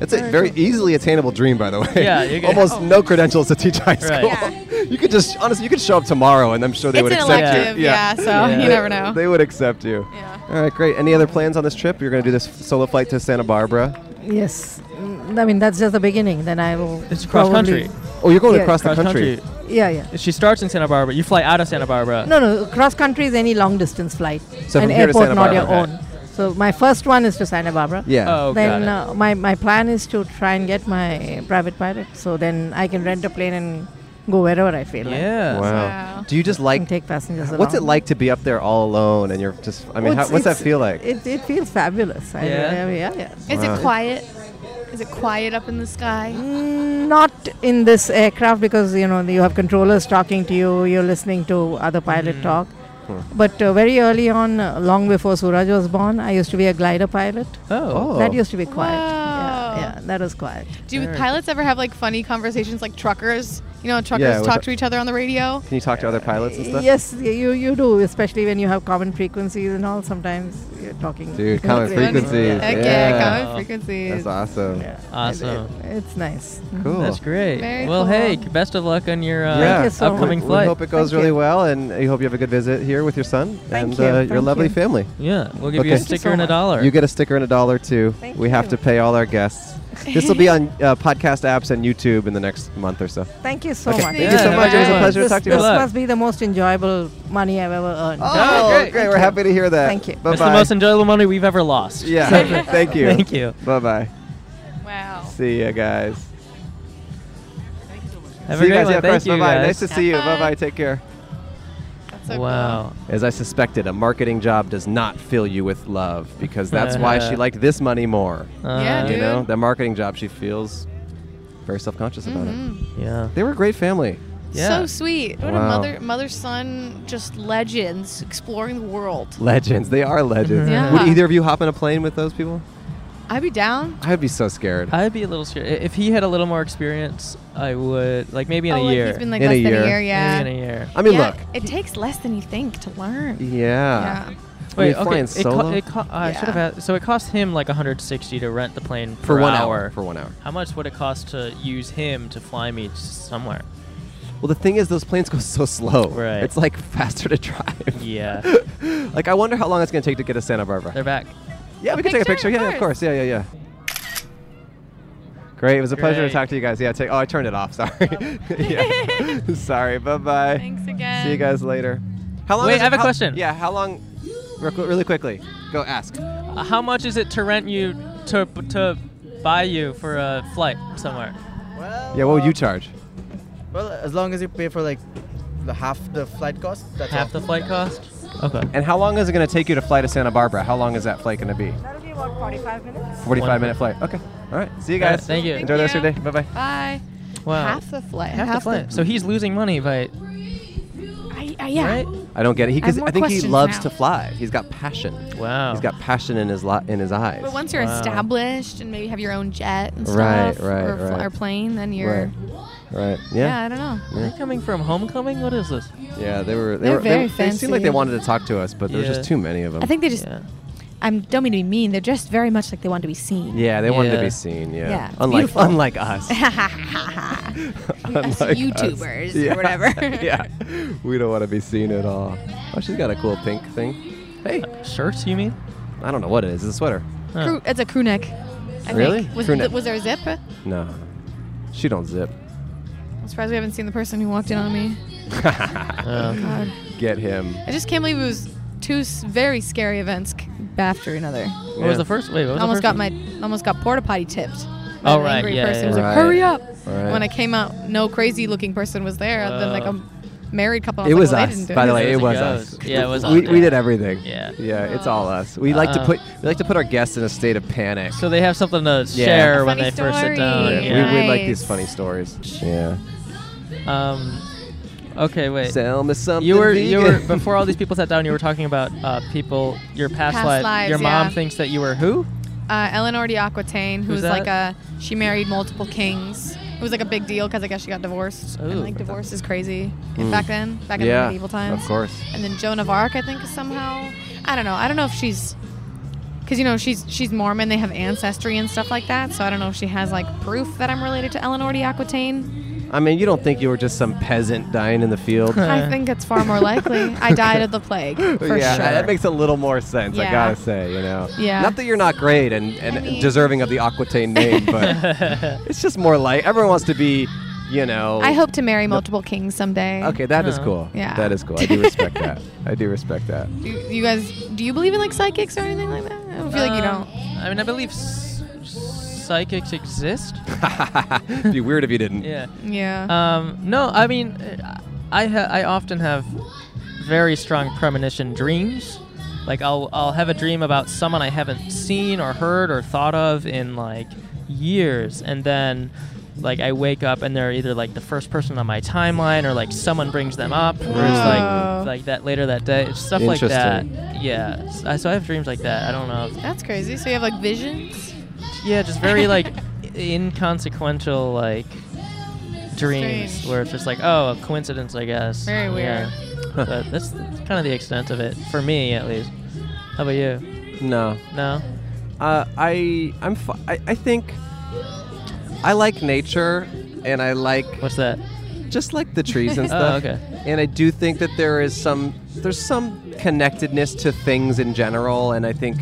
[SPEAKER 2] It's a very easily attainable dream, by the way.
[SPEAKER 1] Yeah,
[SPEAKER 2] [LAUGHS]
[SPEAKER 1] you get-
[SPEAKER 2] almost no credentials to teach high school.
[SPEAKER 5] Right.
[SPEAKER 2] [LAUGHS] you could just honestly, you could show up tomorrow, and I'm sure they
[SPEAKER 5] it's
[SPEAKER 2] would
[SPEAKER 5] an
[SPEAKER 2] accept
[SPEAKER 5] elective,
[SPEAKER 2] you.
[SPEAKER 5] yeah. so
[SPEAKER 1] Yeah.
[SPEAKER 5] you never know.
[SPEAKER 2] They would accept you.
[SPEAKER 5] yeah.
[SPEAKER 2] All right, great. Any other plans on this trip? You're going to do this solo flight to Santa Barbara.
[SPEAKER 10] Yes. Mm, I mean, that's just the beginning. Then I will.
[SPEAKER 1] It's cross
[SPEAKER 10] probably-
[SPEAKER 1] country.
[SPEAKER 2] Oh, you're going
[SPEAKER 10] Yeah.
[SPEAKER 2] across the
[SPEAKER 1] Cross
[SPEAKER 2] country.
[SPEAKER 1] country.
[SPEAKER 10] Yeah, yeah.
[SPEAKER 1] She starts in Santa Barbara. You fly out of Santa Barbara.
[SPEAKER 10] No, no. Cross country is any long distance flight.
[SPEAKER 2] So
[SPEAKER 10] An
[SPEAKER 2] from here to
[SPEAKER 10] airport,
[SPEAKER 2] Santa
[SPEAKER 10] not your
[SPEAKER 2] Barbara.
[SPEAKER 10] own. So my first one is to Santa Barbara.
[SPEAKER 2] Yeah.
[SPEAKER 1] Oh,
[SPEAKER 10] then
[SPEAKER 1] got it.
[SPEAKER 10] uh, my, my plan is to try and get my private pilot so then I can rent a plane and go wherever I feel like
[SPEAKER 1] yeah.
[SPEAKER 2] Wow.
[SPEAKER 5] Wow.
[SPEAKER 2] Do you just
[SPEAKER 10] and
[SPEAKER 2] like?
[SPEAKER 10] take passengers
[SPEAKER 2] What's it
[SPEAKER 10] along.
[SPEAKER 2] like to be up there all alone and you're just? I mean,
[SPEAKER 10] Oh,
[SPEAKER 2] how,
[SPEAKER 10] it's-
[SPEAKER 2] what's that
[SPEAKER 10] it's-
[SPEAKER 2] feel like?
[SPEAKER 10] It, it feels fabulous. I-
[SPEAKER 1] Yeah?
[SPEAKER 10] I- yeah, yeah.
[SPEAKER 5] Is
[SPEAKER 2] Wow.
[SPEAKER 5] it quiet? Is it quiet up in the sky?
[SPEAKER 10] Mm, Not in this aircraft because you know you have controllers talking to you. You're listening to other pilot
[SPEAKER 1] Mm.
[SPEAKER 10] talk.
[SPEAKER 1] [LAUGHS]
[SPEAKER 10] But uh, very early on, uh, long before Suraj was born, I used to be a glider pilot.
[SPEAKER 1] Oh.
[SPEAKER 10] That used to be quiet.
[SPEAKER 5] Wow.
[SPEAKER 10] Yeah, yeah, that was quiet.
[SPEAKER 5] Oh. Do
[SPEAKER 1] Very
[SPEAKER 5] pilots ever have like funny conversations like truckers? You know, truckers
[SPEAKER 2] with
[SPEAKER 5] talk
[SPEAKER 2] the-
[SPEAKER 5] to each other on the radio.
[SPEAKER 2] Can you talk to other pilots and stuff?
[SPEAKER 10] Yes, y- you you do, especially when you have common frequencies and all. Sometimes you're talking.
[SPEAKER 2] Dude, common
[SPEAKER 10] Yeah.
[SPEAKER 2] frequencies,
[SPEAKER 5] Heck
[SPEAKER 2] yeah.
[SPEAKER 5] yeah,
[SPEAKER 1] Wow.
[SPEAKER 5] common frequencies.
[SPEAKER 2] That's awesome.
[SPEAKER 10] Yeah.
[SPEAKER 1] Awesome.
[SPEAKER 10] It- it's nice. Mm-hmm.
[SPEAKER 2] Cool.
[SPEAKER 1] That's great.
[SPEAKER 5] Very
[SPEAKER 1] well,
[SPEAKER 5] cool.
[SPEAKER 1] hey, best of luck on your uh,
[SPEAKER 10] Thank you so
[SPEAKER 1] upcoming
[SPEAKER 2] we,
[SPEAKER 1] flight.
[SPEAKER 2] We hope it goes
[SPEAKER 10] Thank
[SPEAKER 2] really
[SPEAKER 10] you.
[SPEAKER 2] well, and we hope you have a good visit here with your son
[SPEAKER 10] Thank
[SPEAKER 2] and
[SPEAKER 10] you.
[SPEAKER 2] Uh, your
[SPEAKER 10] Thank
[SPEAKER 2] lovely
[SPEAKER 10] you.
[SPEAKER 2] family.
[SPEAKER 1] yeah, we'll give you a
[SPEAKER 2] Okay.
[SPEAKER 10] you
[SPEAKER 2] Thank
[SPEAKER 1] sticker
[SPEAKER 10] so
[SPEAKER 1] and a
[SPEAKER 10] much.
[SPEAKER 1] dollar.
[SPEAKER 2] You get a sticker and a dollar too.
[SPEAKER 10] Thank
[SPEAKER 2] we have
[SPEAKER 10] you.
[SPEAKER 2] to pay all our
[SPEAKER 10] [LAUGHS]
[SPEAKER 2] guests. this will be on uh, podcast apps and YouTube in the next month or so.
[SPEAKER 10] Thank you so
[SPEAKER 2] Okay,
[SPEAKER 10] much.
[SPEAKER 2] thank you so
[SPEAKER 1] Yeah,
[SPEAKER 2] much. It was a
[SPEAKER 1] everyone.
[SPEAKER 2] pleasure to
[SPEAKER 10] This,
[SPEAKER 2] talk to you.
[SPEAKER 10] this
[SPEAKER 1] Good luck.
[SPEAKER 10] must be the most enjoyable money I've ever earned.
[SPEAKER 2] Oh,
[SPEAKER 1] great.
[SPEAKER 2] great. We're happy to hear that.
[SPEAKER 10] Thank you. It's
[SPEAKER 2] Bye
[SPEAKER 1] That's the
[SPEAKER 2] bye.
[SPEAKER 1] most enjoyable money we've ever lost. [LAUGHS]
[SPEAKER 2] yeah. Thank you.
[SPEAKER 1] Thank you.
[SPEAKER 2] Bye bye.
[SPEAKER 5] Wow.
[SPEAKER 2] See you guys.
[SPEAKER 1] Have
[SPEAKER 2] see
[SPEAKER 1] a great
[SPEAKER 2] you guys.
[SPEAKER 1] one.
[SPEAKER 2] Yeah,
[SPEAKER 1] Thank
[SPEAKER 2] of course.
[SPEAKER 1] you,
[SPEAKER 2] bye bye.
[SPEAKER 1] guys.
[SPEAKER 2] Nice to see you.
[SPEAKER 5] Bye.
[SPEAKER 2] Bye bye. Take care.
[SPEAKER 5] That's so cool.
[SPEAKER 1] wow.
[SPEAKER 2] As I suspected, a marketing job does not fill you with love because that's why
[SPEAKER 1] [LAUGHS]
[SPEAKER 2] she liked this money more.
[SPEAKER 1] Uh-huh.
[SPEAKER 5] Yeah,
[SPEAKER 2] You
[SPEAKER 5] dude.
[SPEAKER 2] know, that marketing job, she feels very self conscious about it.
[SPEAKER 10] Mm-hmm.
[SPEAKER 1] Yeah.
[SPEAKER 2] They were a great family.
[SPEAKER 1] Yeah.
[SPEAKER 5] So sweet. What
[SPEAKER 2] Wow.
[SPEAKER 5] a mother mother son just legends exploring the world.
[SPEAKER 2] Legends. They are legends.
[SPEAKER 5] Yeah.
[SPEAKER 2] Would either of you hop in a plane with those people?
[SPEAKER 5] I'd be down.
[SPEAKER 2] I'd be so scared.
[SPEAKER 1] I'd be a little scared. I- If he had a little more experience, I would like maybe in
[SPEAKER 5] oh,
[SPEAKER 1] a
[SPEAKER 5] like
[SPEAKER 1] year.
[SPEAKER 5] he's been like
[SPEAKER 2] In a
[SPEAKER 5] less than
[SPEAKER 2] year.
[SPEAKER 5] a year, yeah.
[SPEAKER 1] Maybe in a year.
[SPEAKER 2] I mean,
[SPEAKER 5] yeah,
[SPEAKER 2] look.
[SPEAKER 5] It takes less than you think to learn.
[SPEAKER 2] Yeah.
[SPEAKER 1] Wait,
[SPEAKER 2] flying
[SPEAKER 1] okay. It, co-
[SPEAKER 2] solo?
[SPEAKER 1] it co- I should
[SPEAKER 5] Yeah.
[SPEAKER 1] have asked. So it cost him like 160 to rent the plane
[SPEAKER 2] For
[SPEAKER 1] per
[SPEAKER 2] one
[SPEAKER 1] hour.
[SPEAKER 2] For one hour.
[SPEAKER 1] How much would it cost to use him to fly me s- somewhere?
[SPEAKER 2] Well, the thing is, those planes go so slow.
[SPEAKER 1] Right.
[SPEAKER 2] It's like faster to drive.
[SPEAKER 1] Yeah.
[SPEAKER 2] [LAUGHS] like I wonder how long it's going to take to get to Santa Barbara.
[SPEAKER 1] They're back.
[SPEAKER 2] Yeah, we can take a picture. Yeah, of course. Yeah, yeah, yeah. Great. It was a pleasure to
[SPEAKER 1] Great.
[SPEAKER 2] talk to you guys. Yeah. Take, oh, I turned it off.
[SPEAKER 1] [LAUGHS]
[SPEAKER 2] [LAUGHS] Sorry. yeah. Sorry. Bye bye. Thanks again. See you guys later. How long?
[SPEAKER 1] Wait,
[SPEAKER 2] is
[SPEAKER 1] I have
[SPEAKER 2] it,
[SPEAKER 1] a
[SPEAKER 2] how-
[SPEAKER 1] question.
[SPEAKER 2] Yeah. How long? real qu- Really quickly. Go ask.
[SPEAKER 1] Uh, How much is it to rent you to to buy you for a flight somewhere?
[SPEAKER 2] Yeah. What would you charge?
[SPEAKER 8] Well, as long as you pay for like the half the flight cost, that's
[SPEAKER 1] Half the flight cost. Okay.
[SPEAKER 2] And how long is it going to take you to fly to Santa Barbara? How long is that flight going to be?
[SPEAKER 10] That'll be about 45 minutes.
[SPEAKER 2] 45 minute flight. Okay. All right. See you
[SPEAKER 1] All right,
[SPEAKER 2] guys.
[SPEAKER 1] thank you.
[SPEAKER 2] Enjoy the rest of your day. Bye bye.
[SPEAKER 5] Bye.
[SPEAKER 1] Wow.
[SPEAKER 5] Half the flight.
[SPEAKER 1] Half the flight. So he's losing money by
[SPEAKER 5] I, I, yeah.
[SPEAKER 1] right.
[SPEAKER 2] I don't get it. He
[SPEAKER 5] I have
[SPEAKER 2] because
[SPEAKER 5] more
[SPEAKER 2] I think he
[SPEAKER 5] questions
[SPEAKER 2] loves
[SPEAKER 5] now.
[SPEAKER 2] to fly. He's got passion.
[SPEAKER 1] Wow.
[SPEAKER 2] He's got passion in his lo- in his eyes.
[SPEAKER 5] But once you're
[SPEAKER 1] Wow.
[SPEAKER 5] established and maybe have your own jet and
[SPEAKER 2] Right,
[SPEAKER 5] stuff,
[SPEAKER 2] right,
[SPEAKER 5] or, fl-
[SPEAKER 2] right.
[SPEAKER 5] or plane, then you're.
[SPEAKER 2] Right. Right.
[SPEAKER 5] Yeah.
[SPEAKER 2] Yeah.
[SPEAKER 5] I don't know.
[SPEAKER 1] Are they coming from homecoming? What is this?
[SPEAKER 2] Yeah. they were. They
[SPEAKER 5] They're
[SPEAKER 2] were. They,
[SPEAKER 5] very
[SPEAKER 2] they seemed like they
[SPEAKER 5] fancy.
[SPEAKER 2] wanted to talk to us, but there was
[SPEAKER 1] Yeah.
[SPEAKER 2] just too many of them.
[SPEAKER 11] I think they just.
[SPEAKER 1] Yeah.
[SPEAKER 11] I don't mean to be mean. They're dressed very much like they want to be seen.
[SPEAKER 2] yeah, they wanted to
[SPEAKER 1] Yeah.
[SPEAKER 2] be seen. Yeah.
[SPEAKER 11] Yeah, it's
[SPEAKER 2] Unlike
[SPEAKER 11] beautiful.
[SPEAKER 5] [LAUGHS]
[SPEAKER 2] unlike us. [LAUGHS]
[SPEAKER 5] Us
[SPEAKER 2] Unlike us.
[SPEAKER 5] YouTubers
[SPEAKER 2] Yeah.
[SPEAKER 5] or whatever.
[SPEAKER 2] [LAUGHS]
[SPEAKER 1] [LAUGHS]
[SPEAKER 2] yeah. We don't want to be seen at all. Oh, she's got a cool pink thing. Hey,
[SPEAKER 1] Shirts, you mean?
[SPEAKER 2] I don't know what it is. It's a sweater.
[SPEAKER 1] Huh.
[SPEAKER 5] Crew, it's a crew neck. I
[SPEAKER 2] Really?
[SPEAKER 5] Think. Was,
[SPEAKER 2] Crew neck.
[SPEAKER 5] was there a zip?
[SPEAKER 2] No. She
[SPEAKER 5] [LAUGHS]
[SPEAKER 2] don't zip.
[SPEAKER 5] I'm surprised we haven't seen the person who walked in on me. Oh, God.
[SPEAKER 2] Get him.
[SPEAKER 5] I just can't believe it was two s- very scary events c- after another.
[SPEAKER 1] What was the first? Wait, what was
[SPEAKER 5] almost
[SPEAKER 1] the
[SPEAKER 5] got
[SPEAKER 1] first?
[SPEAKER 5] my almost got porta potty tipped. by
[SPEAKER 1] Oh,
[SPEAKER 5] an
[SPEAKER 1] right,
[SPEAKER 5] Angry
[SPEAKER 1] yeah,
[SPEAKER 5] person
[SPEAKER 1] yeah,
[SPEAKER 5] was
[SPEAKER 2] yeah.
[SPEAKER 5] like, "Hurry
[SPEAKER 2] Right,
[SPEAKER 5] up!"
[SPEAKER 2] right.
[SPEAKER 5] When I came out, no crazy looking person was there. other than like
[SPEAKER 1] Oh.
[SPEAKER 5] a married couple. I
[SPEAKER 2] Uh, It
[SPEAKER 5] was
[SPEAKER 2] was
[SPEAKER 5] like, well, they
[SPEAKER 2] us,
[SPEAKER 5] didn't do
[SPEAKER 2] by the
[SPEAKER 5] anything.
[SPEAKER 2] way. It
[SPEAKER 1] It
[SPEAKER 2] was
[SPEAKER 1] goes.
[SPEAKER 2] us.
[SPEAKER 1] Yeah, it was
[SPEAKER 2] We,
[SPEAKER 1] us,
[SPEAKER 2] we
[SPEAKER 1] yeah.
[SPEAKER 2] did everything.
[SPEAKER 1] Yeah.
[SPEAKER 2] Yeah, it's all us. We like to
[SPEAKER 1] Uh,
[SPEAKER 2] put we like to put our guests in a state of panic.
[SPEAKER 1] So they have something to share when
[SPEAKER 5] Funny
[SPEAKER 1] they first sit down.
[SPEAKER 5] story.
[SPEAKER 1] Yeah.
[SPEAKER 2] We, we like these
[SPEAKER 5] Nice.
[SPEAKER 2] funny stories. Yeah.
[SPEAKER 1] Um. Okay, wait.
[SPEAKER 2] Sell me something.
[SPEAKER 1] You were you were
[SPEAKER 2] [LAUGHS] vegan.
[SPEAKER 1] before all these people sat down. You were talking about uh, people your past,
[SPEAKER 5] Past
[SPEAKER 1] life.
[SPEAKER 5] lives,
[SPEAKER 1] your mom
[SPEAKER 5] yeah.
[SPEAKER 1] thinks that you
[SPEAKER 5] [LAUGHS]
[SPEAKER 1] were who?
[SPEAKER 5] Uh, Eleanor de Aquitaine, who
[SPEAKER 1] Who's
[SPEAKER 5] was like a she married multiple kings. It was like a big deal because I guess she got divorced.
[SPEAKER 1] Ooh.
[SPEAKER 5] And like divorce is crazy back then, back in the
[SPEAKER 2] Hmm. yeah.
[SPEAKER 5] medieval times.
[SPEAKER 2] Of course.
[SPEAKER 5] and then Joan of Arc, I think, is somehow. I don't know. I don't know if she's, because you know she's she's Mormon. They have ancestry and stuff like that. So I don't know if she has like proof that I'm related to Eleanor de Aquitaine.
[SPEAKER 2] I mean, you don't think you were just some peasant dying in the
[SPEAKER 5] [LAUGHS]
[SPEAKER 2] field?
[SPEAKER 5] I
[SPEAKER 2] [LAUGHS]
[SPEAKER 5] think it's far more likely. I died of the plague for
[SPEAKER 2] yeah,
[SPEAKER 5] sure.
[SPEAKER 2] that makes a little more sense. I
[SPEAKER 5] Yeah.
[SPEAKER 2] gotta say, you know.
[SPEAKER 5] Yeah.
[SPEAKER 2] Not that you're not great and, and
[SPEAKER 5] I mean-
[SPEAKER 2] deserving of the Aquitaine
[SPEAKER 5] [LAUGHS]
[SPEAKER 2] name, but it's just more like everyone wants to be, you know.
[SPEAKER 5] I hope to marry multiple kings someday.
[SPEAKER 2] Okay, that is
[SPEAKER 1] Oh.
[SPEAKER 2] cool.
[SPEAKER 5] Yeah.
[SPEAKER 2] That is cool.
[SPEAKER 5] [LAUGHS]
[SPEAKER 2] I do respect that. I do respect that.
[SPEAKER 5] Do you, you guys, do you believe in like psychics or anything like that? I don't feel like you
[SPEAKER 1] Um,
[SPEAKER 5] don't.
[SPEAKER 1] I mean, I believe s- psychics
[SPEAKER 2] [LAUGHS]
[SPEAKER 1] exist.
[SPEAKER 2] It'd be weird if you didn't.
[SPEAKER 1] Yeah.
[SPEAKER 5] Yeah.
[SPEAKER 1] Um. No, I mean, uh, I ha- I often have very strong premonition dreams. Like I'll I'll have a dream about someone I haven't seen or heard or thought of in like years, and then like I wake up and they're either like the first person on my timeline or like someone brings them up or it's
[SPEAKER 5] Wow.
[SPEAKER 1] like like that later that day It's stuff like that.
[SPEAKER 2] Interesting.
[SPEAKER 1] Yeah. S- I- So I have dreams like that. I don't know. if-
[SPEAKER 5] That's crazy. So you have like visions.
[SPEAKER 1] yeah, just very like i- inconsequential like dreams
[SPEAKER 5] Strange.
[SPEAKER 1] where it's just like, oh, a coincidence, I guess.
[SPEAKER 5] Very
[SPEAKER 1] Yeah. but that's kind of the extent of it for me, at least. How about you?
[SPEAKER 2] No.
[SPEAKER 1] No.
[SPEAKER 2] Uh, I I'm fi- I, I think I like nature and I like
[SPEAKER 1] What's that?
[SPEAKER 2] just like the trees
[SPEAKER 1] [LAUGHS]
[SPEAKER 2] and
[SPEAKER 1] Oh,
[SPEAKER 2] stuff.
[SPEAKER 1] okay.
[SPEAKER 2] And I do think that there is some there's some connectedness to things in general and I think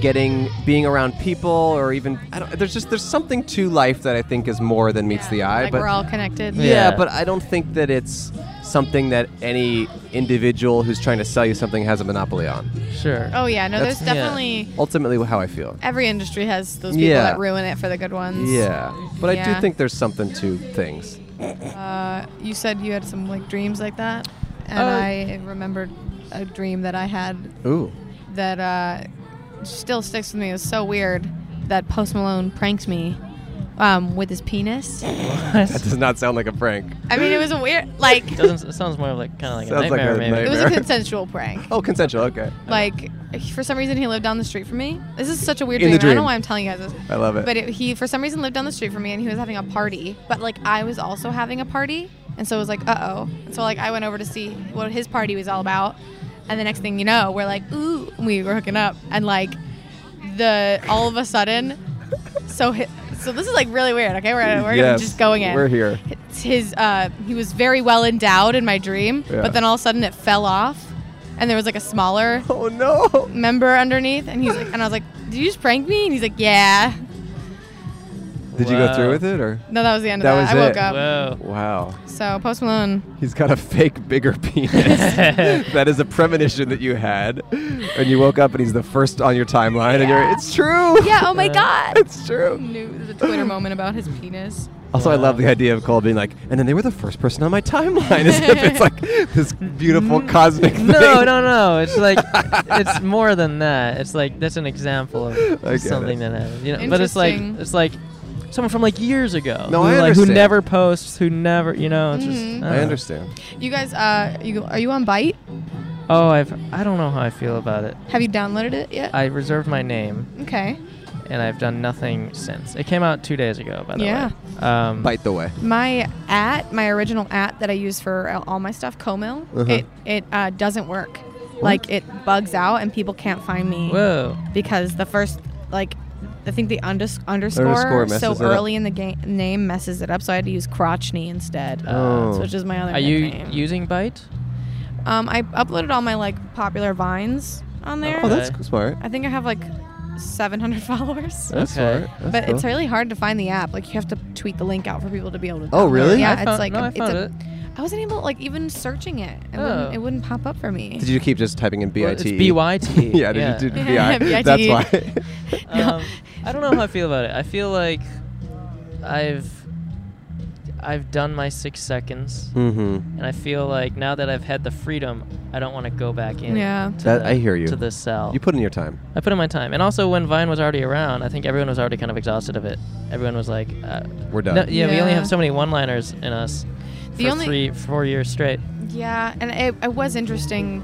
[SPEAKER 2] getting being around people or even I don't there's just there's something to life that I think is more than meets the eye
[SPEAKER 5] Like
[SPEAKER 2] but
[SPEAKER 5] we're all connected.
[SPEAKER 2] Yeah,
[SPEAKER 1] Yeah.
[SPEAKER 2] but I don't think that it's something that any individual who's trying to sell you something has a monopoly on.
[SPEAKER 1] Sure.
[SPEAKER 5] Oh yeah. No,
[SPEAKER 2] That's-
[SPEAKER 5] there's
[SPEAKER 1] yeah.
[SPEAKER 5] definitely.
[SPEAKER 2] Ultimately, how I feel.
[SPEAKER 5] [LAUGHS] Every industry has those people
[SPEAKER 2] Yeah.
[SPEAKER 5] that ruin it for the good ones.
[SPEAKER 2] Yeah, but I do
[SPEAKER 5] Yeah.
[SPEAKER 2] think there's something to things.
[SPEAKER 5] Uh, you said you had some like dreams like that, and
[SPEAKER 1] Uh,
[SPEAKER 5] I remembered a dream that I had
[SPEAKER 2] Ooh.
[SPEAKER 5] that uh, still sticks with me. It was so weird that Post Malone pranked me um, with his penis.
[SPEAKER 2] That does not sound like a prank.
[SPEAKER 5] I mean, it was a weird like it
[SPEAKER 1] Doesn't it sounds more of like kind of like
[SPEAKER 2] Sounds
[SPEAKER 1] a
[SPEAKER 2] like
[SPEAKER 1] nightmare
[SPEAKER 2] a
[SPEAKER 1] maybe.
[SPEAKER 2] nightmare.
[SPEAKER 5] was a consensual prank.
[SPEAKER 2] Oh, consensual. Okay.
[SPEAKER 5] Like for some reason he lived down the street from me. This is such a weird
[SPEAKER 2] In
[SPEAKER 5] dream.
[SPEAKER 2] the
[SPEAKER 5] and I don't
[SPEAKER 2] dream.
[SPEAKER 5] know why I'm telling you guys this.
[SPEAKER 2] I love it.
[SPEAKER 5] But it, he, for some reason, lived down the street from me, and he was having a party. But like, I was also having a party, and so it was like, uh oh. And so like, I went over to see what his party was all about, and the next thing you know, we're like, ooh, and we were hooking up, and like, the all of a sudden, so hi- So this is like really weird. Okay, we're, we're
[SPEAKER 2] Yes,
[SPEAKER 5] just going in.
[SPEAKER 2] we're here.
[SPEAKER 5] It's His uh, he was very well endowed in my dream,
[SPEAKER 2] Yeah.
[SPEAKER 5] but then all of a sudden it fell off, and there was like a smaller
[SPEAKER 2] [LAUGHS] oh no
[SPEAKER 5] member underneath, and he's like, and I was like, did you just prank me? And he's like, yeah.
[SPEAKER 2] Did you go through
[SPEAKER 1] Wow.
[SPEAKER 2] with it or?
[SPEAKER 5] No, that was the end of that. I
[SPEAKER 2] was
[SPEAKER 5] woke
[SPEAKER 2] it.
[SPEAKER 5] up.
[SPEAKER 2] Wow.
[SPEAKER 5] So Post Malone.
[SPEAKER 2] He's got a fake bigger [LAUGHS] penis. that is a premonition that you had, and you woke up and he's the first on your timeline, and you're it's true.
[SPEAKER 5] Yeah. Oh my God.
[SPEAKER 2] It's true.
[SPEAKER 5] New, there's a
[SPEAKER 2] [LAUGHS]
[SPEAKER 5] Twitter moment about his penis.
[SPEAKER 2] Also, I love the idea of Cole being like, and then they were the first person on my timeline, [LAUGHS] as if it's like this [LAUGHS] beautiful cosmic thing.
[SPEAKER 1] No, no, no. It's like it's more than that. It's like that's an example
[SPEAKER 2] [LAUGHS] I get
[SPEAKER 1] of something
[SPEAKER 2] it.
[SPEAKER 1] that happened. You know, but it's like
[SPEAKER 5] Interesting.
[SPEAKER 1] it's like someone from like years ago.
[SPEAKER 2] No,
[SPEAKER 1] who,
[SPEAKER 2] I
[SPEAKER 1] like, who
[SPEAKER 2] understand.
[SPEAKER 1] never Uh-huh. posts, who never, you know, it's just
[SPEAKER 5] Mhm.
[SPEAKER 1] don't
[SPEAKER 2] I
[SPEAKER 1] know.
[SPEAKER 2] understand.
[SPEAKER 5] You guys, uh, you are you on Bite?
[SPEAKER 1] Oh, I've I don't know how I feel about it.
[SPEAKER 5] Have you downloaded it yet?
[SPEAKER 1] I reserved my name
[SPEAKER 5] okay.
[SPEAKER 1] and I've done nothing since. It came out 2 days ago, by the
[SPEAKER 5] Yeah.
[SPEAKER 1] way. Um
[SPEAKER 2] Bite the way.
[SPEAKER 5] My at my original at that I use for uh, all my stuff, Comil,
[SPEAKER 2] Uh-huh.
[SPEAKER 5] it it uh, doesn't work. Like it bugs out and people can't find me
[SPEAKER 1] Whoa.
[SPEAKER 5] because the first like I think the unders-
[SPEAKER 2] Underscore
[SPEAKER 5] underscore,
[SPEAKER 2] messes
[SPEAKER 5] so
[SPEAKER 2] it up.
[SPEAKER 5] early in the game name messes it up. So I had to use Crotchney instead,
[SPEAKER 2] Oh.
[SPEAKER 5] uh, so which is my other.
[SPEAKER 1] Are you
[SPEAKER 5] nickname. [LAUGHS]
[SPEAKER 1] using Bite?
[SPEAKER 5] Um, I uploaded all my like popular vines on there.
[SPEAKER 2] Oh, that's
[SPEAKER 1] Okay.
[SPEAKER 2] smart.
[SPEAKER 5] I think I have like 700 [LAUGHS] followers.
[SPEAKER 2] That's
[SPEAKER 1] Okay.
[SPEAKER 2] smart. That's
[SPEAKER 5] But
[SPEAKER 2] cool.
[SPEAKER 5] it's really hard to find the app. Like you have to tweet the link out for people to be able to.
[SPEAKER 2] Oh,
[SPEAKER 5] download
[SPEAKER 2] really?
[SPEAKER 5] it. Yeah,
[SPEAKER 1] I
[SPEAKER 5] it's
[SPEAKER 1] found-
[SPEAKER 5] like
[SPEAKER 1] no,
[SPEAKER 5] a-
[SPEAKER 1] I
[SPEAKER 5] it's
[SPEAKER 1] found
[SPEAKER 5] a-
[SPEAKER 1] it.
[SPEAKER 5] I wasn't able like even searching it. It,
[SPEAKER 1] Oh.
[SPEAKER 5] wouldn't, it wouldn't pop up for me.
[SPEAKER 2] Did you keep just typing in B
[SPEAKER 1] Well,
[SPEAKER 2] I
[SPEAKER 1] it's
[SPEAKER 2] T? E?
[SPEAKER 1] BYT,
[SPEAKER 2] [LAUGHS] yeah, did
[SPEAKER 1] yeah.
[SPEAKER 2] you do
[SPEAKER 5] [LAUGHS] Yeah,
[SPEAKER 2] BI? That's
[SPEAKER 5] BIT.
[SPEAKER 2] why.
[SPEAKER 1] um, I don't know how I feel about it. I feel like I've I've done my six seconds,
[SPEAKER 2] mm-hmm.
[SPEAKER 1] and I feel like now that I've had the freedom, I don't want to go back in.
[SPEAKER 5] Yeah.
[SPEAKER 1] to
[SPEAKER 2] That
[SPEAKER 1] the-
[SPEAKER 2] I hear you.
[SPEAKER 1] To the cell,
[SPEAKER 2] You put in your time.
[SPEAKER 1] I put in my time, and also when Vine was already around, I think everyone was already kind of exhausted of it. Everyone was like, uh,
[SPEAKER 2] We're done.
[SPEAKER 1] no, yeah, we only
[SPEAKER 5] Yeah.
[SPEAKER 1] have so many one-liners in us
[SPEAKER 5] The
[SPEAKER 1] for
[SPEAKER 5] only-
[SPEAKER 1] three, four years straight."
[SPEAKER 5] Yeah, and it, it was interesting.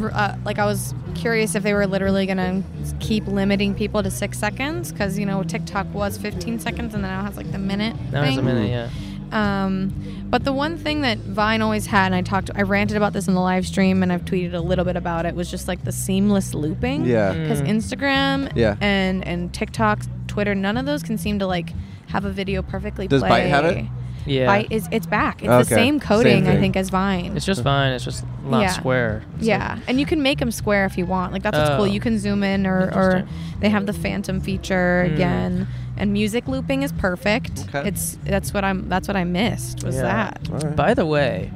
[SPEAKER 5] r- Uh, like I was curious if they were literally gonna keep limiting people to six seconds because you know TikTok was 15 seconds and then now has like the minute.
[SPEAKER 1] Now it's a
[SPEAKER 5] thing.
[SPEAKER 1] minute, yeah.
[SPEAKER 5] Um, but the one thing that Vine always had, and I talked, I ranted about this in the live stream, and I've tweeted a little bit about it, was just like the seamless looping.
[SPEAKER 2] Yeah.
[SPEAKER 1] Mm.
[SPEAKER 5] Because Instagram
[SPEAKER 2] Yeah.
[SPEAKER 5] and and TikTok, Twitter, none of those can seem to like have a video perfectly.
[SPEAKER 2] Does
[SPEAKER 5] play.
[SPEAKER 2] Byte have it?
[SPEAKER 1] Yeah,
[SPEAKER 5] Byte is it's back. It's
[SPEAKER 2] Okay.
[SPEAKER 5] the same coding,
[SPEAKER 2] Same
[SPEAKER 5] I
[SPEAKER 2] thing.
[SPEAKER 5] think, as Vine.
[SPEAKER 1] it's just Vine. It's just not
[SPEAKER 5] Yeah.
[SPEAKER 1] square. It's like-
[SPEAKER 5] yeah, and you can make them square if you want. Like that's what's
[SPEAKER 1] Oh.
[SPEAKER 5] cool. You can zoom in, or, or
[SPEAKER 1] Interesting.
[SPEAKER 5] they have the phantom feature
[SPEAKER 1] Mm.
[SPEAKER 5] again. And music looping is perfect.
[SPEAKER 2] Okay.
[SPEAKER 5] It's that's what I'm. That's what I missed was
[SPEAKER 1] Yeah.
[SPEAKER 5] that.
[SPEAKER 2] All right.
[SPEAKER 1] By the way,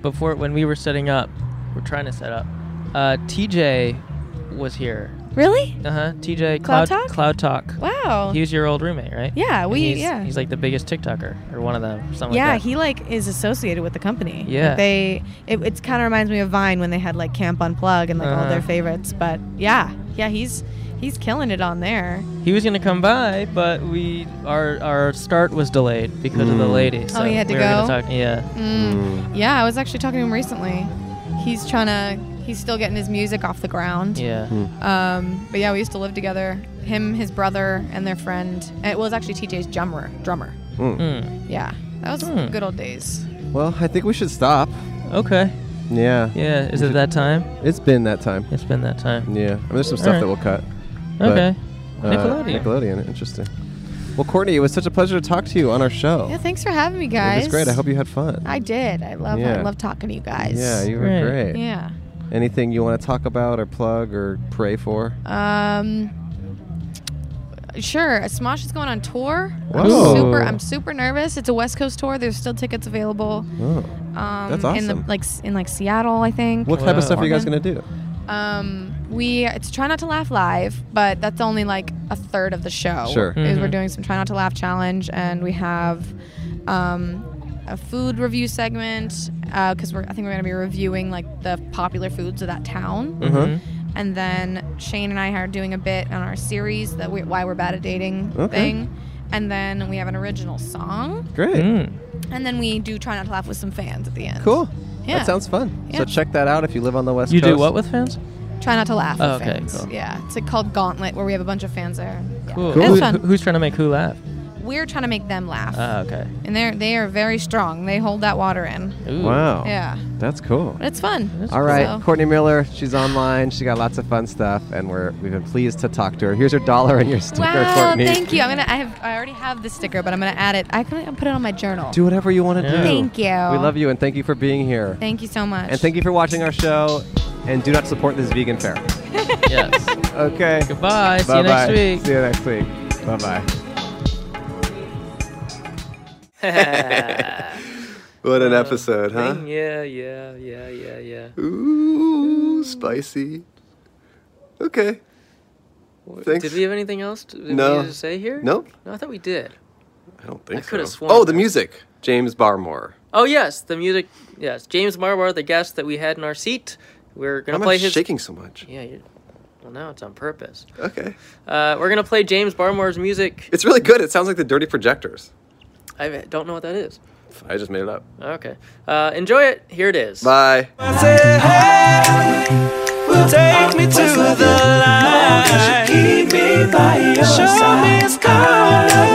[SPEAKER 1] before when we were setting up, we're trying to set up. Uh, TJ was here.
[SPEAKER 5] Really?
[SPEAKER 1] Uh huh. TJ
[SPEAKER 5] Cloud
[SPEAKER 1] Cloud
[SPEAKER 5] Talk?
[SPEAKER 1] Cloud Talk.
[SPEAKER 5] Wow.
[SPEAKER 1] He was your old roommate, right?
[SPEAKER 5] yeah,
[SPEAKER 1] And
[SPEAKER 5] we
[SPEAKER 1] he's,
[SPEAKER 5] yeah.
[SPEAKER 1] He's like the biggest TikToker or one of them. Something
[SPEAKER 5] yeah,
[SPEAKER 1] like that.
[SPEAKER 5] he like is associated with the company.
[SPEAKER 1] Yeah.
[SPEAKER 5] Like, they it, it's kind of reminds me of Vine when they had like Camp Unplug and like all
[SPEAKER 1] Uh-huh.
[SPEAKER 5] their favorites. But yeah, yeah, he's he's killing it on there.
[SPEAKER 1] he was gonna come by, but we our our start was delayed because of the
[SPEAKER 2] Mm.
[SPEAKER 1] lady. So
[SPEAKER 5] Oh, he had to
[SPEAKER 1] we were gonna
[SPEAKER 5] go?
[SPEAKER 1] talk- yeah.
[SPEAKER 5] Mm. Yeah, I was actually talking to him recently. He's trying to he's still getting his music off the ground.
[SPEAKER 1] Yeah.
[SPEAKER 2] Hmm.
[SPEAKER 5] Um, but yeah, we used to live together. Him, his brother, and their friend. And it was actually TJ's drummer. Drummer.
[SPEAKER 1] Mm.
[SPEAKER 5] Yeah, that was
[SPEAKER 1] Hmm.
[SPEAKER 5] good old days.
[SPEAKER 2] Hmm. Well, I think we should stop.
[SPEAKER 1] Okay.
[SPEAKER 2] Yeah.
[SPEAKER 1] Yeah. Is it that time?
[SPEAKER 2] It's been that time.
[SPEAKER 1] It's been that time.
[SPEAKER 2] Yeah. I mean, there's some
[SPEAKER 1] All
[SPEAKER 2] stuff
[SPEAKER 1] right.
[SPEAKER 2] that we'll cut. But,
[SPEAKER 1] Okay.
[SPEAKER 2] uh,
[SPEAKER 1] Nickelodeon.
[SPEAKER 2] Nickelodeon. Interesting. Well, Courtney, it was such a pleasure to talk to you on our show.
[SPEAKER 5] Yeah, thanks for having me,
[SPEAKER 2] it
[SPEAKER 5] guys.
[SPEAKER 2] was great. I hope you had fun.
[SPEAKER 5] I did. I love.
[SPEAKER 2] Yeah.
[SPEAKER 5] I love talking to you guys.
[SPEAKER 2] yeah, you
[SPEAKER 1] Great.
[SPEAKER 2] were great.
[SPEAKER 5] Yeah.
[SPEAKER 2] Anything you want to talk about or plug or pray for?
[SPEAKER 5] Um. Sure. Smosh is going on tour.
[SPEAKER 2] Whoa.
[SPEAKER 5] I'm super. I'm super nervous. It's a West Coast tour. There's still tickets available.
[SPEAKER 2] Oh.
[SPEAKER 5] Um,
[SPEAKER 2] That's
[SPEAKER 5] In the,
[SPEAKER 2] awesome.
[SPEAKER 5] like s- in like Seattle, I think.
[SPEAKER 2] What type of
[SPEAKER 1] Wow.
[SPEAKER 2] stuff are you guys
[SPEAKER 5] Morgan?
[SPEAKER 2] going to do?
[SPEAKER 5] Um, we it's try not to laugh live, but that's only like a third of the show.
[SPEAKER 2] Sure.
[SPEAKER 5] Is we're
[SPEAKER 1] Mhm.
[SPEAKER 5] doing some try not to laugh challenge, and we have um, a food review segment because we're I think we're gonna be reviewing like the popular foods of that town.
[SPEAKER 1] Mm-hmm.
[SPEAKER 2] Mhm.
[SPEAKER 5] And then Shane and I are doing a bit on our series that we, why we're bad at dating
[SPEAKER 2] Okay.
[SPEAKER 5] thing, and then we have an original song,
[SPEAKER 2] Great.
[SPEAKER 1] Mm.
[SPEAKER 5] and then we do try not to laugh with some fans at the end.
[SPEAKER 2] Cool.
[SPEAKER 5] Yeah.
[SPEAKER 2] That sounds fun.
[SPEAKER 5] Yeah.
[SPEAKER 2] So check that out if you live on the West
[SPEAKER 1] You
[SPEAKER 2] Coast.
[SPEAKER 1] do what with fans?
[SPEAKER 5] Try not to laugh.
[SPEAKER 1] Oh,
[SPEAKER 5] with
[SPEAKER 1] okay,
[SPEAKER 5] fans.
[SPEAKER 1] cool.
[SPEAKER 5] Yeah, it's like called Gauntlet, where we have a bunch of fans there. Yeah.
[SPEAKER 1] Cool.
[SPEAKER 5] It's
[SPEAKER 1] Who-
[SPEAKER 5] fun.
[SPEAKER 1] who's trying to make who laugh?
[SPEAKER 5] we're trying to make them laugh.
[SPEAKER 1] Uh.
[SPEAKER 12] Ah,
[SPEAKER 5] [LAUGHS]
[SPEAKER 12] okay.
[SPEAKER 5] and they're they are very strong. They hold that water in.
[SPEAKER 2] Wow.
[SPEAKER 5] Yeah.
[SPEAKER 2] That's cool.
[SPEAKER 5] But it's fun.
[SPEAKER 2] All right,
[SPEAKER 5] So-
[SPEAKER 2] Courtney Miller. She's online. She got lots of fun stuff, and we're we've been pleased to talk to her. Here's her dollar and your sticker,
[SPEAKER 5] Wow,
[SPEAKER 2] Courtney.
[SPEAKER 5] thank you. I'm gonna. I have. I already have the sticker, but I'm gonna add it. I can put it on my journal.
[SPEAKER 2] Do whatever you want to do.
[SPEAKER 5] Thank you.
[SPEAKER 2] We love you, and thank you for being here.
[SPEAKER 5] Thank you so much.
[SPEAKER 2] And thank you for watching our show. And do not support this vegan
[SPEAKER 1] [LAUGHS]
[SPEAKER 2] fair.
[SPEAKER 12] yes.
[SPEAKER 2] Okay.
[SPEAKER 12] Goodbye. See you next
[SPEAKER 2] Bye-bye.
[SPEAKER 12] week.
[SPEAKER 2] See you next week. Bye bye.
[SPEAKER 5] Uh.
[SPEAKER 13] What an episode, huh?
[SPEAKER 1] Yeah, yeah, yeah, yeah, yeah.
[SPEAKER 13] Ooh, spicy. Okay.
[SPEAKER 1] What-
[SPEAKER 13] Thanks.
[SPEAKER 1] Did we have anything else to, did
[SPEAKER 13] No.
[SPEAKER 1] we need to say here?
[SPEAKER 13] No.
[SPEAKER 1] No, I thought we did.
[SPEAKER 13] I don't think
[SPEAKER 1] I could've
[SPEAKER 13] so.
[SPEAKER 1] sworn
[SPEAKER 13] Oh, the music. James Barmore.
[SPEAKER 1] Oh yes, the music. Yes, James Marwar, the guest that we had in our seat. We're gonna
[SPEAKER 13] Why am I
[SPEAKER 1] play his.
[SPEAKER 13] shaking so much?
[SPEAKER 1] Yeah. You're, well, now it's on purpose.
[SPEAKER 13] Okay.
[SPEAKER 1] Uh, we're gonna play James Barmore's music.
[SPEAKER 13] It's really good. It sounds like the Dirty Projectors.
[SPEAKER 1] I don't know what that is.
[SPEAKER 13] I just made it up.
[SPEAKER 1] Okay. Uh, enjoy it. Here it is.
[SPEAKER 13] Bye.
[SPEAKER 3] Take me to the light. Keep me by your Show me its color.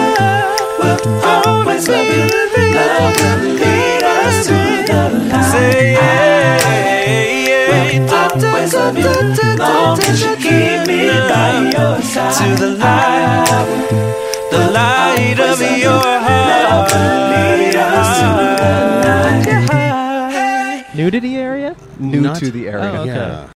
[SPEAKER 3] We'll always love you. Love will lead us to the light. Say yeah. We'll always love you. Long as you keep me by your side. To the light. The light of your heart. Love will lead us to the light.
[SPEAKER 12] Nudity area?
[SPEAKER 2] New
[SPEAKER 14] Not-
[SPEAKER 2] to the area.
[SPEAKER 12] Oh, okay.
[SPEAKER 14] Yeah.